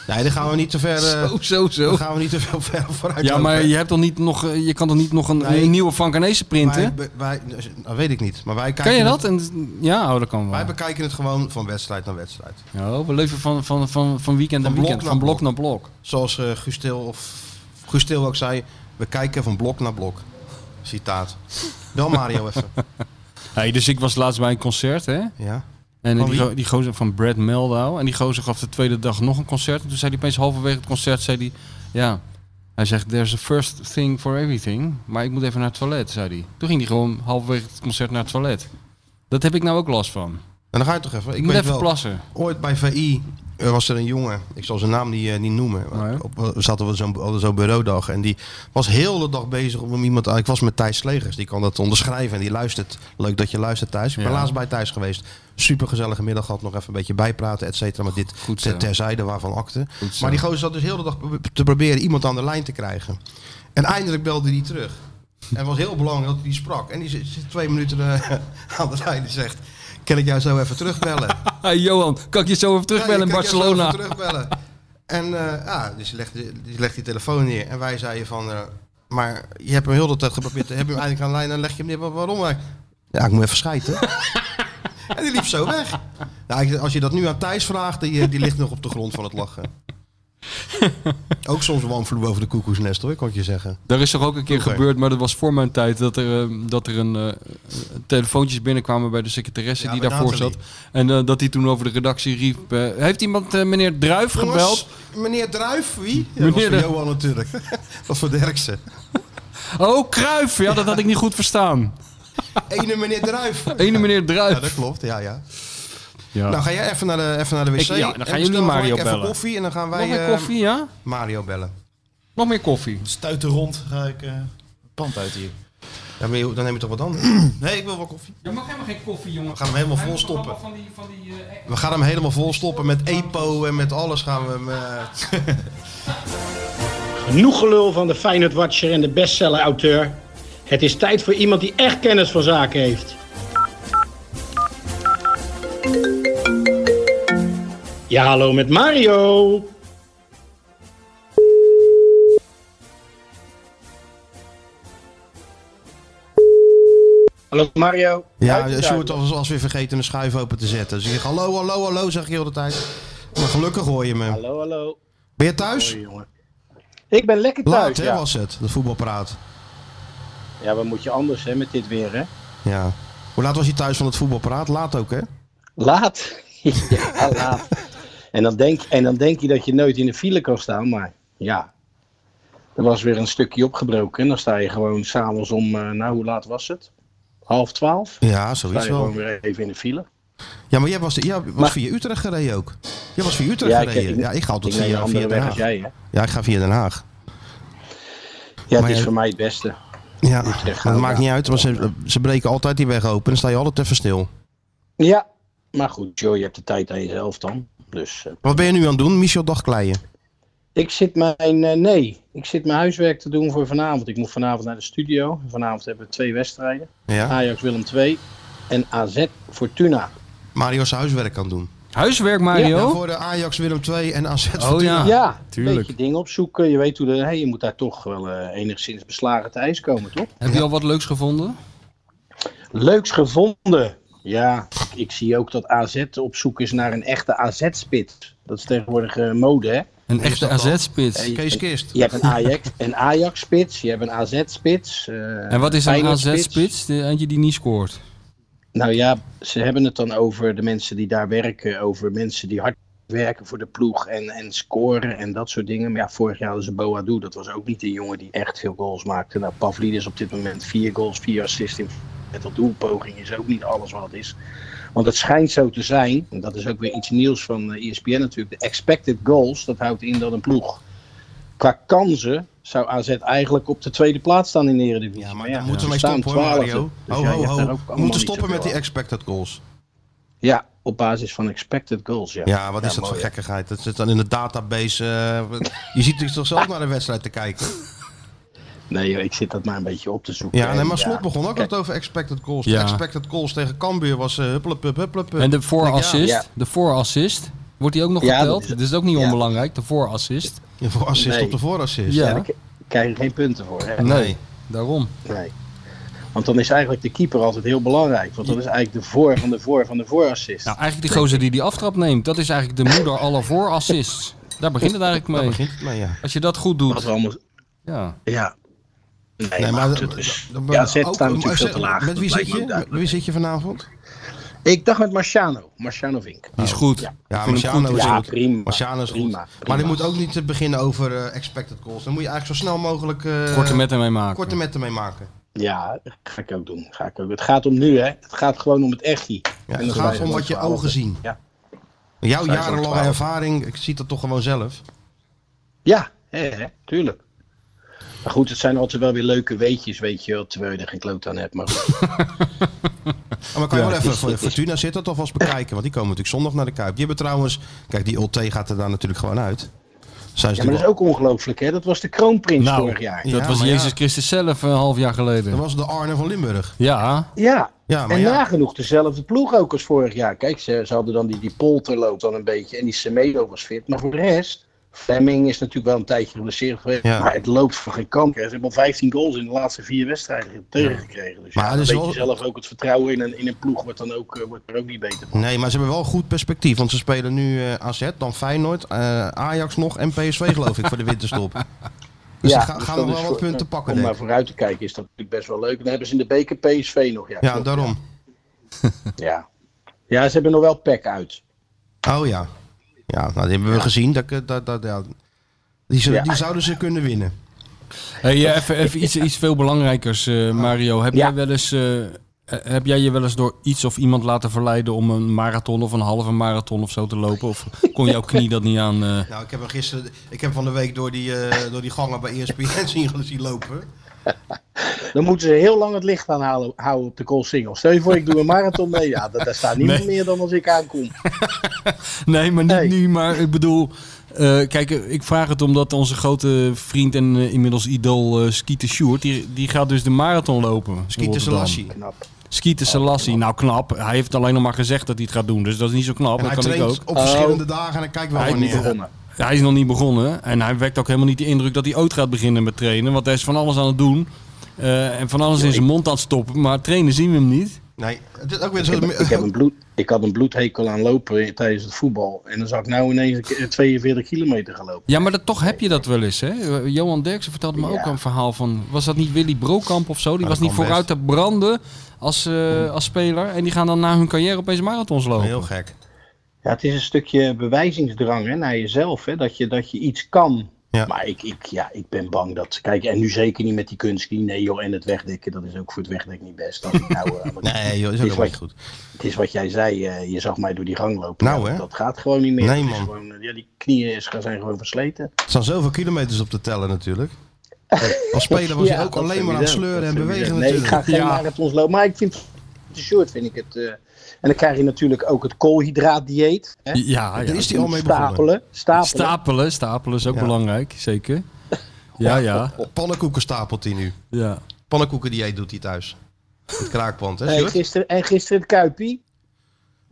[SPEAKER 2] Nee, daar gaan we niet te ver, eh,
[SPEAKER 3] Zo, zo,
[SPEAKER 2] daar
[SPEAKER 3] zo.
[SPEAKER 2] gaan we niet te veel ver vooruit.
[SPEAKER 3] Ja, maar
[SPEAKER 2] lopen.
[SPEAKER 3] je, hebt toch niet nog, eh, je kan toch niet nog een,
[SPEAKER 2] Nee.
[SPEAKER 3] een nieuwe Van Carnezen printen?
[SPEAKER 2] wij, wij, dat weet ik niet. Maar wij kijken
[SPEAKER 3] kan je dat?
[SPEAKER 2] Het,
[SPEAKER 3] En, ja, oh, dat kan wel.
[SPEAKER 2] wij bekijken het gewoon van wedstrijd naar wedstrijd.
[SPEAKER 3] Ja, oh, we leven van, van, van, van weekend
[SPEAKER 2] Van
[SPEAKER 3] naar weekend,
[SPEAKER 2] blok
[SPEAKER 3] van
[SPEAKER 2] naar
[SPEAKER 3] blok naar blok.
[SPEAKER 2] Zoals eh Gustil, of, Gustil ook zei, we kijken van blok naar blok. Citaat. Wel Mario even. [laughs]
[SPEAKER 3] Hey, dus ik was laatst bij een concert, hè?
[SPEAKER 2] Ja.
[SPEAKER 3] En eh,
[SPEAKER 2] Van
[SPEAKER 3] die,
[SPEAKER 2] wie?
[SPEAKER 3] go- die gozer van Brad Meldau. En die gozer gaf de tweede dag nog een concert. En toen zei hij opeens halverwege het concert, zei hij... Ja, hij zegt, there's a first thing for everything. Maar ik moet even naar het toilet, zei hij. Toen ging hij gewoon halverwege het concert naar het toilet. Dat heb ik nou ook last van.
[SPEAKER 2] En dan ga je toch even.
[SPEAKER 3] Ik,
[SPEAKER 2] Ik,
[SPEAKER 3] moet
[SPEAKER 2] weet
[SPEAKER 3] even
[SPEAKER 2] wel,
[SPEAKER 3] plassen.
[SPEAKER 2] ooit bij VI eh, was er een jongen, ik zal zijn naam niet, eh, niet noemen. maar
[SPEAKER 3] Nee.
[SPEAKER 2] Op, we zaten we zo'n hadden zo'n bureaudag en die was heel de dag bezig om iemand aan. Ik was met Thijs Slegers, die kan dat onderschrijven en die luistert. Leuk dat je luistert Thijs. Ik ben
[SPEAKER 3] Ja.
[SPEAKER 2] laatst bij Thijs geweest. Super gezellige middag gehad, nog even een beetje bijpraten, et cetera. Maar dit
[SPEAKER 3] Goed zo.
[SPEAKER 2] ter, terzijde waarvan akte.
[SPEAKER 3] Goed zo.
[SPEAKER 2] Maar die gozer zat dus heel de dag te proberen iemand aan de lijn te krijgen. En eindelijk belde hij terug. En het was heel belangrijk dat hij sprak. En die zit zit twee minuten eh, [laughs] aan de lijn en zegt... Kan ik jou zo even terugbellen?
[SPEAKER 3] Hey, Johan, kan ik je zo even terugbellen in
[SPEAKER 2] Ja, je kunt jezelf
[SPEAKER 3] Barcelona?
[SPEAKER 2] even terugbellen. En eh, ja, dus je legt, je legt die telefoon neer. En wij zeiden van, eh, maar je hebt hem heel de tijd geprobeerd. Heb je hem eindelijk aan de lijn en leg je hem neer. Wa- Waarom? Hij, Ja, ik moet even schijten. [laughs] en die liep zo weg. Nou, ik- als je dat nu aan Thijs vraagt, die, eh, die ligt nog op de grond van het
[SPEAKER 3] [laughs]
[SPEAKER 2] lachen. Ook soms een woonvloer boven de koekoesnest hoor, kan ik je zeggen.
[SPEAKER 3] Daar is toch ook een keer
[SPEAKER 2] Vroeger.
[SPEAKER 3] gebeurd, maar dat was voor mijn tijd, dat er, eh, dat er een, eh, telefoontjes binnenkwamen bij de secretaresse
[SPEAKER 2] Ja,
[SPEAKER 3] die
[SPEAKER 2] bij
[SPEAKER 3] daarvoor
[SPEAKER 2] Nathalie.
[SPEAKER 3] zat. En eh, dat die toen over de redactie riep, eh, heeft iemand eh, meneer Druif gebeld?
[SPEAKER 2] Jongens, meneer Druif, wie? Ja, dat
[SPEAKER 3] Meneer
[SPEAKER 2] was
[SPEAKER 3] de-
[SPEAKER 2] voor Johan natuurlijk. [laughs] dat voor
[SPEAKER 3] [laughs]
[SPEAKER 2] Derksen.
[SPEAKER 3] Oh, Kruif! Ja, dat had ik niet goed verstaan.
[SPEAKER 2] Ene meneer Druif.
[SPEAKER 3] Ene meneer
[SPEAKER 2] Ja,
[SPEAKER 3] Druif.
[SPEAKER 2] dat klopt, ja, ja.
[SPEAKER 3] Ja.
[SPEAKER 2] Nou, ga jij even naar de, even naar de wc.
[SPEAKER 3] Ik- ja, dan gaan
[SPEAKER 2] En
[SPEAKER 3] jullie
[SPEAKER 2] bestel voor
[SPEAKER 3] Mario
[SPEAKER 2] Mike even
[SPEAKER 3] bellen.
[SPEAKER 2] koffie en dan gaan
[SPEAKER 3] Nog
[SPEAKER 2] wij
[SPEAKER 3] meer
[SPEAKER 2] eh,
[SPEAKER 3] koffie, ja?
[SPEAKER 2] Mario bellen.
[SPEAKER 3] Nog meer koffie.
[SPEAKER 4] Stuiten rond ga ik eh, het pand uit hier.
[SPEAKER 2] Ja, maar je- dan neem je toch wat anders.
[SPEAKER 4] Nee, ik wil wel koffie.
[SPEAKER 3] Je mag helemaal geen koffie, jongen.
[SPEAKER 2] We gaan hem helemaal vol stoppen.
[SPEAKER 3] Van die, van die, eh, e-
[SPEAKER 2] We gaan hem helemaal vol stoppen met EPO en met alles gaan we hem... eh,
[SPEAKER 9] Genoeg gelul van de Feyenoord Watcher en de bestseller-auteur. Het is tijd voor iemand die echt kennis van zaken heeft. Ja, hallo met Mario. Hallo Mario.
[SPEAKER 2] Ja, Sjoerd was, was weer vergeten een schuif open te zetten. Dus ik zeg hallo, hallo, hallo, zeg ik heel de tijd. Maar gelukkig hoor je me.
[SPEAKER 9] Hallo, hallo.
[SPEAKER 2] Ben je thuis?
[SPEAKER 9] jongen. Ik ben lekker
[SPEAKER 2] Laat
[SPEAKER 9] thuis.
[SPEAKER 2] hè,
[SPEAKER 9] Ja.
[SPEAKER 2] was het, de voetbalpraat.
[SPEAKER 9] ja, wat moet je anders hè, met dit weer hè?
[SPEAKER 2] Ja. Hoe laat was je thuis van het voetbalpraat? Laat ook, hè?
[SPEAKER 9] Laat. [laughs] ja, laat. En dan, denk, en dan denk je dat je nooit in de file kan staan, maar ja. Er was weer een stukje opgebroken. En dan sta je gewoon s'avonds om, eh, nou hoe laat was het? Half twaalf.
[SPEAKER 2] Ja,
[SPEAKER 9] Sta
[SPEAKER 2] zoiets
[SPEAKER 9] je
[SPEAKER 2] wel.
[SPEAKER 9] gewoon weer even in de file.
[SPEAKER 2] Ja, maar jij was, jij was
[SPEAKER 9] Maar-
[SPEAKER 2] via Utrecht gereden ook. Jij was via Utrecht gereden. ja, ik ga altijd
[SPEAKER 9] ik neem een
[SPEAKER 2] via, via
[SPEAKER 9] andere
[SPEAKER 2] Den
[SPEAKER 9] weg als
[SPEAKER 2] Haag.
[SPEAKER 9] jij. Hè?
[SPEAKER 2] Ja, ik ga via Den Haag.
[SPEAKER 9] Ja,
[SPEAKER 2] Maar
[SPEAKER 9] het is
[SPEAKER 2] je-
[SPEAKER 9] voor mij het beste.
[SPEAKER 2] Ja,
[SPEAKER 9] Utrecht
[SPEAKER 2] maar
[SPEAKER 9] gaan
[SPEAKER 2] dat
[SPEAKER 9] we
[SPEAKER 2] maakt
[SPEAKER 9] daar.
[SPEAKER 2] niet uit, want ze, ze breken altijd die weg open en dan sta je altijd even stil.
[SPEAKER 9] Ja, maar goed, Joe, je hebt de tijd aan jezelf dan. Dus eh,
[SPEAKER 2] Wat ben je nu aan het doen? Michel Dagkleien.
[SPEAKER 9] ik zit mijn, eh, nee, ik zit mijn huiswerk te doen voor vanavond. Ik moet vanavond naar de studio. Vanavond hebben we twee wedstrijden.
[SPEAKER 2] Ja.
[SPEAKER 9] Ajax Willem 2 en AZ Fortuna.
[SPEAKER 2] Mario's huiswerk aan doen.
[SPEAKER 3] Huiswerk,
[SPEAKER 2] Ja,
[SPEAKER 3] Mario?
[SPEAKER 2] voor de Ajax Willem 2 en AZ.
[SPEAKER 3] oh ja.
[SPEAKER 9] ja,
[SPEAKER 3] tuurlijk.
[SPEAKER 9] een beetje dingen opzoeken. Je weet hoe de, hey, je moet daar toch wel eh, enigszins beslagen te ijs komen, toch?
[SPEAKER 3] Heb je al wat leuks gevonden?
[SPEAKER 9] Leuks gevonden. Ja, ik zie ook dat AZ op zoek is naar een echte AZ-spit. Dat is tegenwoordig eh, mode, hè?
[SPEAKER 3] Een echte
[SPEAKER 2] dat dan?
[SPEAKER 3] AZ-spits.
[SPEAKER 9] Hey.
[SPEAKER 2] Kees Kist.
[SPEAKER 9] Je hebt een
[SPEAKER 3] [laughs]
[SPEAKER 9] Ajax, een Ajax-spits, je hebt een AZ-spits. eh,
[SPEAKER 3] En wat is een
[SPEAKER 9] Feyenoord-spits.
[SPEAKER 3] AZ-spits? De- Eentje die niet scoort.
[SPEAKER 9] Nou ja, ze hebben het dan over de mensen die daar werken, over mensen die hard werken voor de ploeg en, en scoren en dat soort dingen. Maar ja, vorig jaar hadden ze Boadu, dat was ook niet een jongen die echt veel goals maakte. Nou, Pavlidis op dit moment vier goals, vier assists in met dat doelpoging is ook niet alles wat het is. Want het schijnt zo te zijn, en dat is ook weer iets nieuws van eh, ESPN natuurlijk, de expected goals, dat houdt in dat een ploeg qua kansen zou AZ eigenlijk op de tweede plaats staan in de Eredivisie.
[SPEAKER 2] Ja, maar daar moeten
[SPEAKER 9] ze
[SPEAKER 2] we mee
[SPEAKER 9] staan
[SPEAKER 2] stoppen hoor,
[SPEAKER 9] twaalfde.
[SPEAKER 2] Mario.
[SPEAKER 9] Dus
[SPEAKER 2] ho,
[SPEAKER 9] ja, je
[SPEAKER 2] ho,
[SPEAKER 9] hebt daar ook
[SPEAKER 2] ho. We
[SPEAKER 9] allemaal niet
[SPEAKER 2] moeten stoppen
[SPEAKER 9] zoveel
[SPEAKER 2] met die
[SPEAKER 9] aan.
[SPEAKER 2] expected goals.
[SPEAKER 9] Ja, op basis van expected goals, ja.
[SPEAKER 2] Ja, wat is dat
[SPEAKER 9] Ja, mooi,
[SPEAKER 2] voor
[SPEAKER 9] hè?
[SPEAKER 2] gekkigheid? Dat zit dan in de database. eh, [laughs] je ziet dus toch zelf naar de wedstrijd te kijken.
[SPEAKER 9] Nee, joh, ik zit dat maar een beetje op te zoeken.
[SPEAKER 2] Ja, nee,
[SPEAKER 9] En
[SPEAKER 2] maar Slot begon ook
[SPEAKER 9] Kijk,
[SPEAKER 2] net over expected goals. De
[SPEAKER 3] Ja.
[SPEAKER 2] expected goals tegen Cambuur was eh hupplepup, hupplepup.
[SPEAKER 3] En de
[SPEAKER 2] Ja.
[SPEAKER 3] voorassist?
[SPEAKER 9] Ja.
[SPEAKER 3] De voorassist? Wordt die ook nog
[SPEAKER 9] Ja,
[SPEAKER 3] geteld?
[SPEAKER 9] dat is-
[SPEAKER 3] Dat is ook niet
[SPEAKER 9] ja.
[SPEAKER 3] onbelangrijk, de voorassist.
[SPEAKER 2] Ja, voor assist
[SPEAKER 9] Nee.
[SPEAKER 2] op de voorassist.
[SPEAKER 3] Ja,
[SPEAKER 9] daar krijg je geen punten voor. Hè?
[SPEAKER 3] nee, daarom.
[SPEAKER 9] Nee. Want dan is eigenlijk de keeper altijd heel belangrijk. Want dat is eigenlijk de voor van de voor van de voorassist.
[SPEAKER 3] Nou, eigenlijk die gozer die die aftrap neemt, dat is eigenlijk de moeder aller voorassists. Daar begint het eigenlijk
[SPEAKER 2] Daar
[SPEAKER 3] mee.
[SPEAKER 2] begint het mee, ja.
[SPEAKER 3] Als je dat goed
[SPEAKER 9] Wat
[SPEAKER 3] doet.
[SPEAKER 9] we allemaal...
[SPEAKER 3] Ja.
[SPEAKER 9] Ja. Nee,
[SPEAKER 2] Nee,
[SPEAKER 9] maar
[SPEAKER 2] maar
[SPEAKER 9] goed,
[SPEAKER 2] dan-
[SPEAKER 9] het is-
[SPEAKER 2] dan-
[SPEAKER 9] ja, zet
[SPEAKER 2] ook- oh,
[SPEAKER 9] staat natuurlijk
[SPEAKER 2] zet-
[SPEAKER 9] veel te laag.
[SPEAKER 2] Met wie
[SPEAKER 9] Dat
[SPEAKER 2] zit
[SPEAKER 9] lijkt me
[SPEAKER 2] je?
[SPEAKER 9] ook
[SPEAKER 2] Met
[SPEAKER 9] duidelijk.
[SPEAKER 2] wie zit je vanavond?
[SPEAKER 9] Ik dacht met Marciano. Marciano Vink.
[SPEAKER 3] Die is goed.
[SPEAKER 2] Ja,
[SPEAKER 3] vind hem
[SPEAKER 2] Marciano
[SPEAKER 3] goed.
[SPEAKER 2] is
[SPEAKER 9] Ja,
[SPEAKER 2] goed.
[SPEAKER 9] prima.
[SPEAKER 2] Marciano is goed.
[SPEAKER 9] Prima,
[SPEAKER 2] Maar
[SPEAKER 9] prima.
[SPEAKER 2] je moet ook niet eh, beginnen over eh, expected goals. Dan moet je eigenlijk zo snel mogelijk eh
[SPEAKER 3] Korte met hem mee maken.
[SPEAKER 2] korte metten mee maken.
[SPEAKER 9] Ja, ga ik ook doen. Ga ik ook. Het gaat om nu, hè. Het gaat gewoon om het echtie.
[SPEAKER 2] Ja,
[SPEAKER 9] En
[SPEAKER 2] het
[SPEAKER 9] dat
[SPEAKER 2] gaat
[SPEAKER 9] wij
[SPEAKER 2] om wat je
[SPEAKER 9] gewoon
[SPEAKER 2] ogen zien.
[SPEAKER 9] Ja.
[SPEAKER 2] Jouw
[SPEAKER 9] Zij zijn
[SPEAKER 2] jarenlange
[SPEAKER 9] twaalf.
[SPEAKER 2] ervaring, ik zie dat toch gewoon zelf.
[SPEAKER 9] Ja, hè, hè, tuurlijk. Maar goed, het zijn altijd wel weer leuke weetjes, weet je wel, terwijl je er geen kloot aan hebt. Maar goed.
[SPEAKER 2] Oh, maar kan je
[SPEAKER 9] Ja,
[SPEAKER 2] wel
[SPEAKER 9] het
[SPEAKER 2] even
[SPEAKER 9] is-
[SPEAKER 2] voor
[SPEAKER 9] het is-
[SPEAKER 2] Fortuna zit dat alvast bekijken? Want die komen natuurlijk zondag naar de Kuip. Die hebben trouwens, kijk die Ulte gaat er daar natuurlijk gewoon uit. Zijn ze
[SPEAKER 9] Ja, maar dat is
[SPEAKER 2] natuurlijk
[SPEAKER 9] ook ongelooflijk, hè. Dat was de kroonprins
[SPEAKER 3] Nou,
[SPEAKER 9] vorig jaar.
[SPEAKER 2] Ja,
[SPEAKER 3] dat was
[SPEAKER 2] maar ja.
[SPEAKER 3] Jezus Christus zelf een half jaar
[SPEAKER 2] al-
[SPEAKER 3] geleden.
[SPEAKER 2] dat was de Arne van Limburg.
[SPEAKER 3] Ja,
[SPEAKER 9] Ja,
[SPEAKER 2] Ja, maar
[SPEAKER 9] en
[SPEAKER 2] ja.
[SPEAKER 9] nagenoeg dezelfde ploeg ook als vorig jaar. Kijk, ze, ze hadden dan die, die Polter loopt dan een beetje en die Semedo was fit. Maar voor de rest, Fleming is natuurlijk wel een tijdje geblesseerd geweest.
[SPEAKER 2] Ja.
[SPEAKER 9] Maar het loopt van geen kanker. Ze hebben al 15 goals in de laatste vier wedstrijden tegengekregen. Dus
[SPEAKER 2] Maar
[SPEAKER 9] ja,
[SPEAKER 2] het
[SPEAKER 9] dan
[SPEAKER 2] is
[SPEAKER 9] weet
[SPEAKER 2] wel-
[SPEAKER 9] je zelf ook het vertrouwen in een, in een ploeg wordt, dan ook, eh, wordt er ook niet beter van.
[SPEAKER 2] Nee, maar ze hebben wel goed perspectief. Want ze spelen nu eh, AZ, dan Feyenoord, eh, Ajax nog en PSV geloof ik voor de
[SPEAKER 9] [laughs]
[SPEAKER 2] winterstop. Dus ze ga-
[SPEAKER 9] dus
[SPEAKER 2] gaan
[SPEAKER 9] dat
[SPEAKER 2] nog
[SPEAKER 9] is
[SPEAKER 2] wel wat
[SPEAKER 9] voor-
[SPEAKER 2] punten pakken
[SPEAKER 9] Om
[SPEAKER 2] denk
[SPEAKER 9] maar
[SPEAKER 2] ik.
[SPEAKER 9] vooruit te kijken is dat natuurlijk best wel leuk. En dan hebben ze in de beker PSV nog. Ja,
[SPEAKER 2] Ja,
[SPEAKER 9] klopt,
[SPEAKER 2] daarom.
[SPEAKER 9] Ja. ja, ze hebben nog wel pek uit.
[SPEAKER 2] Oh ja. Ja, nou, die hebben we gezien. Dat, ik- dat, dat, ja. die, zo-
[SPEAKER 9] Ja.
[SPEAKER 2] die zouden ze kunnen winnen.
[SPEAKER 3] Hey, eh, even, even iets, iets veel belangrijkers, eh, Mario. Heb,
[SPEAKER 9] Ja.
[SPEAKER 3] jij wel eens, eh, eh, heb jij je wel eens door iets of iemand laten verleiden om een marathon of een halve marathon of zo te lopen? Of kon jouw knie dat niet aan? eh?
[SPEAKER 2] Nou, ik heb hem gisteren, ik heb van de week door die, eh, door die gangen bij ESPN zien, zien lopen.
[SPEAKER 9] Dan moeten ze heel lang het licht aanhouden houden op de call single. Stel je voor, ik doe een marathon mee. Ja, dat, daar staat niemand
[SPEAKER 3] Nee.
[SPEAKER 9] meer dan als ik aankom.
[SPEAKER 3] Nee, maar niet
[SPEAKER 9] Nee.
[SPEAKER 3] nu. Maar ik bedoel, eh, kijk, eh, ik vraag het omdat onze grote vriend en eh, inmiddels idool eh Skeeter Sjoerd, die, die gaat dus de marathon lopen.
[SPEAKER 2] Skeeter Selassie.
[SPEAKER 9] Knap.
[SPEAKER 3] Skeeter
[SPEAKER 2] Oh,
[SPEAKER 3] Selassie. Nou, knap. Hij heeft alleen nog maar gezegd dat hij het gaat doen, dus dat is niet zo knap.
[SPEAKER 2] En
[SPEAKER 3] Dat
[SPEAKER 2] hij
[SPEAKER 3] kan ik ook.
[SPEAKER 2] traint op
[SPEAKER 9] Oh.
[SPEAKER 2] verschillende dagen en hij kijkt wel
[SPEAKER 3] Hij is
[SPEAKER 9] Niet
[SPEAKER 2] wanneer.
[SPEAKER 9] begonnen.
[SPEAKER 3] Ja, Hij is nog niet begonnen en hij wekt ook helemaal niet de indruk dat hij ooit gaat beginnen met trainen. Want hij is van alles aan het doen eh, en van alles in zijn mond aan het stoppen. Maar trainen zien we hem niet.
[SPEAKER 2] Nee, het is ook weer
[SPEAKER 9] Ik, heb, ik, heb
[SPEAKER 2] zo.
[SPEAKER 9] een bloed, ik had een bloedhekel aan lopen tijdens het voetbal. En dan zou ik nou ineens een keer 42 kilometer gaan lopen.
[SPEAKER 3] Ja, maar dat, toch heb je dat wel eens. Hè? Eh, Johan Derksen vertelde me ook
[SPEAKER 9] Ja.
[SPEAKER 3] een verhaal van... Was dat niet Willy Brokamp of zo? Die
[SPEAKER 2] Ja,
[SPEAKER 3] was
[SPEAKER 2] dat
[SPEAKER 3] niet
[SPEAKER 2] kan
[SPEAKER 3] vooruit te branden als, eh, als speler. En die gaan dan na hun carrière opeens marathons lopen.
[SPEAKER 2] Hmm.
[SPEAKER 9] Oh.
[SPEAKER 2] Heel gek.
[SPEAKER 9] Ja, het is een stukje bewijzingsdrang hè, naar jezelf. Hè, dat, je, dat je iets kan.
[SPEAKER 2] Ja.
[SPEAKER 9] Maar ik, ik, ja, ik ben bang dat... Kijk, en nu zeker niet met die kunstski. Nee joh, en het wegdekken. Dat is ook voor het wegdek niet best. Als ik nou, eh, want
[SPEAKER 2] Nee, joh, dat is
[SPEAKER 9] het
[SPEAKER 2] ook
[SPEAKER 9] is
[SPEAKER 2] helemaal
[SPEAKER 9] wat-
[SPEAKER 2] niet goed.
[SPEAKER 9] Het is wat jij zei, eh, je zag mij door die gang lopen.
[SPEAKER 2] Nou,
[SPEAKER 9] Ja,
[SPEAKER 2] hè?
[SPEAKER 9] Dat gaat gewoon niet meer.
[SPEAKER 2] Nee,
[SPEAKER 9] Het is
[SPEAKER 2] man.
[SPEAKER 9] gewoon, eh, ja, die knieën is, zijn gewoon versleten.
[SPEAKER 2] Er staan zoveel kilometers op te tellen
[SPEAKER 9] [laughs]
[SPEAKER 2] natuurlijk. Als speler was je
[SPEAKER 9] Ja,
[SPEAKER 2] ook
[SPEAKER 9] dat
[SPEAKER 2] alleen maar aan het
[SPEAKER 9] sowieso.
[SPEAKER 2] sleuren
[SPEAKER 9] Dat
[SPEAKER 2] en
[SPEAKER 9] sowieso.
[SPEAKER 2] bewegen
[SPEAKER 9] Nee, ik ga
[SPEAKER 2] natuurlijk.
[SPEAKER 9] geen marathons lopen. Maar ik vind de short vind ik het... eh, en dan krijg je natuurlijk ook het koolhydraatdieet. Hè?
[SPEAKER 3] Ja, ja.
[SPEAKER 2] Daar is hij al mee begonnen.
[SPEAKER 9] Stapelen. Stapelen.
[SPEAKER 3] Stapelen, stapelen is ook
[SPEAKER 2] Ja.
[SPEAKER 3] belangrijk, zeker. Ja, ja,
[SPEAKER 2] Pannenkoeken stapelt hij nu.
[SPEAKER 3] ja.
[SPEAKER 2] Pannenkoeken dieet doet hij thuis. Het kraakpand, hè?
[SPEAKER 9] Hey,
[SPEAKER 2] Sjoerd?
[SPEAKER 9] gisteren, en gisteren het Kuipie.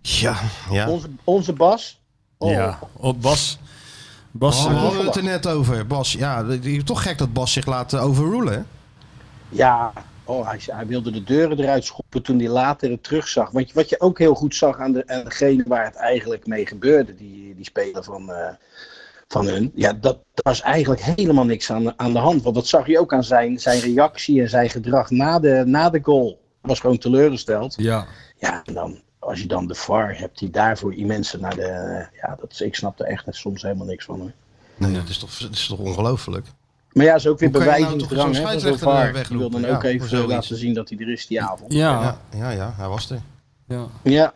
[SPEAKER 2] Ja, ja.
[SPEAKER 9] Onze, onze Bas. Oh,
[SPEAKER 3] ja. Oh, Bas, Bas,
[SPEAKER 2] Oh, we
[SPEAKER 3] eh,
[SPEAKER 2] hadden het er net over, Bas. Ja, het is toch gek dat Bas zich laat eh, overrulen. hè?
[SPEAKER 9] Ja, oh, hij, hij wilde de deuren eruit schoppen toen hij later het terugzag. Want je- wat je ook heel goed zag aan, de, aan degene waar het eigenlijk mee gebeurde, die, die speler van, eh, van hun. Ja, dat daar was eigenlijk helemaal niks aan, aan de hand. Want dat zag je ook aan zijn, zijn reactie en zijn gedrag na de, na de goal. Hij was gewoon teleurgesteld.
[SPEAKER 3] ja.
[SPEAKER 9] Ja, en dan, als je dan de VAR hebt die daarvoor immense naar de... Ja, dat, is- ik snap er echt soms helemaal niks van. Hoor.
[SPEAKER 2] Nee, dat is toch, dat is toch ongelooflijk?
[SPEAKER 9] Maar ja, is ook weer
[SPEAKER 2] Hoe kan je nou toch
[SPEAKER 9] bewijzingsdrang.
[SPEAKER 2] zo'n
[SPEAKER 9] hè, van zo'n
[SPEAKER 2] scheidsrechter, eh,
[SPEAKER 9] VAR. Die wil dan
[SPEAKER 2] wegroepen?
[SPEAKER 9] ook
[SPEAKER 2] Ja,
[SPEAKER 9] even
[SPEAKER 2] voor zoiets.
[SPEAKER 9] laten zien dat hij er is die avond.
[SPEAKER 3] ja.
[SPEAKER 2] Ja, ja, ja, hij was er.
[SPEAKER 3] ja.
[SPEAKER 9] Ja,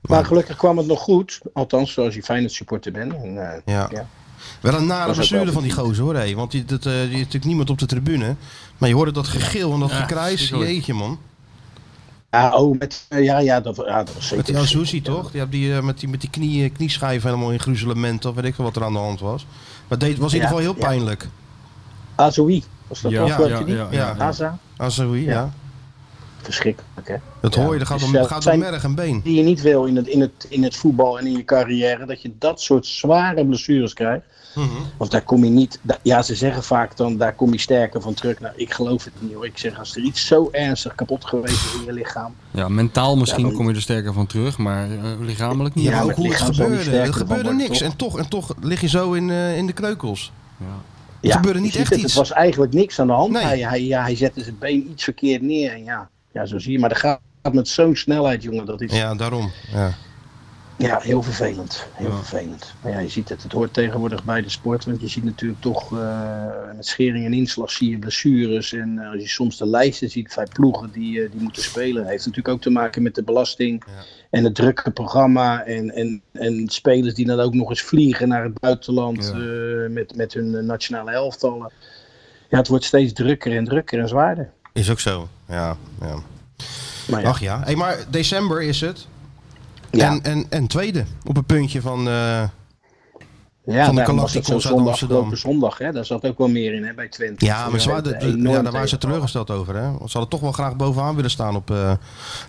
[SPEAKER 9] maar gelukkig kwam het nog goed. Althans, zoals je Feyenoord supporter bent. En, eh,
[SPEAKER 2] Ja.
[SPEAKER 9] Ja.
[SPEAKER 2] Wel een nare
[SPEAKER 9] ook
[SPEAKER 2] blessure
[SPEAKER 9] wel
[SPEAKER 2] van die gozer hoor. hé. Want die, dat, eh, die is natuurlijk niemand op de tribune. Maar je hoorde dat gegil en dat
[SPEAKER 3] Ja,
[SPEAKER 2] gekrijs.
[SPEAKER 3] verschrikkelijk.
[SPEAKER 2] Jeetje man.
[SPEAKER 9] ja, oh, met, eh, ja, ja, dat, ja, dat was
[SPEAKER 2] Met die
[SPEAKER 9] zeker.
[SPEAKER 2] Azuzi toch? Die, hebt die, eh, met die met die knie, knieschijven helemaal in gruzelement. Of weet ik veel wat er aan de hand was. Maar het was in ieder
[SPEAKER 9] Ja,
[SPEAKER 2] geval heel
[SPEAKER 9] ja.
[SPEAKER 2] pijnlijk.
[SPEAKER 9] Azoui, was dat
[SPEAKER 3] Ja,
[SPEAKER 9] toch?
[SPEAKER 3] ja,
[SPEAKER 9] Ja, ja,
[SPEAKER 3] ja, ja, ja.
[SPEAKER 9] Aza.
[SPEAKER 2] Azuzi, ja.
[SPEAKER 9] Ja. verschrikkelijk, hè?
[SPEAKER 2] Dat hoor je, dat gaat
[SPEAKER 9] dus
[SPEAKER 2] om,
[SPEAKER 9] zelf-
[SPEAKER 2] gaat om
[SPEAKER 9] zijn-
[SPEAKER 2] merg en been.
[SPEAKER 9] Die je niet wil in het, in, het, in het voetbal en in je carrière, dat je dat soort zware blessures krijgt. Want daar kom je niet. da- ja, ze zeggen vaak dan, daar kom je sterker van terug. Nou, ik geloof het niet hoor. Ik zeg, als er iets zo ernstig kapot geweest is in je lichaam.
[SPEAKER 3] Ja, mentaal misschien
[SPEAKER 9] Ja, dan-
[SPEAKER 3] kom je er sterker van terug, maar eh, lichamelijk niet.
[SPEAKER 2] Ja,
[SPEAKER 9] Ja,
[SPEAKER 2] maar
[SPEAKER 9] maar
[SPEAKER 2] ook hoe
[SPEAKER 9] het
[SPEAKER 2] het
[SPEAKER 9] lichaam zal niet
[SPEAKER 2] gebeurde.
[SPEAKER 9] sterker
[SPEAKER 2] Er
[SPEAKER 9] van
[SPEAKER 2] gebeurde
[SPEAKER 9] worden,
[SPEAKER 2] niks.
[SPEAKER 9] toch?
[SPEAKER 2] En, toch, en toch lig je zo in, eh, in de kreukels.
[SPEAKER 9] Ja, dus
[SPEAKER 2] gebeurde
[SPEAKER 9] je
[SPEAKER 2] niet
[SPEAKER 9] ziet
[SPEAKER 2] echt
[SPEAKER 9] het,
[SPEAKER 2] iets.
[SPEAKER 9] Het was eigenlijk niks aan de hand.
[SPEAKER 2] Nee.
[SPEAKER 9] Hij, hij, ja, hij zette zijn been iets verkeerd neer. En ja, ja, zo zie je. Maar dat gaat met zo'n snelheid, jongen. Dat is ja.
[SPEAKER 2] Ja, daarom. Ja.
[SPEAKER 9] heel vervelend. Heel vervelend. Maar ja, je ziet het. Het hoort tegenwoordig bij de sport. Want je ziet natuurlijk toch eh, met schering en inslag zie je blessures. En eh, als je soms de lijsten ziet bij ploegen die, eh, die moeten spelen. Heeft natuurlijk ook te maken met de belasting. En het drukke programma. En, en, en spelers die dan ook nog eens vliegen naar het buitenland.
[SPEAKER 3] Ja.
[SPEAKER 9] eh, met, met hun eh, nationale elftallen. Ja, het wordt steeds drukker en drukker en zwaarder.
[SPEAKER 2] Is ook zo. Ja, ja.
[SPEAKER 9] Maar ja,
[SPEAKER 2] Ach ja. Hey, maar december is het.
[SPEAKER 9] ja,
[SPEAKER 2] En, en, en tweede. Op een puntje van... eh,
[SPEAKER 9] ja
[SPEAKER 2] van de
[SPEAKER 9] daarom was het zo'n
[SPEAKER 2] Galacticos uit
[SPEAKER 9] zondag,
[SPEAKER 2] Amsterdam.
[SPEAKER 9] afgelopen zondag. Hè, daar zat ook wel meer in hè, bij Twente.
[SPEAKER 2] ja, maar ze waren,
[SPEAKER 9] Twente
[SPEAKER 2] ja,
[SPEAKER 9] enorm
[SPEAKER 2] daar waren ze
[SPEAKER 9] tegen.
[SPEAKER 2] teleurgesteld over. Hè? Want ze hadden toch wel graag bovenaan willen staan op eh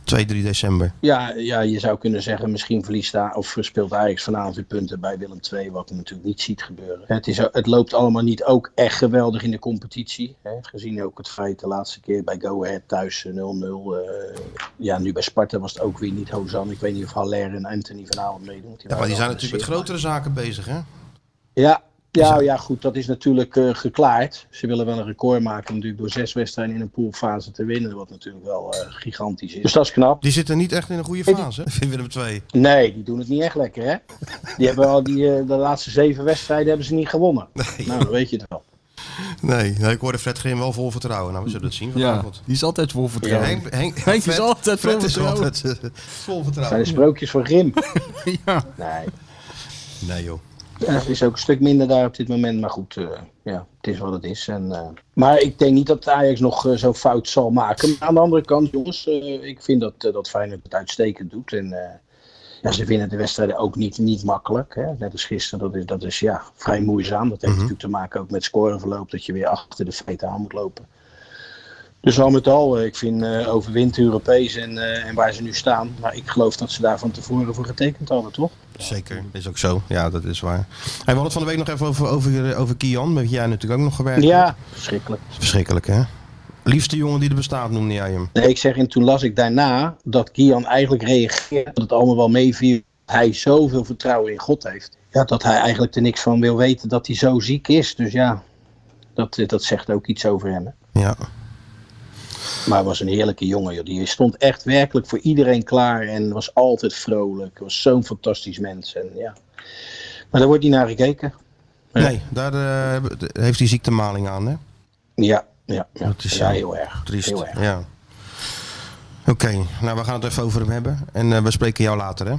[SPEAKER 2] 2, 3 december.
[SPEAKER 9] Ja, ja, je zou kunnen zeggen, misschien verliest daar of speelt Ajax vanavond weer punten bij Willem II, wat je natuurlijk niet ziet gebeuren. Het, is, het loopt allemaal niet ook echt geweldig in de competitie. Hè. Gezien ook het feit de laatste keer bij Go Ahead thuis eh, 0-0. eh, ja, nu bij Sparta was het ook weer niet Hozan. Ik weet niet of Haller en Anthony vanavond meedoen. want
[SPEAKER 2] Ja, maar
[SPEAKER 9] waren
[SPEAKER 2] die
[SPEAKER 9] wel
[SPEAKER 2] zijn natuurlijk met
[SPEAKER 9] geblesseerd.
[SPEAKER 2] grotere zaken bezig. Hè?
[SPEAKER 9] Ja, ja,
[SPEAKER 2] Dus
[SPEAKER 9] ja, goed, dat is natuurlijk eh, geklaard. Ze willen wel een record maken natuurlijk door zes wedstrijden in een poolfase te winnen, wat natuurlijk wel eh, gigantisch is. Dus dat is knap.
[SPEAKER 2] Die zitten niet echt in een goede
[SPEAKER 9] Hey, die-
[SPEAKER 2] fase.
[SPEAKER 9] [laughs]
[SPEAKER 2] hè, Vindt Willem 2.
[SPEAKER 9] Nee, die doen het niet echt lekker, hè? Die hebben al die, eh, de laatste zeven wedstrijden hebben ze niet gewonnen. Nou, dan weet je het wel.
[SPEAKER 2] Nee, nou, ik hoorde Fred Grim wel vol vertrouwen. Nou, we zullen het zien
[SPEAKER 3] Ja,
[SPEAKER 2] vanavond.
[SPEAKER 3] die is altijd vol vertrouwen.
[SPEAKER 2] Henk, Henk,
[SPEAKER 3] [laughs] Henk is altijd vol
[SPEAKER 2] Fred is
[SPEAKER 3] vertrouwen.
[SPEAKER 2] altijd eh, vol
[SPEAKER 9] Het zijn
[SPEAKER 2] vertrouwen.
[SPEAKER 9] de sprookjes van Grim.
[SPEAKER 3] [laughs] Ja.
[SPEAKER 9] Nee,
[SPEAKER 2] Nee joh.
[SPEAKER 9] en het is ook een stuk minder daar op dit moment. Maar goed, eh, ja, het is wat het is. En, eh, maar ik denk niet dat Ajax nog eh, zo fout zal maken. Maar aan de andere kant, jongens, eh, ik vind dat, eh, dat Feyenoord het uitstekend doet. En eh, ja, ze winnen de wedstrijden ook niet, niet makkelijk. Hè? Net als gisteren, dat is, dat is ja, vrij moeizaam. Dat heeft natuurlijk te maken ook met scoreverloop, dat je weer achter de feiten aan moet lopen. Dus al met al, eh, ik vind eh overwint Europees en, eh, en waar ze nu staan. Maar ik geloof dat ze daar van tevoren voor getekend hadden, toch?
[SPEAKER 2] Zeker, is ook zo. Ja, dat is waar. Hey, we hadden het van de week nog even over, over, eh, over Kian, met wie jij natuurlijk ook nog gewerkt hebt.
[SPEAKER 9] Ja, verschrikkelijk.
[SPEAKER 2] Verschrikkelijk, hè? Liefste jongen die er bestaat, noemde jij hem.
[SPEAKER 9] Nee, ik zeg, en toen las ik daarna dat Kian eigenlijk reageert dat het allemaal wel meeviel. Hij zoveel vertrouwen in God heeft. Ja, dat hij eigenlijk er niks van wil weten dat hij zo ziek is. Dus ja, dat, eh, dat zegt ook iets over hem. hè.
[SPEAKER 2] Ja.
[SPEAKER 9] Maar hij was een heerlijke jongen. Joh. Die stond echt werkelijk voor iedereen klaar en was altijd vrolijk. Was zo'n fantastisch mens. En ja. Maar daar wordt niet naar gekeken. Ja.
[SPEAKER 2] Nee, daar eh, heeft hij ziektemaling aan, hè?
[SPEAKER 9] Ja, ja, ja.
[SPEAKER 2] Dat is
[SPEAKER 9] ja
[SPEAKER 2] zo
[SPEAKER 9] heel erg.
[SPEAKER 2] Triest.
[SPEAKER 9] Heel erg.
[SPEAKER 2] Ja. Oké, nou we gaan het even over hem hebben. En eh, we spreken jou later, hè?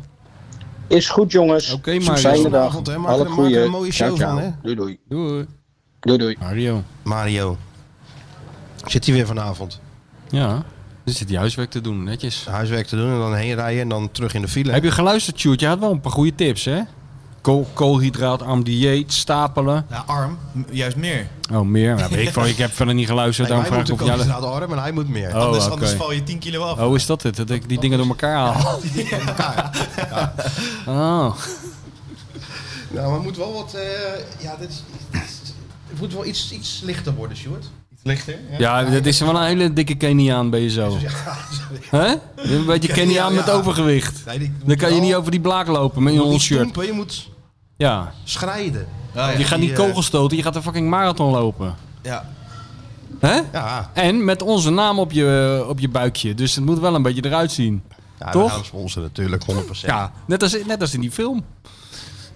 [SPEAKER 9] Is goed, jongens.
[SPEAKER 3] Oké,
[SPEAKER 9] Oké,
[SPEAKER 3] Mario.
[SPEAKER 9] Fijne dag.
[SPEAKER 2] Vanavond, hè. Maak
[SPEAKER 9] Alle
[SPEAKER 2] er- maak er
[SPEAKER 9] goeie.
[SPEAKER 2] een mooie
[SPEAKER 9] Ciao,
[SPEAKER 2] show
[SPEAKER 9] ciao.
[SPEAKER 2] van, hè.
[SPEAKER 9] Doei, doei.
[SPEAKER 3] Doei.
[SPEAKER 9] Doei, doei.
[SPEAKER 3] Mario.
[SPEAKER 2] Mario. Zit hij weer vanavond?
[SPEAKER 3] Ja, dus zit die huiswerk te doen, netjes.
[SPEAKER 2] Huiswerk te doen en dan heen rijden en dan terug in de file.
[SPEAKER 3] Heb je geluisterd, Sjoerd? Je had wel een paar goede tips, hè? Kool, koolhydraatarm dieet, stapelen.
[SPEAKER 4] Ja, arm. M- Juist meer.
[SPEAKER 3] Oh, meer. Ja, weet ik, van, ik heb verder niet geluisterd,
[SPEAKER 2] Nee,
[SPEAKER 3] daarom
[SPEAKER 2] hij moet
[SPEAKER 3] vraag ik
[SPEAKER 2] de
[SPEAKER 3] of jij... dat-
[SPEAKER 2] koolhydraten arm en hij moet meer.
[SPEAKER 3] Oh,
[SPEAKER 4] dus
[SPEAKER 3] oké.
[SPEAKER 4] anders val je 10 kilo af.
[SPEAKER 3] Oh, is dat het? Dat ik die dingen door elkaar haal? Oh.
[SPEAKER 2] Nou, maar het moet wel wat... eh, ja, dit is, dit is- het moet wel iets, iets lichter worden, Sjoerd.
[SPEAKER 4] Lichter. Ja.
[SPEAKER 3] Ja, dat is wel een hele dikke Keniaan ben je zo. Hè? Een beetje Keniaan met
[SPEAKER 2] ja.
[SPEAKER 3] overgewicht.
[SPEAKER 2] Nee, die- Oh.
[SPEAKER 3] Dan kan je niet over die blaak lopen met
[SPEAKER 2] Je
[SPEAKER 3] je
[SPEAKER 2] moet niet
[SPEAKER 3] ons shirt.
[SPEAKER 2] stompen, je moet
[SPEAKER 3] Ja.
[SPEAKER 2] schrijden.
[SPEAKER 4] Ah,
[SPEAKER 3] Je
[SPEAKER 4] ja.
[SPEAKER 3] gaat niet
[SPEAKER 2] Die, eh,
[SPEAKER 3] kogel stoten, je gaat een fucking marathon lopen.
[SPEAKER 4] Ja.
[SPEAKER 3] Hè?
[SPEAKER 2] Ja,
[SPEAKER 3] En met onze naam op je, op je buikje. Dus het moet wel een beetje eruit zien.
[SPEAKER 2] ja
[SPEAKER 3] Toch?
[SPEAKER 2] we gaan sponsoren natuurlijk, 100%.
[SPEAKER 3] Ja, net als, net als in die film.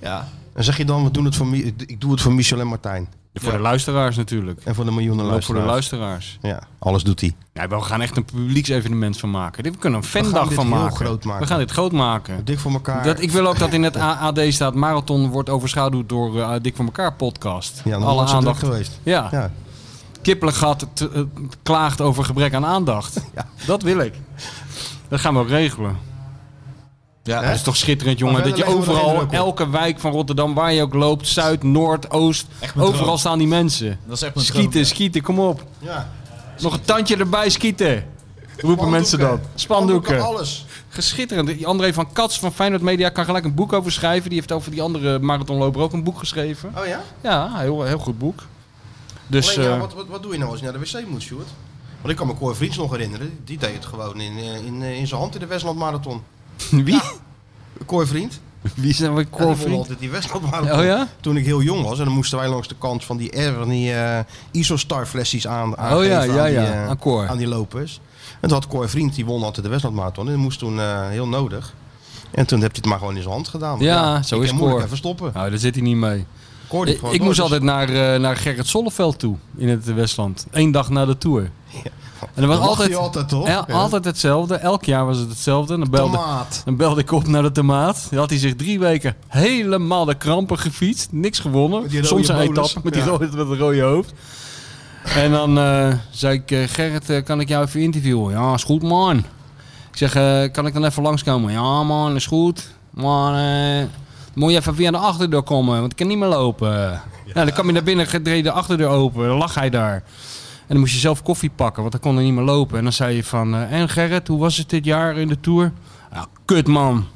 [SPEAKER 4] ja.
[SPEAKER 2] En zeg je dan, we doen het voor, Mi- ik doe het voor Michel en Martijn.
[SPEAKER 3] Voor de luisteraars natuurlijk.
[SPEAKER 2] En voor de miljoenen
[SPEAKER 3] Ook voor de
[SPEAKER 2] luisteraars.
[SPEAKER 3] luisteraars.
[SPEAKER 2] ja, alles doet hij.
[SPEAKER 3] Nee, we gaan echt een publieksevenement van maken. Dit- We kunnen een fandag
[SPEAKER 2] dit
[SPEAKER 3] van
[SPEAKER 2] heel
[SPEAKER 3] maken.
[SPEAKER 2] groot maken.
[SPEAKER 3] We gaan dit groot maken.
[SPEAKER 2] Dik voor elkaar.
[SPEAKER 3] Dat, ik wil ook dat in het AD staat marathon wordt overschaduwd door eh, Dik voor elkaar podcast.
[SPEAKER 2] ja, dan
[SPEAKER 3] Alle
[SPEAKER 2] wordt ze druk
[SPEAKER 3] aandacht.
[SPEAKER 2] geweest.
[SPEAKER 3] Ja.
[SPEAKER 2] Ja.
[SPEAKER 3] Kippelengat t- eh, klaagt over gebrek aan aandacht.
[SPEAKER 2] [laughs] Ja.
[SPEAKER 3] Dat wil ik. Dat gaan we ook regelen.
[SPEAKER 4] Ja.
[SPEAKER 3] Dat is toch schitterend, jongen.
[SPEAKER 2] Maar
[SPEAKER 3] Dat je
[SPEAKER 2] verder leggen we er geen
[SPEAKER 3] overal,
[SPEAKER 2] druk op.
[SPEAKER 3] elke wijk van Rotterdam, waar je ook loopt, zuid, noord, oost,
[SPEAKER 4] Echt mijn
[SPEAKER 3] overal
[SPEAKER 4] droom.
[SPEAKER 3] staan die mensen.
[SPEAKER 4] Dat is echt mijn droom,
[SPEAKER 3] Skieten,
[SPEAKER 4] ja.
[SPEAKER 3] skieten, kom op. Nog een tandje erbij, skieten. roepen mensen dat. Spandoeken.
[SPEAKER 2] Alles.
[SPEAKER 3] Geschitterend. Die André van Kats van Feyenoord Media kan gelijk een boek over schrijven. Die heeft over die andere marathonloper ook een boek geschreven.
[SPEAKER 2] Oh ja?
[SPEAKER 3] Ja, heel, heel goed boek. Dus
[SPEAKER 2] Alleen, ja,
[SPEAKER 3] eh,
[SPEAKER 2] wat, wat, wat doe je nou als je naar de wc moet, Sjoerd? Want ik kan me Cor Vriends nog herinneren. Die deed het gewoon in, eh, in, eh, in zijn hand in de Westland Marathon.
[SPEAKER 3] [laughs] wie?
[SPEAKER 2] Cor Vriend.
[SPEAKER 3] Wie nou zijn we?
[SPEAKER 2] Ja, die won
[SPEAKER 3] Corvriend?
[SPEAKER 2] altijd die Westland Marathon.
[SPEAKER 3] Oh ja?
[SPEAKER 2] Toen ik heel jong was. En dan moesten wij langs de kant van die, eh, van die eh, Isostar flesjes aan, aangeven
[SPEAKER 3] Oh ja, ja,
[SPEAKER 2] aan, die,
[SPEAKER 3] ja.
[SPEAKER 2] eh,
[SPEAKER 3] Aan Cor.
[SPEAKER 2] aan die lopers. En toen had Cor Vriend, die won altijd de Westland Marathon. En dat moest toen eh, heel nodig. En toen heb hij het maar gewoon in zijn hand gedaan. Want
[SPEAKER 3] Ja, zo
[SPEAKER 2] ik
[SPEAKER 3] is
[SPEAKER 2] kan moeilijk
[SPEAKER 3] Cor.
[SPEAKER 2] even stoppen.
[SPEAKER 3] Nou, daar zit hij niet mee.
[SPEAKER 2] Cor die
[SPEAKER 3] Ik,
[SPEAKER 2] gewoon
[SPEAKER 3] ik
[SPEAKER 2] door,
[SPEAKER 3] moest
[SPEAKER 2] dus-
[SPEAKER 3] altijd naar, eh, naar Gerrit Solleveld toe in het Westland. Eén dag na de Tour. En er was
[SPEAKER 2] Dan lacht
[SPEAKER 3] altijd,
[SPEAKER 2] hij altijd, toch?
[SPEAKER 3] el-
[SPEAKER 2] Ja.
[SPEAKER 3] altijd hetzelfde. Elk jaar was het hetzelfde. En dan belde,
[SPEAKER 2] Tomaat.
[SPEAKER 3] dan belde ik op naar de tomaat. Dan had hij zich drie weken helemaal de krampen gefietst. Niks
[SPEAKER 2] Met die
[SPEAKER 3] gewonnen.
[SPEAKER 2] rode
[SPEAKER 3] Soms een
[SPEAKER 2] bolus.
[SPEAKER 3] etappe met, die
[SPEAKER 2] Ja.
[SPEAKER 3] rode, met het rode hoofd. En dan eh, zei ik, eh, Gerrit, eh, kan ik jou even interviewen? Ja, is goed man. Ik zeg, eh, kan ik dan even langskomen? Ja man, is goed. Maar eh, moet je even via de achterdeur komen, want ik kan niet meer lopen. Nou, dan kwam je naar binnen, gedreed de achterdeur open. Dan lag hij daar. En dan moest je zelf koffie pakken, want dan kon hij niet meer lopen. En dan zei je van, eh, en Gerrit, hoe was het dit jaar in de Tour? Ja, kut man.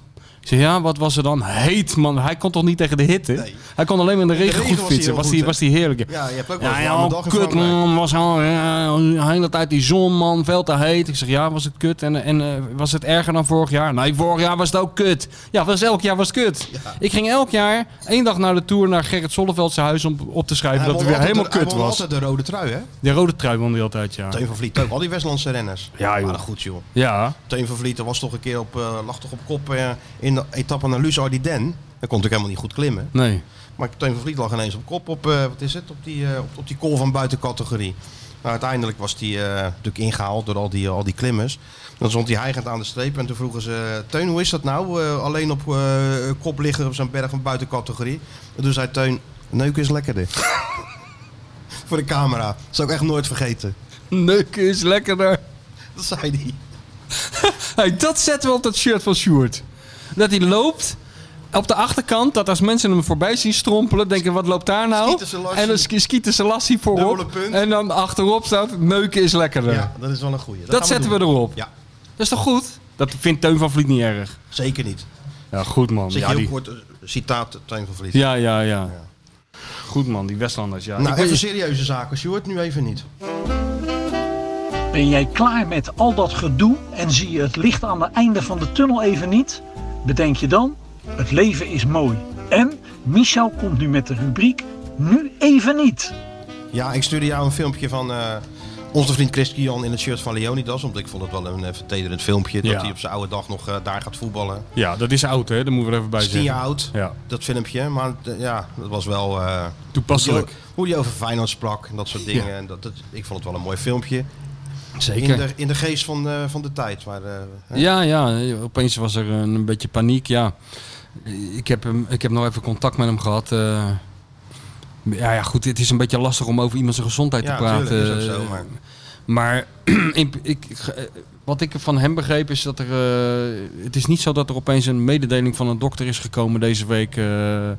[SPEAKER 3] Ik zeg, ja, wat was er dan? Heet man. Hij kon toch niet tegen de hitte? Hij kon alleen maar in de regen,
[SPEAKER 2] regen was
[SPEAKER 3] goed
[SPEAKER 2] hij
[SPEAKER 3] fietsen.
[SPEAKER 2] heel
[SPEAKER 3] Was
[SPEAKER 2] goed,
[SPEAKER 3] hij
[SPEAKER 2] hè?
[SPEAKER 3] was hij heerlijk.
[SPEAKER 2] Ja, je hebt ook wel
[SPEAKER 3] Ja,
[SPEAKER 2] eens een
[SPEAKER 3] ja,
[SPEAKER 2] warme
[SPEAKER 3] oh,
[SPEAKER 2] dag in
[SPEAKER 3] kut
[SPEAKER 2] Frankrijk.
[SPEAKER 3] man, was al ja, de hele tijd die zon man, veel te heet. Ik zeg ja, was het kut en, en eh, was het erger dan vorig jaar? Nee, vorig jaar was het ook kut. Ja, was elk jaar was het kut. Ik ging elk jaar één dag naar de tour naar Gerrit Solleveld's huis om op te schrijven
[SPEAKER 2] Hij
[SPEAKER 3] dat
[SPEAKER 2] won
[SPEAKER 3] het weer
[SPEAKER 2] altijd
[SPEAKER 3] helemaal
[SPEAKER 2] de-
[SPEAKER 3] kut
[SPEAKER 2] Hij won
[SPEAKER 3] was.
[SPEAKER 2] altijd de rode trui, hè?
[SPEAKER 3] Die rode trui won hij altijd ja.
[SPEAKER 2] Teun van Vliet ook. Al die Westlandse renners.
[SPEAKER 3] Ja, joh.
[SPEAKER 2] Maar goed, joh.
[SPEAKER 3] Ja,
[SPEAKER 2] Teun van Vliet er was toch een keer op, eh, lag toch op kop eh, in de etappe naar Luz Ardiden. Dat kon natuurlijk helemaal niet goed klimmen.
[SPEAKER 3] nee.
[SPEAKER 2] Maar Teun van Vliet lag ineens op kop op, eh, wat is het? Op die, eh op, op die call van buitencategorie. Nou, uiteindelijk was die eh, natuurlijk ingehaald door al die, eh, al die klimmers. Dan stond hij hijgend aan de streep en toen vroegen ze... Teun, hoe is dat nou? eh, alleen op eh, kop liggen op zo'n berg van buitencategorie. En toen zei Teun, neuk is lekkerder. [laughs] Voor de camera. Dat zou ik echt nooit vergeten.
[SPEAKER 3] Neuk is lekkerder.
[SPEAKER 2] Dat zei hij.
[SPEAKER 3] Hey, dat zetten we op dat shirt van Sjoerd. Dat hij loopt op de achterkant. Dat als mensen hem voorbij zien strompelen, denken wat loopt daar nou?
[SPEAKER 2] Schieten ze lassie.
[SPEAKER 3] En dan sk- skieten ze lassie
[SPEAKER 2] Dubbele
[SPEAKER 3] voorop.
[SPEAKER 2] punt.
[SPEAKER 3] En dan achterop staat neuken is lekkerder.
[SPEAKER 2] Ja, dat is wel een goeie.
[SPEAKER 3] dat
[SPEAKER 2] gaan
[SPEAKER 3] zetten we,
[SPEAKER 2] doen.
[SPEAKER 3] erop.
[SPEAKER 2] Ja.
[SPEAKER 3] Dat is toch goed? Dat vindt Teun van Vliet niet erg.
[SPEAKER 2] Zeker niet.
[SPEAKER 3] Ja, goed man.
[SPEAKER 2] Zeg je
[SPEAKER 3] Ja,
[SPEAKER 2] heel
[SPEAKER 3] die-
[SPEAKER 2] kort eh, citaat Teun van Vliet.
[SPEAKER 3] ja, ja, ja. Goed man, die Westlanders. Ja.
[SPEAKER 2] Nou,
[SPEAKER 3] Ik weet-
[SPEAKER 2] even serieuze zaken. Sjoerd, nu even niet.
[SPEAKER 10] Ben jij klaar met al dat gedoe en zie je het licht aan het einde van de tunnel even niet? Bedenk je dan, het leven is mooi. En Michel komt nu met de rubriek Nu even niet.
[SPEAKER 2] Ja, ik stuurde jou een filmpje van eh, onze vriend Christian in het shirt van Leonidas. Omdat ik vond het wel een eh, vertederend filmpje. Dat
[SPEAKER 3] Ja.
[SPEAKER 2] hij op zijn oude dag nog eh, daar gaat voetballen.
[SPEAKER 3] ja, dat is oud hè, daar moeten we er even bij
[SPEAKER 2] Is tien
[SPEAKER 3] zeggen.
[SPEAKER 2] jaar oud,
[SPEAKER 3] Ja,
[SPEAKER 2] dat filmpje. Maar eh, ja, dat was wel... eh,
[SPEAKER 3] toepasselijk.
[SPEAKER 2] hoe- Hoe hij over Feyenoord sprak en dat soort dingen. En dat, dat- ik vond het wel een mooi filmpje. In de, in de geest van, eh, van de tijd. Maar, eh, hè.
[SPEAKER 3] Ja, ja, opeens was er een, een beetje paniek. Ja. Ik, heb hem, ik heb nog even contact met hem gehad. eh. ja, ja, goed, het is een beetje lastig om over iemand zijn gezondheid
[SPEAKER 2] ja,
[SPEAKER 3] te praten. eh,
[SPEAKER 2] tuurlijk, is ook zo. Maar...
[SPEAKER 3] Maar [clears throat] in- ik, eh, wat ik van hem begreep is dat er. eh, het is niet zo dat er opeens een mededeling van een dokter is gekomen deze week. eh, eh,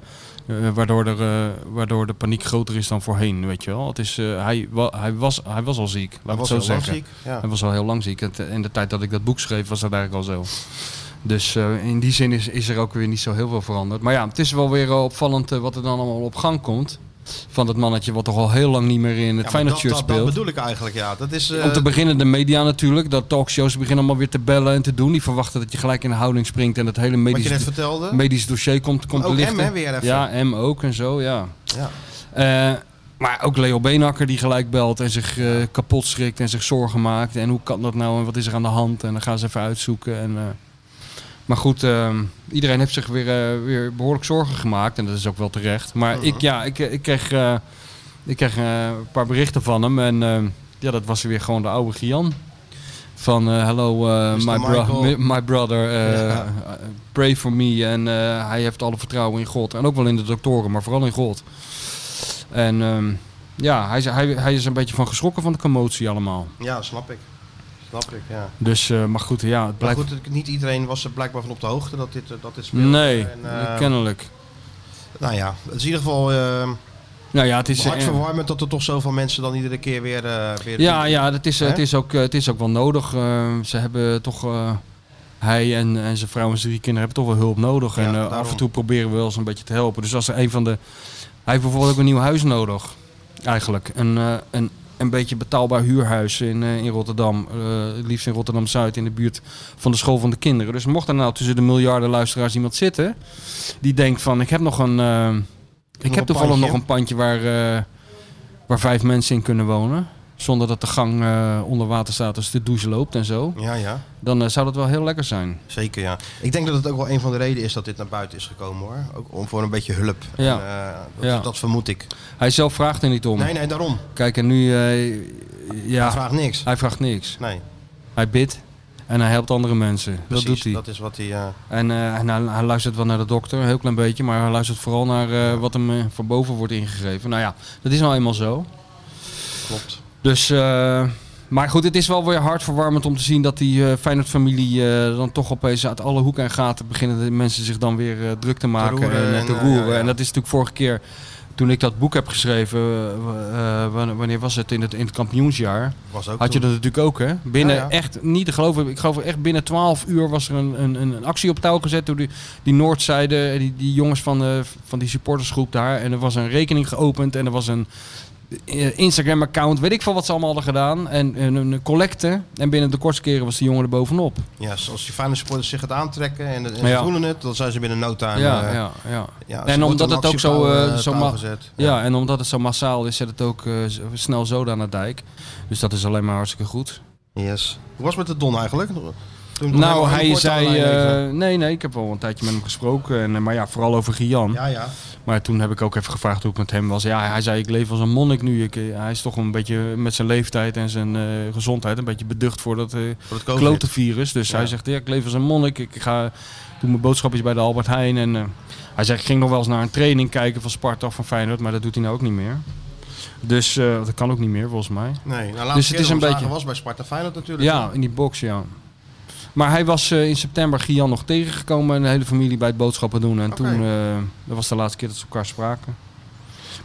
[SPEAKER 3] waardoor, er, eh, waardoor de paniek groter is dan voorheen. Weet je wel? Het is, eh, hij, wa- hij, was, hij was al ziek, laat
[SPEAKER 2] Hij
[SPEAKER 3] ik
[SPEAKER 2] was
[SPEAKER 3] het zo
[SPEAKER 2] heel
[SPEAKER 3] zeggen.
[SPEAKER 2] ziek. Ja.
[SPEAKER 3] Hij was al heel lang ziek. Het- eh, In de tijd dat ik dat boek schreef, was dat eigenlijk al zo. Dus eh, in die zin is, is er ook weer niet zo heel veel veranderd. Maar ja, het is wel weer eh, opvallend eh, wat er dan allemaal op gang komt. Van dat mannetje wat toch al heel lang niet meer in het
[SPEAKER 2] Ja, maar
[SPEAKER 3] Feyenoord
[SPEAKER 2] dat,
[SPEAKER 3] shirt
[SPEAKER 2] dat, dat
[SPEAKER 3] speelt.
[SPEAKER 2] bedoel ik eigenlijk, ja. Dat is, eh,
[SPEAKER 3] Om te beginnen de media natuurlijk. Dat talkshows beginnen allemaal weer te bellen en te doen. Die verwachten dat je gelijk in de houding springt en dat hele
[SPEAKER 2] wat je
[SPEAKER 3] medische,
[SPEAKER 2] net vertelde.
[SPEAKER 3] medisch dossier komt, komt
[SPEAKER 2] Ook
[SPEAKER 3] te lichten.
[SPEAKER 2] hem, hè, weer even.
[SPEAKER 3] Ja, hem ook en zo, ja.
[SPEAKER 2] Ja.
[SPEAKER 3] Eh, maar ook Leo Beenhakker die gelijk belt en zich eh, kapot schrikt en zich zorgen maakt. En hoe kan dat nou en wat is er aan de hand? En dan gaan ze even uitzoeken. En, eh, maar goed, eh, iedereen heeft zich weer, eh, weer behoorlijk zorgen gemaakt. En dat is ook wel terecht. Maar
[SPEAKER 2] Mhm.
[SPEAKER 3] ik, ja, ik, ik kreeg, eh, ik kreeg eh, een paar berichten van hem. En eh, ja, dat was weer gewoon de oude Gian. Van eh, hello, eh,
[SPEAKER 2] Mr.
[SPEAKER 3] my, bro-
[SPEAKER 2] Michael.
[SPEAKER 3] mi- my brother, eh,
[SPEAKER 2] Ja.
[SPEAKER 3] pray for me. En eh, hij heeft alle vertrouwen in God. En ook wel in de doktoren, maar vooral in God. En ehm, ja, hij, is- hij, hij is een beetje van geschrokken van de commotie allemaal.
[SPEAKER 2] ja, snap ik. Snap ik, ja.
[SPEAKER 3] Dus, eh, maar goed, ja, het
[SPEAKER 2] Maar
[SPEAKER 3] blijft...
[SPEAKER 2] goed, het- niet iedereen was er blijkbaar van op de hoogte dat dit, eh, dat dit speelde.
[SPEAKER 3] nee,
[SPEAKER 2] En, eh,
[SPEAKER 3] kennelijk.
[SPEAKER 2] Nou ja, het is in ieder geval eh,
[SPEAKER 3] Nou ja, het is...
[SPEAKER 2] Hartverwarmend dat er toch zoveel mensen dan iedere keer weer... eh, weer
[SPEAKER 3] Ja, ja het, is,
[SPEAKER 2] Hè?
[SPEAKER 3] het, is ook, eh, het is ook wel nodig. Eh, ze hebben toch. eh, hij en, en zijn vrouw en zijn drie kinderen hebben toch wel hulp nodig. en eh, af en toe proberen we wel eens een beetje te helpen. Dus als er een van de. Hij heeft bijvoorbeeld ook een nieuw huis nodig. Eigenlijk. Een, eh, een, een beetje betaalbaar huurhuis in, eh, in Rotterdam. Eh, het liefst in Rotterdam Zuid, in de buurt van de school van de kinderen. Dus mocht er nou tussen de miljarden luisteraars iemand zitten. die denkt van: ik heb nog een. eh, ik
[SPEAKER 2] Nog
[SPEAKER 3] heb
[SPEAKER 2] een
[SPEAKER 3] toevallig
[SPEAKER 2] pandje.
[SPEAKER 3] nog een pandje waar, eh, waar vijf mensen in kunnen wonen. Zonder dat de gang eh, onder water staat als de douche loopt en zo.
[SPEAKER 2] Ja, ja.
[SPEAKER 3] Dan eh, zou dat wel heel lekker zijn.
[SPEAKER 2] Zeker, ja. Ik denk dat het ook wel een van de redenen is dat dit naar buiten is gekomen, hoor. Ook om voor een beetje hulp.
[SPEAKER 3] Ja.
[SPEAKER 2] En, eh, dat,
[SPEAKER 3] Ja.
[SPEAKER 2] dat vermoed ik.
[SPEAKER 3] Hij zelf vraagt er niet om.
[SPEAKER 2] Nee, nee, daarom.
[SPEAKER 3] Kijk, en nu... eh, ja, hij
[SPEAKER 2] vraagt niks.
[SPEAKER 3] Hij vraagt niks.
[SPEAKER 2] Nee.
[SPEAKER 3] Hij bidt en hij helpt andere mensen.
[SPEAKER 2] Precies,
[SPEAKER 3] dat doet hij.
[SPEAKER 2] Dat is wat hij... eh,
[SPEAKER 3] En, eh, en hij, hij luistert wel naar de dokter, een heel klein beetje. Maar hij luistert vooral naar eh, wat hem eh, van boven wordt ingegeven. Nou ja, dat is nou eenmaal zo.
[SPEAKER 2] Klopt.
[SPEAKER 3] Dus, eh, maar goed, het is wel weer hartverwarmend om te zien dat die eh Feyenoord-familie eh, dan toch opeens uit alle hoeken en gaten beginnen de mensen zich dan weer eh, druk te maken
[SPEAKER 2] roeren
[SPEAKER 3] en eh,
[SPEAKER 2] en,
[SPEAKER 3] te
[SPEAKER 2] eh,
[SPEAKER 3] roeren.
[SPEAKER 2] ja, ja.
[SPEAKER 3] En dat is natuurlijk vorige keer toen ik dat boek heb geschreven, eh, eh, wanneer- wanneer was het? In het, in het kampioensjaar.
[SPEAKER 2] Was ook
[SPEAKER 3] Had je
[SPEAKER 2] toen.
[SPEAKER 3] dat natuurlijk ook, hè? Binnen
[SPEAKER 2] Ja, ja.
[SPEAKER 3] echt niet te geloven. Ik geloof echt binnen 12 uur was er een, een, een actie op touw gezet door die, die Noordzijde, eh, die, die jongens van, de, van die supportersgroep daar. En er was een rekening geopend en er was een eh, Instagram-account, weet ik veel wat ze allemaal hadden gedaan. En, en een collecte. En binnen de kortste keren was die jongen er bovenop.
[SPEAKER 2] Ja, als die fijne supporters zich het aantrekken en, en
[SPEAKER 3] Ja.
[SPEAKER 2] ze voelen het, dan zijn ze binnen no time.
[SPEAKER 3] ja,
[SPEAKER 2] eh,
[SPEAKER 3] ja, ja.
[SPEAKER 2] ja, ze
[SPEAKER 3] en
[SPEAKER 2] wordt
[SPEAKER 3] omdat
[SPEAKER 2] een
[SPEAKER 3] het ook zo,
[SPEAKER 2] actiepauw,
[SPEAKER 3] eh,
[SPEAKER 2] eh,
[SPEAKER 3] zo
[SPEAKER 2] touw
[SPEAKER 3] ma-
[SPEAKER 2] gezet.
[SPEAKER 3] ja. en omdat het zo massaal is, zet het ook eh, z- snel zo aan de dijk. Dus dat is alleen maar hartstikke goed.
[SPEAKER 2] Yes. Hoe was het met de Don eigenlijk? Toen- toen
[SPEAKER 3] nou,
[SPEAKER 2] nog heel
[SPEAKER 3] hij
[SPEAKER 2] kort
[SPEAKER 3] zei.
[SPEAKER 2] aan mij even.
[SPEAKER 3] eh, nee, nee, ik heb wel een tijdje met hem gesproken. En, eh, maar ja, vooral over Gian.
[SPEAKER 2] Ja, ja.
[SPEAKER 3] Maar toen heb ik ook even gevraagd hoe het met hem was. Ja, hij zei: Ik leef als een monnik nu. Ik, eh, hij is toch een beetje met zijn leeftijd en zijn eh, gezondheid een beetje beducht voor dat eh
[SPEAKER 2] het COVID.
[SPEAKER 3] klote virus. Dus hij zegt: ja, Ik leef als een monnik. Ik ga, doe mijn boodschapjes bij de Albert Heijn. En eh, hij zei: Ik ging nog wel eens naar een training kijken van Sparta of van Feyenoord. Maar dat doet hij nou ook niet meer. Dus eh, dat kan ook niet meer volgens mij.
[SPEAKER 2] Nee, nou, laatste
[SPEAKER 3] dus het is een beetje.
[SPEAKER 2] was bij Sparta Feyenoord natuurlijk.
[SPEAKER 3] Ja, in die box, ja. Maar hij was eh, in september Gian nog tegengekomen en de hele familie bij het boodschappen doen. En toen, eh, dat was de laatste keer dat ze elkaar spraken.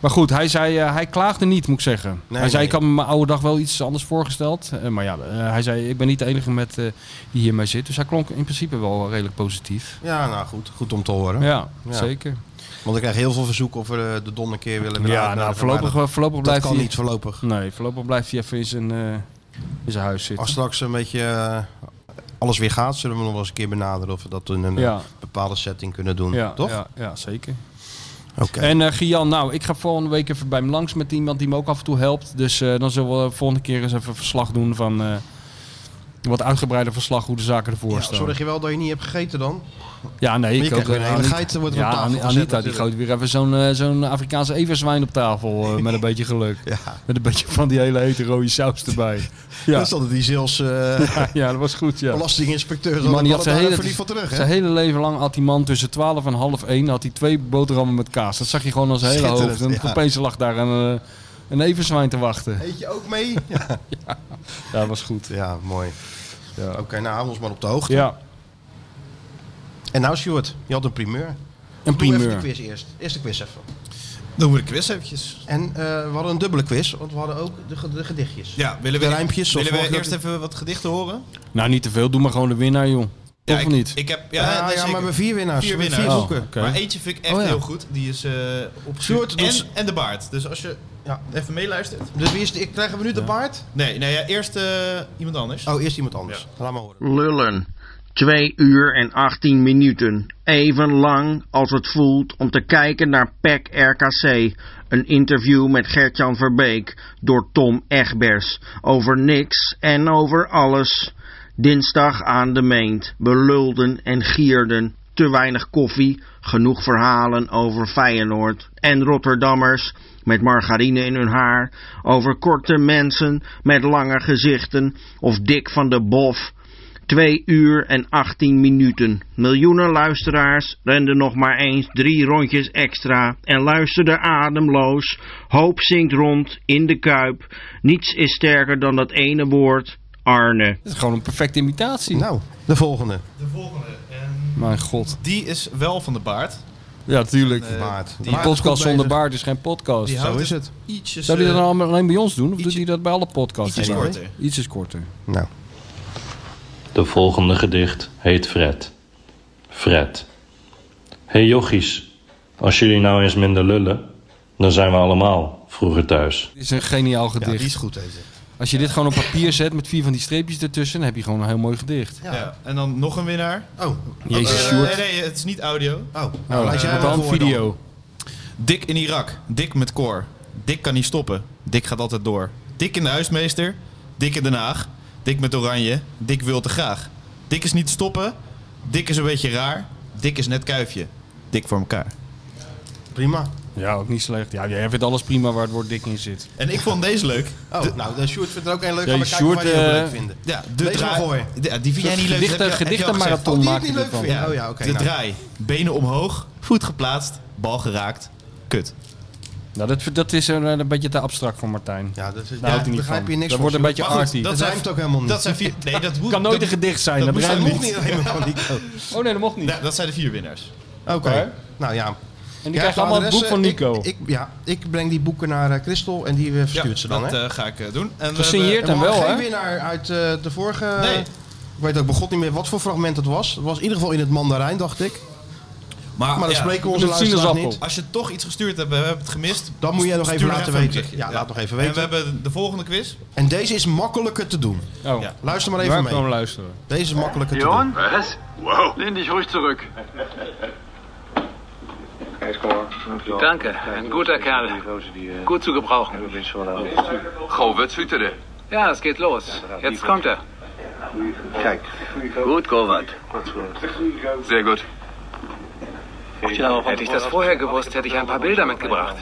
[SPEAKER 3] Maar goed, hij, zei, eh, hij klaagde niet, moet ik zeggen. hij zei,
[SPEAKER 2] nee.
[SPEAKER 3] ik had me mijn oude dag wel iets anders voorgesteld. Eh, maar ja, eh, hij zei, ik ben niet de enige met, eh, die hiermee zit. Dus hij klonk in principe wel redelijk positief.
[SPEAKER 2] Ja, nou goed. Goed om te horen.
[SPEAKER 3] Ja, zeker.
[SPEAKER 2] Want ik krijg heel veel verzoeken of we eh, de Don een keer willen willen
[SPEAKER 3] Ja,
[SPEAKER 2] uitnodigen,
[SPEAKER 3] nou,
[SPEAKER 2] maar
[SPEAKER 3] voorlopig,
[SPEAKER 2] dat-
[SPEAKER 3] voorlopig
[SPEAKER 2] dat
[SPEAKER 3] blijft
[SPEAKER 2] kan
[SPEAKER 3] hij...
[SPEAKER 2] niet voorlopig.
[SPEAKER 3] Nee, voorlopig blijft hij even in zijn, eh, in zijn huis zitten.
[SPEAKER 2] Als straks een beetje eh, alles weer gaat, zullen we nog wel eens een keer benaderen of we dat in een eh,
[SPEAKER 3] Ja.
[SPEAKER 2] bepaalde setting kunnen doen.
[SPEAKER 3] Ja,
[SPEAKER 2] toch?
[SPEAKER 3] Ja, ja zeker.
[SPEAKER 2] Oké.
[SPEAKER 3] En eh Gian, nou, ik ga volgende week even bij hem langs met iemand die me ook af en toe helpt. Dus eh, dan zullen we volgende keer eens even verslag doen van... eh, wat uitgebreider verslag hoe de zaken ervoor
[SPEAKER 2] Ja,
[SPEAKER 3] staan.
[SPEAKER 2] zorg je wel dat je niet hebt gegeten dan?
[SPEAKER 3] Ja, nee,
[SPEAKER 2] je
[SPEAKER 3] ik
[SPEAKER 2] krijgt
[SPEAKER 3] ook. eh,
[SPEAKER 2] weer een hele
[SPEAKER 3] Anita-
[SPEAKER 2] geit, wordt er
[SPEAKER 3] ja,
[SPEAKER 2] op tafel
[SPEAKER 3] Anita,
[SPEAKER 2] gezet
[SPEAKER 3] die
[SPEAKER 2] natuurlijk.
[SPEAKER 3] gooit weer even zo'n eh, zo'n Afrikaanse everzwijn op tafel.
[SPEAKER 2] [laughs]
[SPEAKER 3] eh, met een beetje geluk. Met een beetje van die hele hete rode
[SPEAKER 2] [laughs]
[SPEAKER 3] saus erbij. Ja,
[SPEAKER 2] Dat is altijd die Zils eh,
[SPEAKER 3] [laughs] ja, ja, dat was goed, ja.
[SPEAKER 2] belastinginspecteur.
[SPEAKER 3] Die man die had zijn hele,
[SPEAKER 2] verliefd van terug, hè?
[SPEAKER 3] zijn hele leven lang had die man tussen 12 en half 1 had hij twee boterhammen met kaas. Dat zag je gewoon als hele
[SPEAKER 2] Schitterend,
[SPEAKER 3] hoofd. En
[SPEAKER 2] ja.
[SPEAKER 3] opeens lag daar een, eh, een evenzwijn te wachten.
[SPEAKER 2] Eet je ook
[SPEAKER 3] [laughs]
[SPEAKER 2] mee? Ja,
[SPEAKER 3] Ja, dat was goed.
[SPEAKER 2] ja mooi.
[SPEAKER 3] Ja.
[SPEAKER 2] Oké, nou houden we ons maar op de hoogte.
[SPEAKER 3] Ja,
[SPEAKER 2] En nou Stuart, je had een primeur.
[SPEAKER 3] een
[SPEAKER 2] Doe even de
[SPEAKER 3] primeur.
[SPEAKER 2] quiz eerst. Eerst de quiz even.
[SPEAKER 4] Doen we de quiz eventjes.
[SPEAKER 2] En eh, we hadden een dubbele quiz, want we hadden ook de, ge- de gedichtjes.
[SPEAKER 4] Ja, willen we,
[SPEAKER 2] De rijmpjes, zoals
[SPEAKER 4] willen we
[SPEAKER 2] vorige
[SPEAKER 4] eerst even wat gedichten horen?
[SPEAKER 3] Nou, niet te veel. Doe maar gewoon de winnaar, joh.
[SPEAKER 4] Ja,
[SPEAKER 3] of
[SPEAKER 4] ik,
[SPEAKER 3] niet?
[SPEAKER 4] Ik heb,
[SPEAKER 2] Ja,
[SPEAKER 4] ja, nee,
[SPEAKER 2] ja,
[SPEAKER 4] zeker.
[SPEAKER 2] maar we hebben vier winnaars.
[SPEAKER 4] Vier
[SPEAKER 2] We hebben
[SPEAKER 4] winnaars.
[SPEAKER 2] Vier boeken.
[SPEAKER 3] Oké.
[SPEAKER 4] Maar eentje vind ik echt
[SPEAKER 2] Oh, ja.
[SPEAKER 4] heel goed. Die is eh op
[SPEAKER 2] Stuart,
[SPEAKER 4] en,
[SPEAKER 2] dat is-
[SPEAKER 4] en de baard. Dus als je ja, even meeluistert.
[SPEAKER 2] Dus wie is de, krijgen we nu de paard?
[SPEAKER 4] Nee, nee ja, eerst eh, iemand anders.
[SPEAKER 2] Oh, eerst iemand anders. Laat maar horen.
[SPEAKER 11] Lullen. 2 uur en 18 minuten. Even lang als het voelt om te kijken naar E PEC RKC. Een interview met Gertjan Verbeek door Tom Egbers. Over niks en over alles. Dinsdag aan de meent. We lulden en gierden. Te weinig koffie. Genoeg verhalen over Feyenoord. En Rotterdammers met margarine in hun haar. Over korte mensen met lange gezichten. Of Dick van de Bof. 2 uur en 18 minuten. Miljoenen luisteraars renden nog maar eens drie rondjes extra en luisterden ademloos. Hoop zingt rond in de kuip. Niets is sterker dan dat ene woord, Arne.
[SPEAKER 3] Het is gewoon een perfecte imitatie.
[SPEAKER 2] Nou, de volgende.
[SPEAKER 4] De volgende. En
[SPEAKER 3] Mijn god.
[SPEAKER 4] die is wel van de baard.
[SPEAKER 3] Ja, tuurlijk.
[SPEAKER 2] Nee, Baard.
[SPEAKER 3] Die
[SPEAKER 2] Baard is goed
[SPEAKER 3] podcast zonder
[SPEAKER 2] bezig.
[SPEAKER 3] baard is geen podcast.
[SPEAKER 2] Die Zo houdt is het het.
[SPEAKER 3] Ietsjes,
[SPEAKER 2] ietsjes,
[SPEAKER 3] Zou die dat
[SPEAKER 2] eh,
[SPEAKER 3] nou alleen bij ons doen? Of doet hij dat bij alle podcasts?
[SPEAKER 2] ietsjes
[SPEAKER 3] Anyway?
[SPEAKER 2] korter.
[SPEAKER 3] Ietsjes korter.
[SPEAKER 2] Nou.
[SPEAKER 12] De volgende gedicht heet Fred. Fred. Hey jochies, als jullie nou eens minder lullen, dan zijn we allemaal vroeger thuis.
[SPEAKER 3] Dit is een geniaal gedicht.
[SPEAKER 12] die is
[SPEAKER 2] goed deze.
[SPEAKER 3] Als je dit gewoon op papier zet met vier van die streepjes ertussen, dan heb je gewoon een heel mooi gedicht.
[SPEAKER 4] Ja. En dan nog een winnaar.
[SPEAKER 2] Oh.
[SPEAKER 3] Jezus,
[SPEAKER 4] Eh,
[SPEAKER 3] Sjoerd.
[SPEAKER 4] nee, nee, het is niet audio.
[SPEAKER 2] Oh, nou,
[SPEAKER 3] laat je
[SPEAKER 4] eh,
[SPEAKER 3] maar dan
[SPEAKER 4] voor
[SPEAKER 3] video.
[SPEAKER 4] Dick in Irak. Dick met koor. Dick kan niet stoppen. Dick gaat altijd door. Dick in de huismeester. Dick in Den Haag. Dick met oranje. Dick wil te graag. Dick is niet te stoppen. Dick is een beetje raar. Dick is net kuifje. Dick voor elkaar.
[SPEAKER 2] Prima.
[SPEAKER 3] Ja, ook niet slecht. Ja, jij vindt alles prima waar het woord dik in zit.
[SPEAKER 4] En ik vond deze leuk.
[SPEAKER 2] Oh, nou, de Sjoerd vindt er ook een leuk.
[SPEAKER 3] Ja,
[SPEAKER 2] Gaan we kijken of wij die
[SPEAKER 3] Sjoerd,
[SPEAKER 2] ook
[SPEAKER 3] eh,
[SPEAKER 2] leuk vinden.
[SPEAKER 4] Ja, de
[SPEAKER 2] Deze
[SPEAKER 4] draai-
[SPEAKER 2] maar gooien.
[SPEAKER 4] Ja, die vind jij niet leuk.
[SPEAKER 3] Gedichten-
[SPEAKER 4] dat heb je- heb je al gezegd.
[SPEAKER 3] gedichtenmarathon
[SPEAKER 4] Oh, die heb
[SPEAKER 3] maak
[SPEAKER 4] ik
[SPEAKER 3] je
[SPEAKER 4] niet leuk
[SPEAKER 3] ervan.
[SPEAKER 4] vindt.
[SPEAKER 2] Oh ja, oké,
[SPEAKER 4] De
[SPEAKER 2] nou.
[SPEAKER 4] draai. Benen omhoog. Voet geplaatst. Bal geraakt. Kut.
[SPEAKER 3] Nou, dat, dat is een, een beetje te abstract voor Martijn.
[SPEAKER 2] Ja, dat is,
[SPEAKER 3] Daar houdt Nou, hij niet van. dat wordt een beetje arty.
[SPEAKER 2] Dat ruimt ook helemaal niet.
[SPEAKER 4] Dat zijn vier.
[SPEAKER 3] [laughs]
[SPEAKER 4] Nee, dat moet,
[SPEAKER 3] kan nooit
[SPEAKER 4] dat-
[SPEAKER 3] een gedicht zijn.
[SPEAKER 4] dat
[SPEAKER 3] Dat,
[SPEAKER 4] moest-
[SPEAKER 3] ruimt
[SPEAKER 4] dat
[SPEAKER 3] niet.
[SPEAKER 4] mocht niet helemaal,
[SPEAKER 2] [laughs]
[SPEAKER 4] Nico.
[SPEAKER 3] Oh nee, dat mocht niet.
[SPEAKER 4] Ja, dat zijn de vier winnaars.
[SPEAKER 2] Oké. Nou ja.
[SPEAKER 3] En die
[SPEAKER 2] Ja,
[SPEAKER 3] krijgen allemaal het boek
[SPEAKER 2] adressen.
[SPEAKER 3] van Nico.
[SPEAKER 2] Ik, ik- ja, ik breng die boeken naar eh, Christel en die eh, verstuurt ze dan.
[SPEAKER 4] dat
[SPEAKER 2] hè?
[SPEAKER 4] eh, ga ik eh, doen. En we
[SPEAKER 3] Gesigneerd
[SPEAKER 4] hebben-
[SPEAKER 3] en wel,
[SPEAKER 2] geen
[SPEAKER 3] hè?
[SPEAKER 2] winnaar uit eh, de vorige...
[SPEAKER 4] Nee.
[SPEAKER 2] Ik weet ook begot niet meer wat voor fragment het was. Het was in ieder geval in het Mandarijn, dacht ik. Maar dat spreken we onze
[SPEAKER 4] Met
[SPEAKER 2] luisteraars
[SPEAKER 4] sinaasappel.
[SPEAKER 2] niet.
[SPEAKER 4] Als je toch iets gestuurd hebt, en we hebben het gemist.
[SPEAKER 2] Dan moet jij nog
[SPEAKER 4] stuur
[SPEAKER 2] even
[SPEAKER 4] maar
[SPEAKER 2] laten
[SPEAKER 4] een
[SPEAKER 2] weten.
[SPEAKER 4] berichtje.
[SPEAKER 2] Ja, laat nog even weten.
[SPEAKER 4] En we hebben de volgende quiz.
[SPEAKER 2] En deze is makkelijker te doen.
[SPEAKER 3] Oh.
[SPEAKER 2] Luister maar even
[SPEAKER 3] Waar
[SPEAKER 2] mee.
[SPEAKER 3] gewoon luisteren.
[SPEAKER 2] Deze is makkelijker te doen.
[SPEAKER 13] Johan? Was? Wow. Lehn dich ruhig zurück.
[SPEAKER 14] Danke, ein guter Kerl. Gut zu gebrauchen.
[SPEAKER 13] Govert Hütere.
[SPEAKER 14] Ja, es geht los. Jetzt kommt er. Gut, Govert.
[SPEAKER 13] Sehr gut.
[SPEAKER 14] Hätte ich das vorher gewusst, hätte ich ein paar Bilder mitgebracht.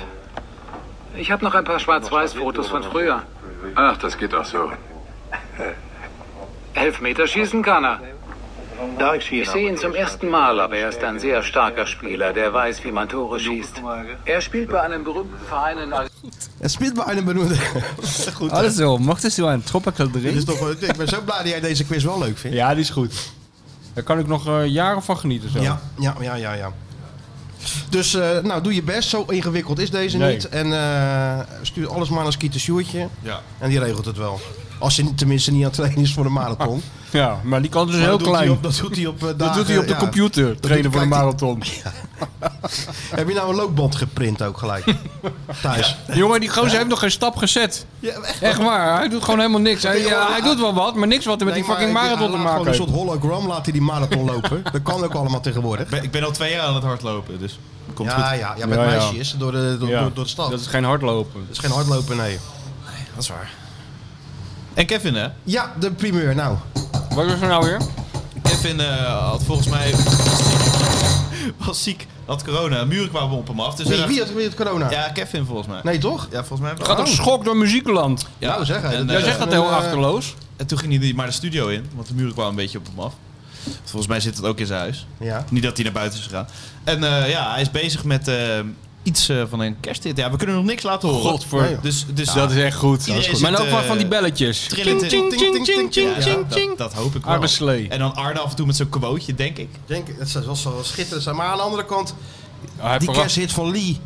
[SPEAKER 14] Ich habe noch ein paar Schwarz-Weiß-Fotos von früher.
[SPEAKER 13] Ach, das geht auch so.
[SPEAKER 14] Elf Meter schießen kann er. Ich sehe ihn zum ersten Mal, aber er ist ein sehr starker Spieler, der weiß, wie man Tore schießt. Er spielt bei einem berühmten Verein in
[SPEAKER 2] Het spit Oh, bij een benoemde. [laughs] Goed. hè?
[SPEAKER 3] Alles zo, mocht het zo aan tropical
[SPEAKER 2] Dit is
[SPEAKER 3] drink.
[SPEAKER 2] toch, wel- ik ben zo blij dat jij deze quiz wel leuk vindt.
[SPEAKER 3] Ja, die is goed. Daar kan ik nog eh, jaren van genieten zo.
[SPEAKER 2] Ja, ja, ja, ja. ja. Dus eh, nou, doe je best. Zo ingewikkeld is deze
[SPEAKER 3] Nee.
[SPEAKER 2] niet. En eh, stuur alles maar naar Skeeter Sjoertje.
[SPEAKER 4] Ja.
[SPEAKER 2] En die regelt het wel. Als ze niet- tenminste niet aan het trainen is voor de marathon.
[SPEAKER 3] Ja, maar die kan dus
[SPEAKER 2] Maar
[SPEAKER 3] heel
[SPEAKER 2] dat doet hij
[SPEAKER 3] klein.
[SPEAKER 2] op- dat doet hij op, eh,
[SPEAKER 3] Dat doet hij
[SPEAKER 2] dagen,
[SPEAKER 3] op de
[SPEAKER 2] ja.
[SPEAKER 3] computer,
[SPEAKER 2] Dat
[SPEAKER 3] trainen
[SPEAKER 2] doet-
[SPEAKER 3] voor de
[SPEAKER 2] kijkt
[SPEAKER 3] marathon.
[SPEAKER 2] Heb je nou een loopband geprint ook
[SPEAKER 3] [laughs]
[SPEAKER 2] gelijk? Thuis.
[SPEAKER 3] Jongen, die gozer heeft nog geen stap gezet. echt, waar, hij doet gewoon helemaal niks. Hij,
[SPEAKER 2] Nee,
[SPEAKER 3] ja,
[SPEAKER 2] maar-
[SPEAKER 3] hij doet wel wat, maar niks wat er met
[SPEAKER 2] Nee,
[SPEAKER 3] die fucking
[SPEAKER 2] maar ik-
[SPEAKER 3] marathon
[SPEAKER 2] hij
[SPEAKER 3] te
[SPEAKER 2] laat
[SPEAKER 3] maken
[SPEAKER 2] Gewoon een
[SPEAKER 3] heeft.
[SPEAKER 2] soort hologram laat hij die marathon lopen. [laughs] Dat kan ook allemaal tegenwoordig.
[SPEAKER 4] Ik ben, ik ben al twee jaar aan het hardlopen, dus komt
[SPEAKER 2] ja,
[SPEAKER 4] goed.
[SPEAKER 2] ja, ja, met meisjes door de, door,
[SPEAKER 3] Ja.
[SPEAKER 2] door, door de stad.
[SPEAKER 3] Dat is geen hardlopen.
[SPEAKER 2] Dat is geen hardlopen, nee.
[SPEAKER 4] Dat is waar. En Kevin, hè?
[SPEAKER 2] Ja, de primeur, nou.
[SPEAKER 3] Wat is er nou weer?
[SPEAKER 4] Kevin eh, had volgens mij... [laughs] was ziek, had corona. Muren kwamen op hem af. Dus hij
[SPEAKER 2] Wie,
[SPEAKER 4] dacht-
[SPEAKER 2] wie, had, wie had corona?
[SPEAKER 4] Ja, Kevin volgens mij.
[SPEAKER 2] Nee, toch?
[SPEAKER 4] Ja, volgens mij.
[SPEAKER 3] Het gaat op schok door muziekland.
[SPEAKER 4] Ja.
[SPEAKER 2] Nou, zeg, hè,
[SPEAKER 4] En,
[SPEAKER 2] dat-
[SPEAKER 3] Oh. Jij
[SPEAKER 4] eh,
[SPEAKER 3] zegt dat heel
[SPEAKER 2] een, eh,
[SPEAKER 3] achterloos.
[SPEAKER 4] En toen ging hij maar de studio in, want de muren kwamen een beetje op hem af. Volgens mij zit het ook in zijn huis.
[SPEAKER 2] Ja.
[SPEAKER 4] Niet dat hij naar buiten is gegaan. En eh, ja, hij is bezig met eh, iets eh, van een kersthit. Ja, we kunnen nog niks laten horen.
[SPEAKER 3] Godver. Nee, joh.
[SPEAKER 4] Dus, dus
[SPEAKER 3] Dat is echt goed.
[SPEAKER 4] Iedereen
[SPEAKER 3] Maar
[SPEAKER 4] zit,
[SPEAKER 3] ook wel
[SPEAKER 4] eh,
[SPEAKER 3] van die belletjes.
[SPEAKER 4] trillend in-
[SPEAKER 3] Ting, ting, ting, ting, ting,
[SPEAKER 4] Ja,
[SPEAKER 3] ting,
[SPEAKER 4] dat-
[SPEAKER 3] ting.
[SPEAKER 4] Dat hoop ik wel.
[SPEAKER 3] Arme slee.
[SPEAKER 4] En dan Arne af en toe met zo'n quoteje, denk ik.
[SPEAKER 2] Denk, dat was wel schitterend. zijn. Maar aan de andere kant,
[SPEAKER 3] Ah, Hij heeft
[SPEAKER 2] die
[SPEAKER 3] verrast-
[SPEAKER 2] kersthit van Lee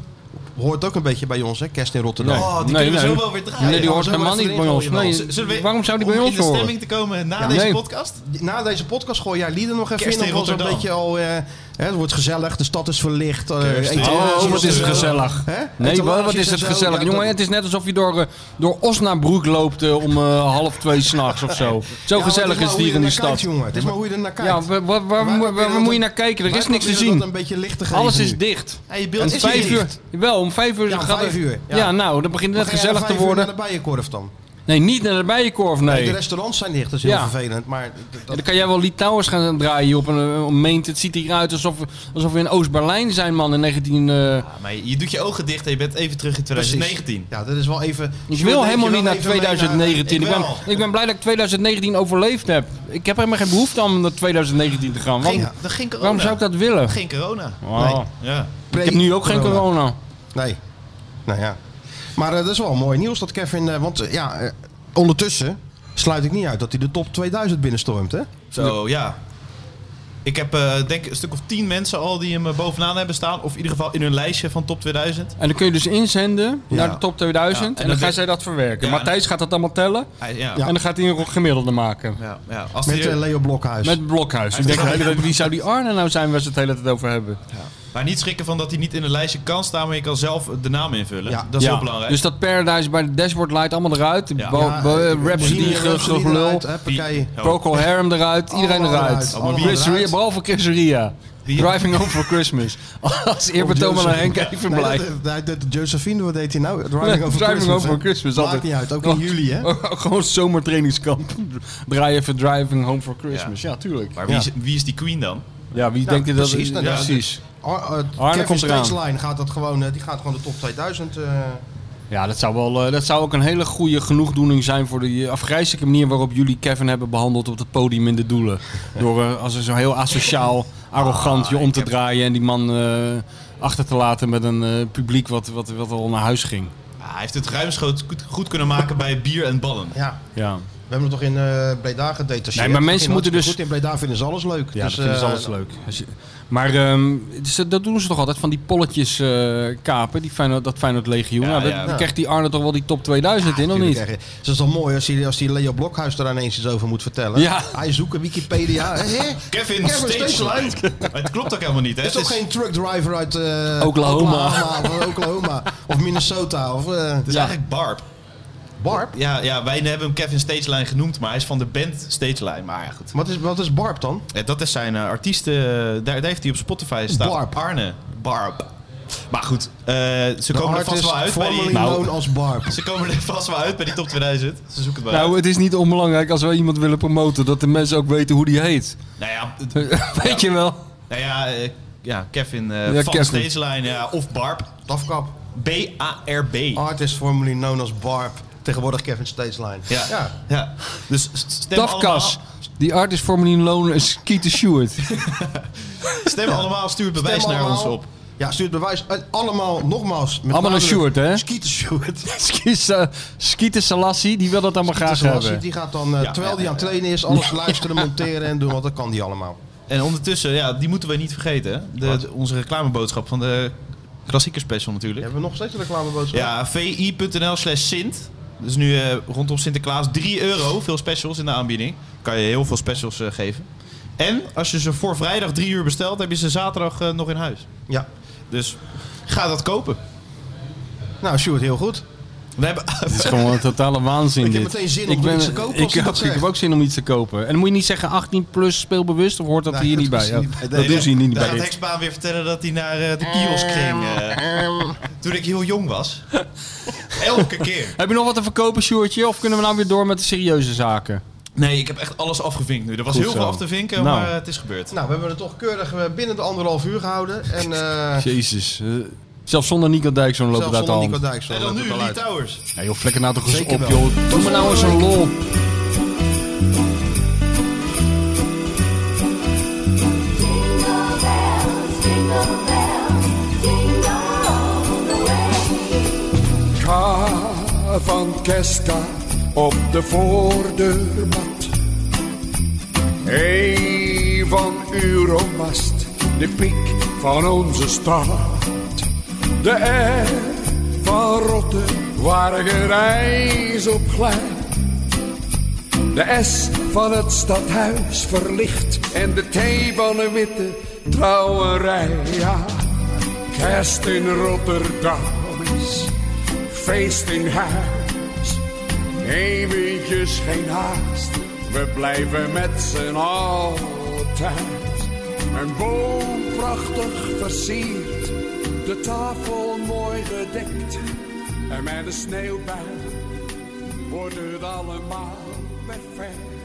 [SPEAKER 2] hoort ook een beetje bij ons, hè? Kerst in Rotterdam.
[SPEAKER 3] Nee.
[SPEAKER 4] Oh,
[SPEAKER 3] nee,
[SPEAKER 4] die kunnen we
[SPEAKER 3] nee.
[SPEAKER 4] zo wel weer draaien.
[SPEAKER 3] Nee, die
[SPEAKER 4] Ja,
[SPEAKER 3] hoort
[SPEAKER 2] zo maar
[SPEAKER 3] helemaal
[SPEAKER 2] even
[SPEAKER 3] niet bij ons.
[SPEAKER 2] erin gooien,
[SPEAKER 3] Nee,
[SPEAKER 2] man.
[SPEAKER 4] Z- zullen we-
[SPEAKER 3] waarom zou die
[SPEAKER 4] om
[SPEAKER 3] bij ons
[SPEAKER 4] in de
[SPEAKER 3] horen?
[SPEAKER 4] stemming te komen na
[SPEAKER 2] Ja,
[SPEAKER 4] deze
[SPEAKER 3] nee.
[SPEAKER 4] podcast?
[SPEAKER 2] Na deze podcast gooi jij lieden nog even
[SPEAKER 4] Kerst
[SPEAKER 2] in.
[SPEAKER 4] in
[SPEAKER 2] Dan was het een
[SPEAKER 4] Rotterdam.
[SPEAKER 2] beetje al... eh, hè, het wordt gezellig, de stad is verlicht. eh,
[SPEAKER 4] Kerst in
[SPEAKER 2] eten-
[SPEAKER 4] Rotterdam.
[SPEAKER 3] Oh, wat is het gezellig.
[SPEAKER 2] Hè?
[SPEAKER 3] Nee,
[SPEAKER 2] Etalages
[SPEAKER 3] wat, wat is
[SPEAKER 2] en
[SPEAKER 3] het
[SPEAKER 2] zo,
[SPEAKER 3] gezellig.
[SPEAKER 2] ja,
[SPEAKER 3] Jongen,
[SPEAKER 2] dat-
[SPEAKER 3] het is net alsof je door, eh, door Osnabroek loopt eh, om eh, half twee s'nachts of zo. Zo
[SPEAKER 2] Ja, maar het
[SPEAKER 3] gezellig
[SPEAKER 2] maar
[SPEAKER 3] is het
[SPEAKER 2] hoe je
[SPEAKER 3] hier in die
[SPEAKER 2] er naar
[SPEAKER 3] stad.
[SPEAKER 2] kijkt, jongen. Het is maar hoe je er naar kijkt.
[SPEAKER 3] Ja, waar, waar, waar, waar- waar moet je naar kijken? Er is niks te zien.
[SPEAKER 2] Dat een beetje licht te geven
[SPEAKER 3] Alles
[SPEAKER 2] nu.
[SPEAKER 3] is dicht.
[SPEAKER 2] Ja, je
[SPEAKER 3] En
[SPEAKER 2] beeld is
[SPEAKER 3] vijf
[SPEAKER 2] hier
[SPEAKER 3] uur.
[SPEAKER 2] dicht.
[SPEAKER 3] Wel, om vijf uur
[SPEAKER 2] Ja, om
[SPEAKER 3] gaat
[SPEAKER 2] vijf
[SPEAKER 3] het-
[SPEAKER 2] uur, ja.
[SPEAKER 3] Ja. nou, dan begint het
[SPEAKER 2] Maar
[SPEAKER 3] net
[SPEAKER 2] ga jij
[SPEAKER 3] gezellig
[SPEAKER 2] om
[SPEAKER 3] te
[SPEAKER 2] vijf uur
[SPEAKER 3] worden.
[SPEAKER 2] naar de bijenkorf dan?
[SPEAKER 3] Nee, niet naar de bijenkorf,
[SPEAKER 2] Nee, de
[SPEAKER 3] nee.
[SPEAKER 2] restaurants zijn dicht, dat is heel
[SPEAKER 3] Ja.
[SPEAKER 2] vervelend. Maar dat-
[SPEAKER 3] Dan kan jij wel Litouwers gaan draaien hier op een, een meent. Het ziet eruit alsof, alsof we in Oost-Berlijn zijn, man, in 19... eh,
[SPEAKER 4] Ja, maar je doet je ogen dicht en je bent even terug in 2019.
[SPEAKER 2] Ja, dat is wel even.
[SPEAKER 3] Ik
[SPEAKER 2] Sjoerd,
[SPEAKER 3] wil
[SPEAKER 2] neem
[SPEAKER 3] helemaal
[SPEAKER 2] je
[SPEAKER 3] niet
[SPEAKER 2] wel
[SPEAKER 3] naar
[SPEAKER 2] even mee
[SPEAKER 3] 2019. Ik,
[SPEAKER 2] Ik
[SPEAKER 3] ben,
[SPEAKER 2] wel.
[SPEAKER 3] ik ben blij dat ik 2019 overleefd heb. Ik heb helemaal geen behoefte om naar 2019 te gaan. Waarom,
[SPEAKER 4] Geen, dan geen corona.
[SPEAKER 3] waarom zou ik dat willen?
[SPEAKER 4] Geen corona.
[SPEAKER 3] Wow.
[SPEAKER 2] Nee.
[SPEAKER 4] Ja.
[SPEAKER 3] Ik heb nu ook geen corona.
[SPEAKER 2] Nee. Nou ja. Maar eh, dat is wel mooi nieuws dat Kevin. eh, want eh, ja, eh, ondertussen sluit ik niet uit dat hij de top 2000 binnenstormt, hè?
[SPEAKER 4] Zo, ja. Ik heb eh, denk een stuk of tien mensen al die hem eh, bovenaan hebben staan. Of in ieder geval in hun lijstje van top 2000.
[SPEAKER 3] En dan kun je dus inzenden
[SPEAKER 4] Ja.
[SPEAKER 3] naar de top 2000.
[SPEAKER 4] Ja, en
[SPEAKER 3] en,
[SPEAKER 4] dan
[SPEAKER 3] dan
[SPEAKER 4] de-
[SPEAKER 3] gaan zij dat verwerken.
[SPEAKER 4] Ja, en-
[SPEAKER 3] Matthijs gaat dat allemaal tellen.
[SPEAKER 4] Hij- ja.
[SPEAKER 3] En dan gaat hij een gemiddelde maken.
[SPEAKER 4] Ja,
[SPEAKER 3] Met,
[SPEAKER 4] die-
[SPEAKER 3] eh,
[SPEAKER 2] Leo Blokhuis.
[SPEAKER 3] Met Blokhuis. Ik denk, de hele tijd, wie zou die Arne nou zijn waar ze het hele tijd over hebben?
[SPEAKER 4] Maar niet schrikken van dat hij niet in een lijstje kan staan, maar je kan zelf de naam invullen. Dat is
[SPEAKER 3] Ja.
[SPEAKER 4] heel belangrijk.
[SPEAKER 3] Dus dat Paradise bij de Dashboard Light allemaal eruit. Ja.
[SPEAKER 4] Ja, eh,
[SPEAKER 3] Rhapsody,
[SPEAKER 4] Bohemian
[SPEAKER 3] ge-
[SPEAKER 4] Rhapsody
[SPEAKER 3] ge- gelul.
[SPEAKER 4] eruit, hoppakee. Ja.
[SPEAKER 3] Procol Harum eruit. Iedereen
[SPEAKER 4] Allemaal
[SPEAKER 3] eruit.
[SPEAKER 4] eruit, allemaal
[SPEAKER 3] Chris
[SPEAKER 4] eruit.
[SPEAKER 3] Ria, behalve Chris Ria. Driving Home for
[SPEAKER 2] [laughs]
[SPEAKER 3] Christmas. Als eerbetoon aan Henk even blij.
[SPEAKER 2] Josephine, wat deed hij nou? Driving
[SPEAKER 3] Nee,
[SPEAKER 2] over
[SPEAKER 3] Driving
[SPEAKER 2] Christmas.
[SPEAKER 3] Home
[SPEAKER 2] hè?
[SPEAKER 3] for Christmas.
[SPEAKER 2] Maakt
[SPEAKER 3] altijd.
[SPEAKER 2] niet uit, ook in
[SPEAKER 3] Oh,
[SPEAKER 2] juli,
[SPEAKER 3] [laughs]
[SPEAKER 2] hè?
[SPEAKER 3] Gewoon zomertrainingskamp. Draai even Driving Home for Christmas. Ja, tuurlijk.
[SPEAKER 4] Maar wie, Is, wie is die queen dan?
[SPEAKER 3] Ja, wie denkt u dat...
[SPEAKER 2] precies, nou,
[SPEAKER 3] ja,
[SPEAKER 2] dat-
[SPEAKER 3] precies.
[SPEAKER 2] Ar- eh,
[SPEAKER 3] Arne
[SPEAKER 2] Kevin
[SPEAKER 3] komt eraan.
[SPEAKER 2] Stageline gaat dat gewoon, eh, die gaat gewoon de top 2000. eh,
[SPEAKER 3] Ja, dat zou, wel, eh, dat zou ook een hele goede genoegdoening zijn voor de eh, afgrijzelijke manier waarop jullie Kevin hebben behandeld op het podium in de Doelen. Door eh, als een zo heel
[SPEAKER 2] [laughs]
[SPEAKER 3] asociaal, arrogant
[SPEAKER 2] Ah,
[SPEAKER 3] je om te draaien en die man eh, achter te laten met een eh, publiek wat, wat, wat al naar huis ging.
[SPEAKER 4] Ah, hij heeft het ruimschoots goed, goed kunnen maken bij bier en ballen.
[SPEAKER 2] ja.
[SPEAKER 3] Ja.
[SPEAKER 2] We hebben het toch in eh Breda gedetacheerd.
[SPEAKER 3] Nee, maar mensen
[SPEAKER 2] Ging hartstikke
[SPEAKER 3] moeten dus-
[SPEAKER 2] Goed, in Breda vinden ze alles leuk.
[SPEAKER 3] Ja,
[SPEAKER 2] Dus,
[SPEAKER 3] dat vinden ze
[SPEAKER 2] eh,
[SPEAKER 3] alles leuk. Als je- maar ehm, dus dat- dat doen ze toch altijd van die polletjes eh, kapen, die Feyenoord, dat Feyenoord legioen. nou, dat,
[SPEAKER 2] ja.
[SPEAKER 3] Dan krijgt die Arne toch wel die top 2000 in, of
[SPEAKER 2] Tuurlijk
[SPEAKER 3] niet?
[SPEAKER 2] krijg je- Het is toch mooi als die, als die Leo Blokhuis er ineens iets over moet vertellen.
[SPEAKER 3] Ja.
[SPEAKER 2] Hij zoeken
[SPEAKER 3] [laughs]
[SPEAKER 2] Wikipedia. hè? Hè?
[SPEAKER 4] Kevin, Stageline. Maar het klopt ook helemaal niet, hè?
[SPEAKER 2] Het is
[SPEAKER 4] Het
[SPEAKER 2] toch
[SPEAKER 4] is-
[SPEAKER 2] geen truckdriver uit eh,
[SPEAKER 4] Oklahoma.
[SPEAKER 2] Oklahoma, of, eh, Oklahoma of Minnesota. Of, eh,
[SPEAKER 4] Het is eigenlijk Barb.
[SPEAKER 2] Barb?
[SPEAKER 4] Ja, ja, wij hebben hem Kevin Stageline genoemd, maar hij is van de band Stageline. Maar ja, goed.
[SPEAKER 2] Wat is, wat is Barb dan?
[SPEAKER 4] Ja, dat is zijn eh, artiesten. Daar, daar heeft hij op Spotify staan.
[SPEAKER 2] Barb.
[SPEAKER 4] Arne. Barb. Maar goed, eh, ze
[SPEAKER 2] De
[SPEAKER 4] komen er vast
[SPEAKER 2] artist
[SPEAKER 4] wel uit bij die... Nou,
[SPEAKER 2] formerly
[SPEAKER 3] Nou.
[SPEAKER 2] known als Barb.
[SPEAKER 4] Ze komen er vast wel uit bij die top 2000. Ze zoeken het wel
[SPEAKER 3] Nou,
[SPEAKER 4] uit.
[SPEAKER 3] het is niet onbelangrijk als wij iemand willen promoten, dat de mensen ook weten hoe die heet.
[SPEAKER 4] Nou ja,
[SPEAKER 3] [laughs]
[SPEAKER 4] het-
[SPEAKER 3] Weet je wel?
[SPEAKER 4] Nou ja, eh, ja Kevin eh
[SPEAKER 3] Ja,
[SPEAKER 4] van
[SPEAKER 3] Kevin.
[SPEAKER 4] Stageline ja, of Barb.
[SPEAKER 2] Tafkap.
[SPEAKER 4] B-A-R-B.
[SPEAKER 2] Artist formerly known als Barb. Tegenwoordig Kevin Stageline.
[SPEAKER 4] Ja. ja. Dus s- stem
[SPEAKER 3] Tafkas.
[SPEAKER 4] allemaal,
[SPEAKER 3] Die art is formerly known as Keita
[SPEAKER 2] [laughs]
[SPEAKER 3] Stewart.
[SPEAKER 4] stem allemaal, stuur het bewijs
[SPEAKER 2] Stem
[SPEAKER 4] naar
[SPEAKER 2] allemaal.
[SPEAKER 4] ons op.
[SPEAKER 2] Ja, stuur het bewijs. En allemaal, nogmaals. Met
[SPEAKER 3] Allemaal een
[SPEAKER 2] nadruk,
[SPEAKER 3] Stewart, hè?
[SPEAKER 2] Skeeter Stewart.
[SPEAKER 3] Skeeter Salassi, die wil dat allemaal
[SPEAKER 2] Skeeter
[SPEAKER 3] graag
[SPEAKER 2] Selassie,
[SPEAKER 3] hebben.
[SPEAKER 2] Die gaat dan, eh,
[SPEAKER 4] Ja,
[SPEAKER 2] terwijl
[SPEAKER 4] ja,
[SPEAKER 2] die
[SPEAKER 4] ja,
[SPEAKER 2] aan het
[SPEAKER 4] ja.
[SPEAKER 2] trainen is, alles
[SPEAKER 4] [laughs]
[SPEAKER 2] luisteren, monteren en doen. Want dat kan die allemaal.
[SPEAKER 4] En ondertussen, ja, die moeten we niet vergeten. hè. De, de- onze reclameboodschap van de klassieker special natuurlijk.
[SPEAKER 2] Hebben we nog steeds een reclameboodschap?
[SPEAKER 4] Ja, vi.nl slash Sint. Dus nu eh, rondom Sinterklaas 3 euro. Veel specials in de aanbieding. Kan je heel veel specials eh, geven. En als je ze voor vrijdag 3 uur bestelt, heb je ze zaterdag eh, nog in huis.
[SPEAKER 2] Ja.
[SPEAKER 4] Dus ga dat kopen.
[SPEAKER 2] Nou, Stuart, heel goed.
[SPEAKER 3] [laughs]
[SPEAKER 4] We hebben...
[SPEAKER 3] Het is gewoon een totale waanzin
[SPEAKER 2] Ik heb
[SPEAKER 3] dit.
[SPEAKER 2] meteen zin om iets te kopen als
[SPEAKER 3] Ik,
[SPEAKER 2] hij dat
[SPEAKER 3] ook- ik heb
[SPEAKER 2] zegt.
[SPEAKER 3] ook zin om iets te kopen. En dan moet je niet zeggen 18 plus speelbewust, of hoort dat hier niet bij? Ja, dat doen ze hier niet
[SPEAKER 4] Dan
[SPEAKER 3] bij.
[SPEAKER 4] gaat
[SPEAKER 3] dit.
[SPEAKER 4] Hexbaan weer vertellen dat hij naar eh, de kiosk ging. eh, toen ik heel jong [laughs] was. Elke keer.
[SPEAKER 3] Heb je nog wat te verkopen, Sjoertje? Of kunnen we nou weer door met de serieuze zaken?
[SPEAKER 4] Nee, ik heb echt alles afgevinkt nu. Er was
[SPEAKER 3] Goed
[SPEAKER 4] heel
[SPEAKER 3] zo.
[SPEAKER 4] veel af te vinken,
[SPEAKER 3] Nou.
[SPEAKER 4] maar eh, het is gebeurd.
[SPEAKER 2] Nou, we hebben het toch keurig eh, binnen de anderhalf uur gehouden. En eh
[SPEAKER 3] Jezus. eh, zelfs zonder Nico Dijkzoon loopt het
[SPEAKER 2] zelfs
[SPEAKER 3] uit de
[SPEAKER 2] zonder
[SPEAKER 3] hand.
[SPEAKER 2] Nico Dijkstra.
[SPEAKER 4] en dan nu,
[SPEAKER 2] loopt het al
[SPEAKER 4] Lee
[SPEAKER 2] uit.
[SPEAKER 4] Towers.
[SPEAKER 3] Ja, joh, flikker nou toch eens
[SPEAKER 2] Zeker
[SPEAKER 3] op,
[SPEAKER 2] wel.
[SPEAKER 3] joh. Doe me nou eens een lol.
[SPEAKER 15] Ka van Keska op de voordeurmat. Hey van Euromast, de piek van onze stad. De R van Rotte, waar gereis op glij. De S van het stadhuis verlicht en de T van een witte trouwerij. Ja, kerst in Rotterdam is feest in huis. Eventjes geen haast, we blijven met z'n allen thuis. Mijn boom prachtig versierd, de tafel mooi gedekt. En met de sneeuwbui wordt het allemaal perfect.